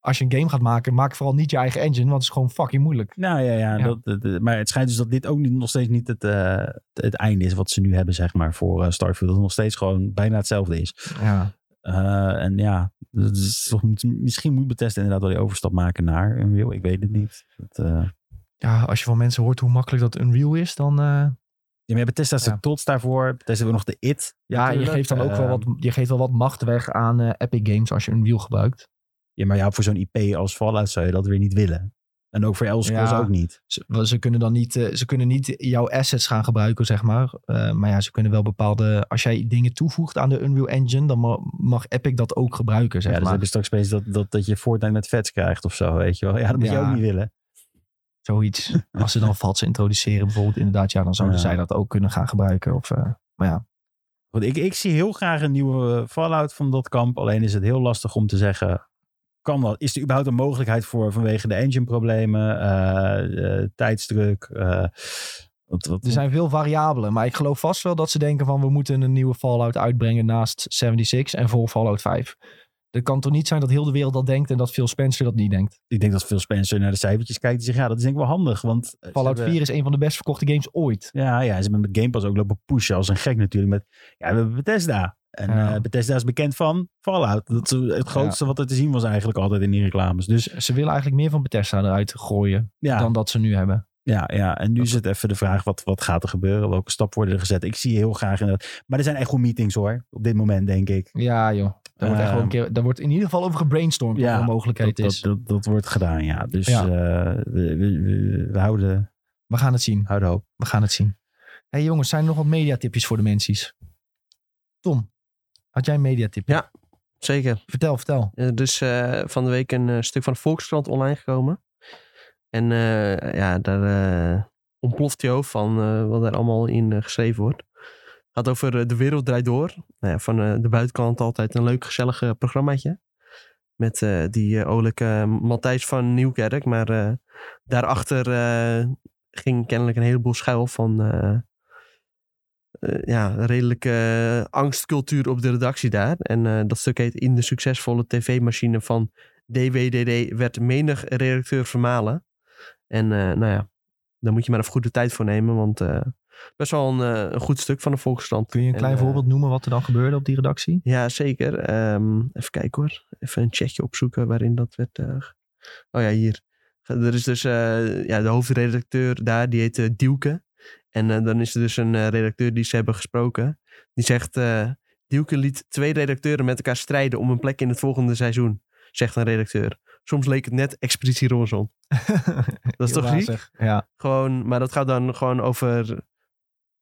Als je een game gaat maken, maak vooral niet je eigen engine. Want het is gewoon fucking moeilijk.
Nou ja, ja,
Ja.
Dat, dat- dat- maar het schijnt dus dat dit ook niet, nog steeds niet het, eh, het- het einde is wat ze nu hebben, zeg maar, voor eh, Starfield. Dat het nog steeds gewoon bijna hetzelfde is.
Ja.
Eh, en ja, dat is toch, moet- misschien moet Bethesda inderdaad wel die overstap maken naar Unreal. Ik weet het niet. Dat, eh,
ja, als je van mensen hoort hoe makkelijk dat Unreal is, dan... eh,
ja, maar Bethesda is
Ja.
er trots daarvoor. Bethesda wil nog de IT.
ja, je
natuurlijk.
geeft dan ook wel
Eh,
wat, je geeft wel wat macht weg aan eh, Epic Games als je Unreal gebruikt.
Ja, maar ja, voor zo'n IP als Fallout zou je dat weer niet willen. En ook voor Elder Scrolls
Ja.
ook niet.
Ze, wel, ze kunnen dan niet, eh, ze kunnen niet jouw assets gaan gebruiken, zeg maar. Eh, maar ja, ze kunnen wel bepaalde. Als jij dingen toevoegt aan de Unreal Engine, dan ma- mag Epic dat ook gebruiken, zeg
ja, dus
maar.
heb je straks opeens dat, dat, dat je Fortnite met vets krijgt of zo, weet je wel. Ja, dat moet je
Ja.
ook niet willen.
[LAUGHS] Zoiets. Als ze dan vals introduceren, bijvoorbeeld, inderdaad, ja, dan zouden
Ja.
zij dat ook kunnen gaan gebruiken. Of, eh, maar ja,
Want ik, ik zie heel graag een nieuwe eh, Fallout van dat kamp. Alleen is het heel lastig om te zeggen. Kan dat? Is er überhaupt een mogelijkheid voor vanwege de engine problemen, eh, eh, tijdsdruk, eh, Wat, wat,
Er zijn veel variabelen, maar ik geloof vast wel dat ze denken van we moeten een nieuwe Fallout uitbrengen naast 76 en voor Fallout 5. Het kan toch niet zijn dat heel de wereld dat denkt en dat Phil Spencer dat niet denkt.
Ik denk dat veel Spencer naar de cijfertjes kijkt en zegt, ja, dat is denk ik wel handig. Want eh, ze
Fallout
hebben-
4 is een van de best verkochte games ooit.
Ja, ja, ze hebben met Game Pass ook lopen pushen als een gek natuurlijk. Met, ja, we hebben Bethesda. En
Ja.
eh, Bethesda is bekend van Fallout. Dat is het grootste wat er te zien was eigenlijk altijd in die reclames. Dus
Dus ze willen eigenlijk meer van Bethesda eruit gooien
ja,
dan dat ze nu hebben.
ja, ja. en nu is het even de vraag, wat, wat gaat er gebeuren? Welke stappen worden er gezet? Ik zie heel graag inderdaad. Maar er zijn echt goede meetings hoor, op dit moment denk ik.
Ja joh, daar wordt, echt wel een
Ehm.
keer, daar wordt in ieder geval over gebrainstormd
Ja,
wat een
Dat,
mogelijkheid
dat,
is.
dat, dat wordt gedaan, ja. Dus
Ja.
eh, we, we- we- we houden,
We gaan het zien,
houden hoop.
we gaan het zien. Hé hey jongens, zijn er nog wat mediatipjes voor de mensies? Tom, had jij een mediatip?
Ja. Zeker.
Vertel, vertel.
Er dus eh, van de week een eh, stuk van de Volkskrant online gekomen. En eh, ja, daar eh, ontploft je hoofd van eh, wat daar allemaal in eh, geschreven wordt. Het gaat over eh, De Wereld Draait Door. Nou ja, van eh, de buitenkant altijd een leuk, gezellig eh, programmaatje. Met eh, die eh olijke Matthijs van Nieuwkerk. Maar eh, daarachter eh, ging kennelijk een heleboel schuil van... eh, eh, ja, redelijke eh, angstcultuur op de redactie daar. En eh, dat stuk heet In de succesvolle tv-machine van DWDD werd menig redacteur vermalen. En eh, nou ja, daar moet je maar even goed de tijd voor nemen, want eh, best wel een, eh, een goed stuk van de Volkskrant.
Kun je een
En,
klein
eh,
voorbeeld noemen wat er dan gebeurde op die redactie?
Ja, zeker. Ehm, even kijken hoor. Even een chatje opzoeken waarin dat werd. eh, ge- oh ja, hier. Er is dus eh, ja, de hoofdredacteur daar, die heet eh, Dielke. En eh, dan is er dus een eh, redacteur die ze hebben gesproken. Die zegt, eh Dielke liet twee redacteuren met elkaar strijden om een plek in het volgende seizoen, zegt een redacteur. Soms leek het net Expeditie Robinson. [LAUGHS] Dat is
Heel
toch ziek?
wazig. Ja.
Gewoon, maar dat gaat dan gewoon over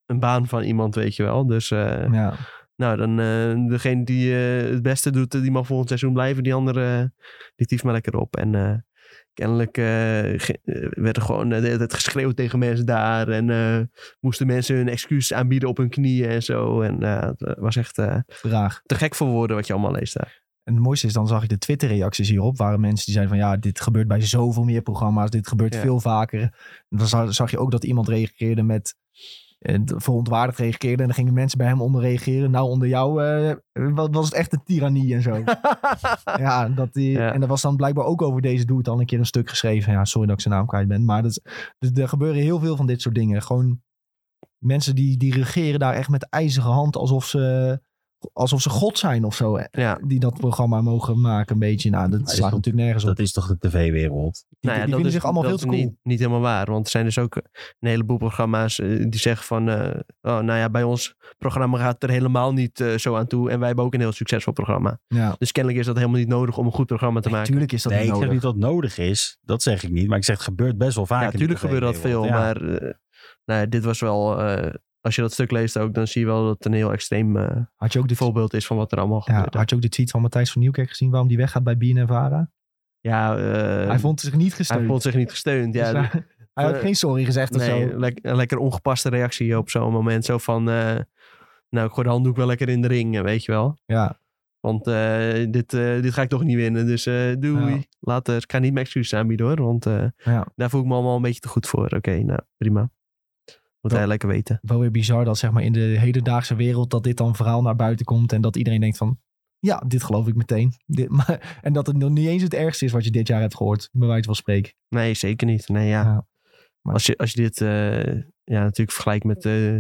een baan van iemand, weet je wel. Dus eh,
ja.
nou, dan eh, degene die eh, het beste doet, eh, die mag volgend seizoen blijven. Die andere, eh, die tief maar lekker op. En eh, kennelijk eh, ge- eh, werd er gewoon eh, de hele tijd geschreeuwd tegen mensen daar. En eh, moesten mensen hun excuus aanbieden op hun knieën en zo. En eh, het was echt eh,
Vraag.
te gek voor woorden wat je allemaal leest
[LAUGHS]
daar.
En het mooiste is, dan zag ik de Twitter-reacties hierop. Waren mensen die zeiden van ja, dit gebeurt bij zoveel meer programma's. Dit gebeurt
Ja.
veel vaker. En dan za- zag je ook dat iemand reageerde met eh, d- verontwaardigd reageerde. En dan gingen mensen bij hem onder reageren. Nou, onder jou eh, wa- was het echt een tirannie en zo. ja, dat die,
Ja.
en er was dan blijkbaar ook over deze doet al een keer een stuk geschreven. Ja, sorry dat ik zijn naam kwijt ben. Maar dat, is- dus er gebeuren heel veel van dit soort dingen. Gewoon mensen die, die regeren daar echt met ijzeren hand alsof ze, alsof ze god zijn of zo
ja.
die dat programma mogen maken een beetje. Nou, dat
is
slaat
toch-
natuurlijk nergens op.
Dat is toch de tv-wereld?
Die,
Nou ja,
die
dat
vinden
is-
zich allemaal veel
dat
te
is
cool.
Niet, niet helemaal waar, want er zijn dus ook een heleboel programma's eh, die zeggen van... eh, oh, nou ja, bij ons programma gaat het er helemaal niet eh, zo aan toe. En wij hebben ook een heel succesvol programma.
Ja.
Dus kennelijk is dat helemaal niet nodig om een goed programma te maken.
Natuurlijk is dat
nee,
niet
ik zeg
nodig.
niet dat het nodig is. Dat zeg ik niet. Maar ik zeg, het gebeurt best wel vaak.
Ja,
in de
natuurlijk gebeurt dat veel,
tv-wereld. Ja.
maar eh, nou ja, dit was wel... eh, als je dat stuk leest ook, dan zie je wel dat het een heel extreem eh,
Had, je ook de t-
voorbeeld is van wat er allemaal
ja,
gebeurt.
had je ook de tweet van Matthijs van Nieuwkerk gezien waarom die weggaat bij BNNVARA?
Ja, eh,
hij vond zich niet
hij
gesteund.
voelt zich niet gesteund. Ja,
Dus hij, hij had
eh,
geen sorry gezegd of
nee,
zo.
lek- een lekker ongepaste reactie op zo'n moment. Zo van, eh, nou, ik gooi de handdoek wel lekker in de ring, eh, weet je wel.
Ja,
Want eh, dit, eh, dit ga ik toch niet winnen, dus eh, doei.
Ja.
Later, ik ga niet mijn excuses aanbieden hoor, want eh,
ja,
daar voel ik me allemaal een beetje te goed voor. Oké, nou, prima. Moet
Dat-
hij lekker weten.
wel weer bizar dat zeg maar in de hedendaagse wereld dat dit dan verhaal naar buiten komt en dat iedereen denkt van ja, dit geloof ik meteen. [LAUGHS] Dit, maar, en dat het nog niet eens het ergste is wat je dit jaar hebt gehoord, bij wijze van spreken.
Nee, zeker niet. Nee, ja.
Ja, maar-
Als, je, als je dit eh, ja, natuurlijk vergelijkt met eh,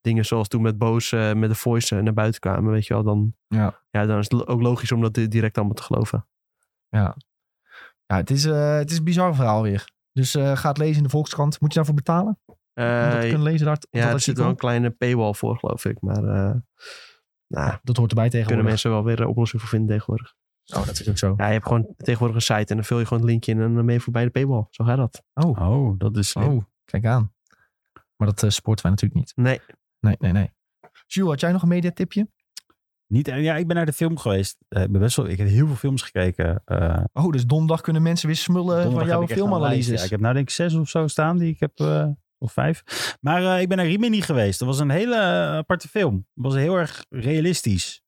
dingen zoals toen met Boos, eh, met de Voice eh, naar buiten kwamen, weet je wel, dan,
Ja.
Ja, dan is het lo- ook logisch om dat di- direct allemaal te geloven.
Ja, het is, eh, het is een bizar verhaal weer. Dus eh, ga het lezen in de Volkskrant. Moet je daarvoor betalen?
Eh,
Om dat te kunnen lezen daar.
ja,
dat,
er zit wel een kleine paywall voor, geloof ik. Maar eh, nou, daar
dat hoort erbij
kunnen
tegenwoordig.
mensen wel weer een oplossing voor vinden tegenwoordig.
Oh, dat is ook zo.
Ja, je hebt gewoon tegenwoordig een site en dan vul je gewoon het linkje in en dan ben je voorbij de paywall. Zo gaat dat.
Oh, dat is slim.
Oh, kijk aan. Maar dat eh sporten wij natuurlijk niet.
Nee,
Nee, nee, nee. Jules, had jij nog een mediatipje?
Niet, ja, ik ben naar de film geweest. Eh, ik, ben best wel, ik heb heel veel films gekeken. eh,
Oh, dus donderdag kunnen mensen weer smullen
Donderdag
eh, van
heb
jouw
ik echt een lijst,
filmanalyses.
ja. ik heb nou denk ik zes of zo staan die ik heb, eh, of vijf. Maar eh, ik ben naar Rimini geweest. Dat was een hele eh, aparte film. Het was heel erg realistisch.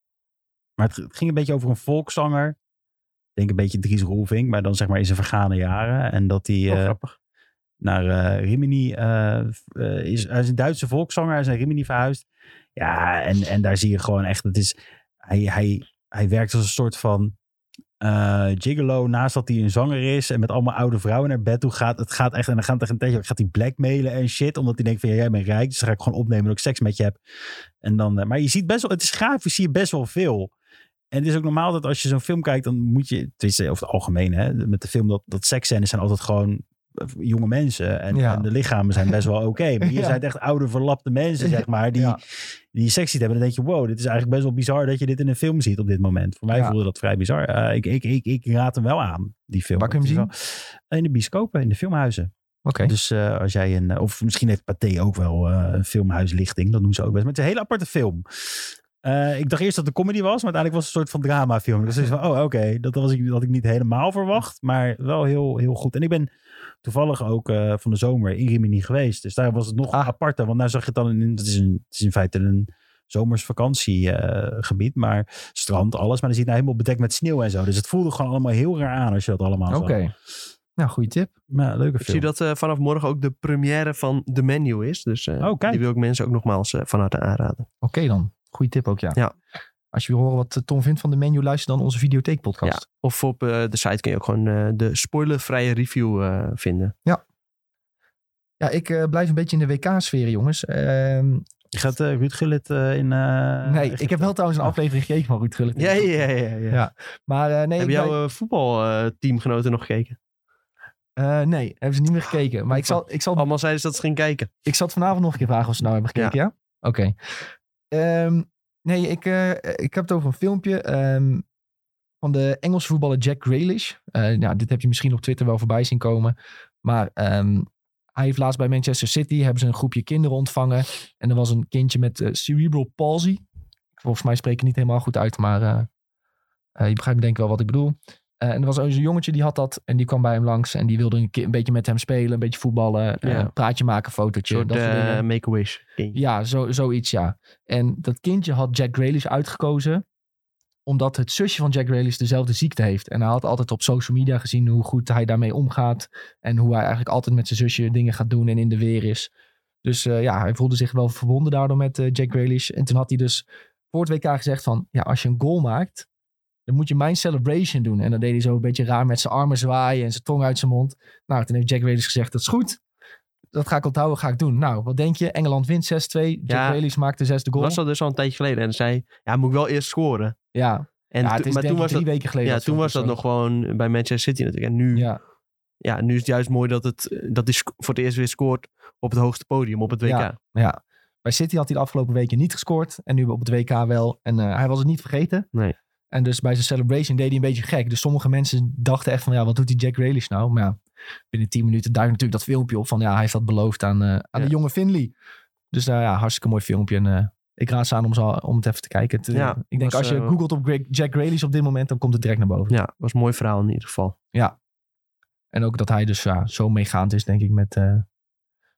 Maar het, het ging een beetje over een volkszanger. Ik denk een beetje Dries Roelvink, maar dan zeg maar in zijn vergane jaren. En dat hij...
wel
eh,
grappig.
naar eh, Rimini. eh, eh, is, hij is een Duitse volkszanger. Hij is naar Rimini verhuisd. Ja, en, en daar zie je gewoon echt... Het is, hij, hij, hij werkt als een soort van eh gigolo naast dat hij een zanger is. En met allemaal oude vrouwen naar bed toe gaat. Het gaat echt... En dan gaat tegen een tijdje gaat hij blackmailen en shit. Omdat hij denkt van ja, jij bent rijk. Dus dan ga ik gewoon opnemen dat ik seks met je heb. En dan, eh, maar je ziet best wel... Het is grafisch zie je best wel veel. En het is ook normaal dat als je zo'n film kijkt, dan moet je, tenminste over het algemeen, hè, met de film dat, dat seksscènes zijn altijd gewoon eh, jonge mensen. En,
Ja.
en de lichamen zijn best wel oké.
[LAUGHS]
maar hier
Ja.
zijn het echt oude, verlapte mensen, zeg maar, die,
Ja.
die seks ziet hebben. Dan denk je, wow, dit is eigenlijk best wel bizar dat je dit in een film ziet op dit moment. Voor mij
Ja.
voelde dat vrij bizar. Eh, ik, ik, ik, ik raad hem wel aan, die film.
Waar kun je hem
Het is wel- In de bioscopen, in de filmhuizen.
Oké.
Dus eh, als jij een, of misschien heeft Pathé ook wel eh, een filmhuislichting, dat doen ze ook best. Maar het is een hele aparte film. Eh, ik dacht eerst dat het een comedy was, maar uiteindelijk was het een soort van dramafilm. Dus ik van, oh oké, dat was ik, had ik niet helemaal verwacht, maar wel heel, heel goed. En ik ben toevallig ook eh, van de zomer in Rimini geweest, dus daar was het nog
Ah.
aparter. Want daar zag je het dan, in, het, is een, het is in feite een zomersvakantiegebied, maar strand, alles. Maar dan zit nou helemaal bedekt met sneeuw en zo. Dus het voelde gewoon allemaal heel raar aan als je dat allemaal
Oké.
zag.
Nou, goede tip.
Maar leuke
Ik zie
film.
dat eh, vanaf morgen ook de première van The Menu is. Dus eh,
Oh, kijk.
die wil ik mensen ook nogmaals eh, van harte aanraden.
Oké dan. Goede tip ook, ja.
Ja.
Als je wil horen wat eh, Tom vindt van de menu, luister dan onze videotheekpodcast.
Ja. Of op eh, de site kun je ook gewoon eh, de spoilervrije review eh, vinden.
Ja, ik eh, blijf een beetje in de WK-sfeer, jongens. Ehm,
Gaat eh, Ruud Gullit eh, in... eh,
nee,
Egypte?
ik heb
[LAUGHS]
wel trouwens een
Oh.
aflevering gekeken van Ruud Gullit.
Ja, ja, ja. ja, ja.
Ja, Maar eh, nee, ik
Hebben
blijf-
jouw eh, voetbalteamgenoten nog gekeken?
eh, nee, hebben ze niet meer gekeken. Maar ik zal, ik, zal,
Allemaal zeiden ze dat ze gingen kijken.
ik zal het vanavond nog een keer vragen of ze nou hebben gekeken, ja? Oké. Ehm, nee, ik, eh, ik heb het over een filmpje ehm, van de Engelse voetballer Jack Grealish. Eh, nou, dit heb je misschien op Twitter wel voorbij zien komen. Maar ehm, hij heeft laatst bij Manchester City hebben ze een groepje kinderen ontvangen. En er was een kindje met eh, cerebral palsy. Volgens mij spreek ik het niet helemaal goed uit, maar eh, eh, je begrijpt me denk ik wel wat ik bedoel. Eh, en er was een jongetje die had dat en die kwam bij hem langs. En die wilde een, ki- een beetje met hem spelen, een beetje voetballen, eh,
Ja.
praatje maken, fotootje.
Een soort
dat soort dingen.
eh, make-a-wish.
Ja, zo, zoiets ja. En dat kindje had Jack Grealish uitgekozen omdat het zusje van Jack Grealish dezelfde ziekte heeft. En hij had altijd op social media gezien hoe goed hij daarmee omgaat. En hoe hij eigenlijk altijd met zijn zusje dingen gaat doen en in de weer is. Dus eh, ja, hij voelde zich wel verbonden daardoor met eh, Jack Grealish. En toen had hij dus voor het WK gezegd van... Ja, als je een goal maakt, dan moet je mijn celebration doen. En dan deed hij zo een beetje raar met zijn armen zwaaien en zijn tong uit zijn mond. Nou, toen heeft Jack Grealish gezegd, dat is goed. Dat ga ik onthouden, ga ik doen. Nou, wat denk je? Engeland wint 6-2. Jack
Ja.
Grealish maakt de zesde goal.
was dat dus al een tijdje geleden. En zei, ja, moet ik wel eerst scoren.
Ja,
En
ja,
toen-
het is
maar
denk
toen
ik
was
drie
dat,
weken geleden.
ja,
dat
toen
filmpje
was dat
zo.
nog gewoon bij Manchester City natuurlijk. En nu, ja.
Ja,
nu is het juist mooi dat, het, eh, dat hij sc- voor het eerst weer scoort op het hoogste podium, op het WK.
Ja. ja. Bij City had hij de afgelopen weken niet gescoord. En nu op het WK wel. En eh, hij was het niet vergeten.
Nee.
En dus bij zijn celebration deed hij een beetje gek. Dus sommige mensen dachten echt van, ja, wat doet die Jack Grealish nou? Maar ja, binnen 10 minuten duikt natuurlijk dat filmpje op van, ja, hij heeft dat beloofd aan, eh, aan
Ja.
de jonge Finley. Dus nou ja, hartstikke mooi filmpje. En eh, ik raad ze aan om, ze al- om het even te kijken. Het, eh,
Ja,
ik denk
was,
als je
eh,
googelt op Greg- Jack Grealish op dit moment, dan komt het direct naar boven.
Ja, was een mooi verhaal in ieder geval.
En ook dat hij dus ja, zo meegaand is, denk ik, met, eh,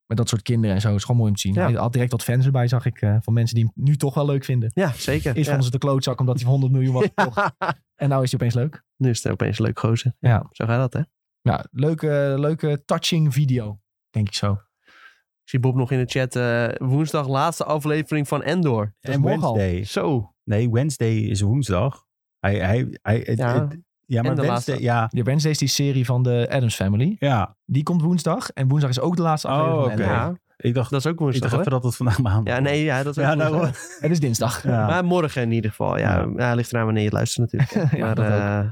met dat soort kinderen en zo. is gewoon mooi om te zien.
Ja.
Hij had direct wat fans erbij, zag ik, eh, van mensen die hem nu toch wel leuk vinden.
Ja, zeker.
Eerst
ja.
vonden ze het een klootzak omdat hij voor 100 miljoen was verkocht. En nou is hij opeens leuk.
Nu is het opeens leuk gozer.
Ja.
Zo gaat dat, hè?
Ja, leuke, leuke touching video, denk ik zo.
Ik zie Bob nog in de chat. eh, woensdag laatste aflevering van Endor.
is
en
morgen al.
Wednesday.
Zo.
Nee, Wednesday is woensdag. Hij, hij, hij, het- het-
Ja.
ja. maar
de
Wednesday,
laatste.
ja.
De Wednesday is die serie van de Adams Family.
ja.
Die komt woensdag. En woensdag is ook de laatste
Oh,
aflevering. eh, van
oké.
Endor.
Ja,
Ik dacht,
dat is ook
ik
woensdag,
dacht
hoor.
even dat het vandaag maandag
Ja,
was.
nee, ja, dat is ook
Ja, nou,
woensdag.
Het is dinsdag. [LAUGHS]
ja.
Maar morgen in ieder geval. Ja,
Ja.
Ja, ligt eraan wanneer je het luistert natuurlijk.
[LAUGHS] Ja,
maar
dat ook.
eh,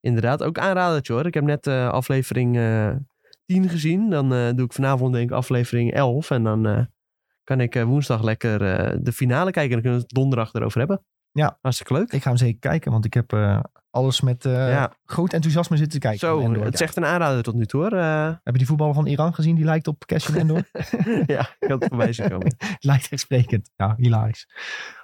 inderdaad, ook aanradertje hoor. Ik heb net eh, aflevering eh 10 gezien. Dan eh, doe ik vanavond denk ik aflevering 11. En dan eh, kan ik eh, woensdag lekker eh, de finale kijken. En dan kunnen we het donderdag erover hebben.
Ja.
Hartstikke leuk.
Ik ga hem zeker kijken, want ik heb eh, alles met eh,
ja,
groot enthousiasme zitten kijken.
zo.
van Endor.
het is echt een aanrader tot nu toe hoor. Eh, [LAUGHS]
Heb je die voetballer van Iran gezien? Die lijkt op Cash Endor.
ja, ik had het voorbij zien komen.
[LAUGHS] Lijkt echt sprekend. Ja, hilarisch.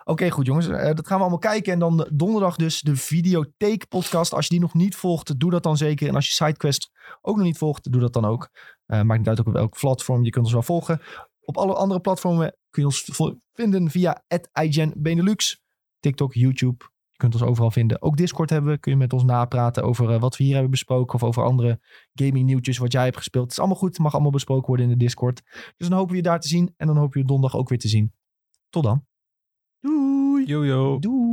Oké, goed jongens. Eh, dat gaan we allemaal kijken. En dan donderdag dus de Videotheek podcast. Als je die nog niet volgt, doe dat dan zeker. En als je SideQuest ook nog niet volgt, doe dat dan ook. Eh, maakt niet uit op welk platform. Je kunt ons wel volgen. Op alle andere platformen kun je ons vo- vinden via @igenbenelux, TikTok, YouTube, Je kunt ons overal vinden. Ook Discord hebben we. Kun je met ons napraten over eh, wat we hier hebben besproken. Of over andere gaming nieuwtjes wat jij hebt gespeeld. Het is allemaal goed. Het mag allemaal besproken worden in de Discord. Dus dan hopen we je daar te zien. En dan hopen we je donderdag ook weer te zien. Tot dan. Doei.
Jojo.
Doei.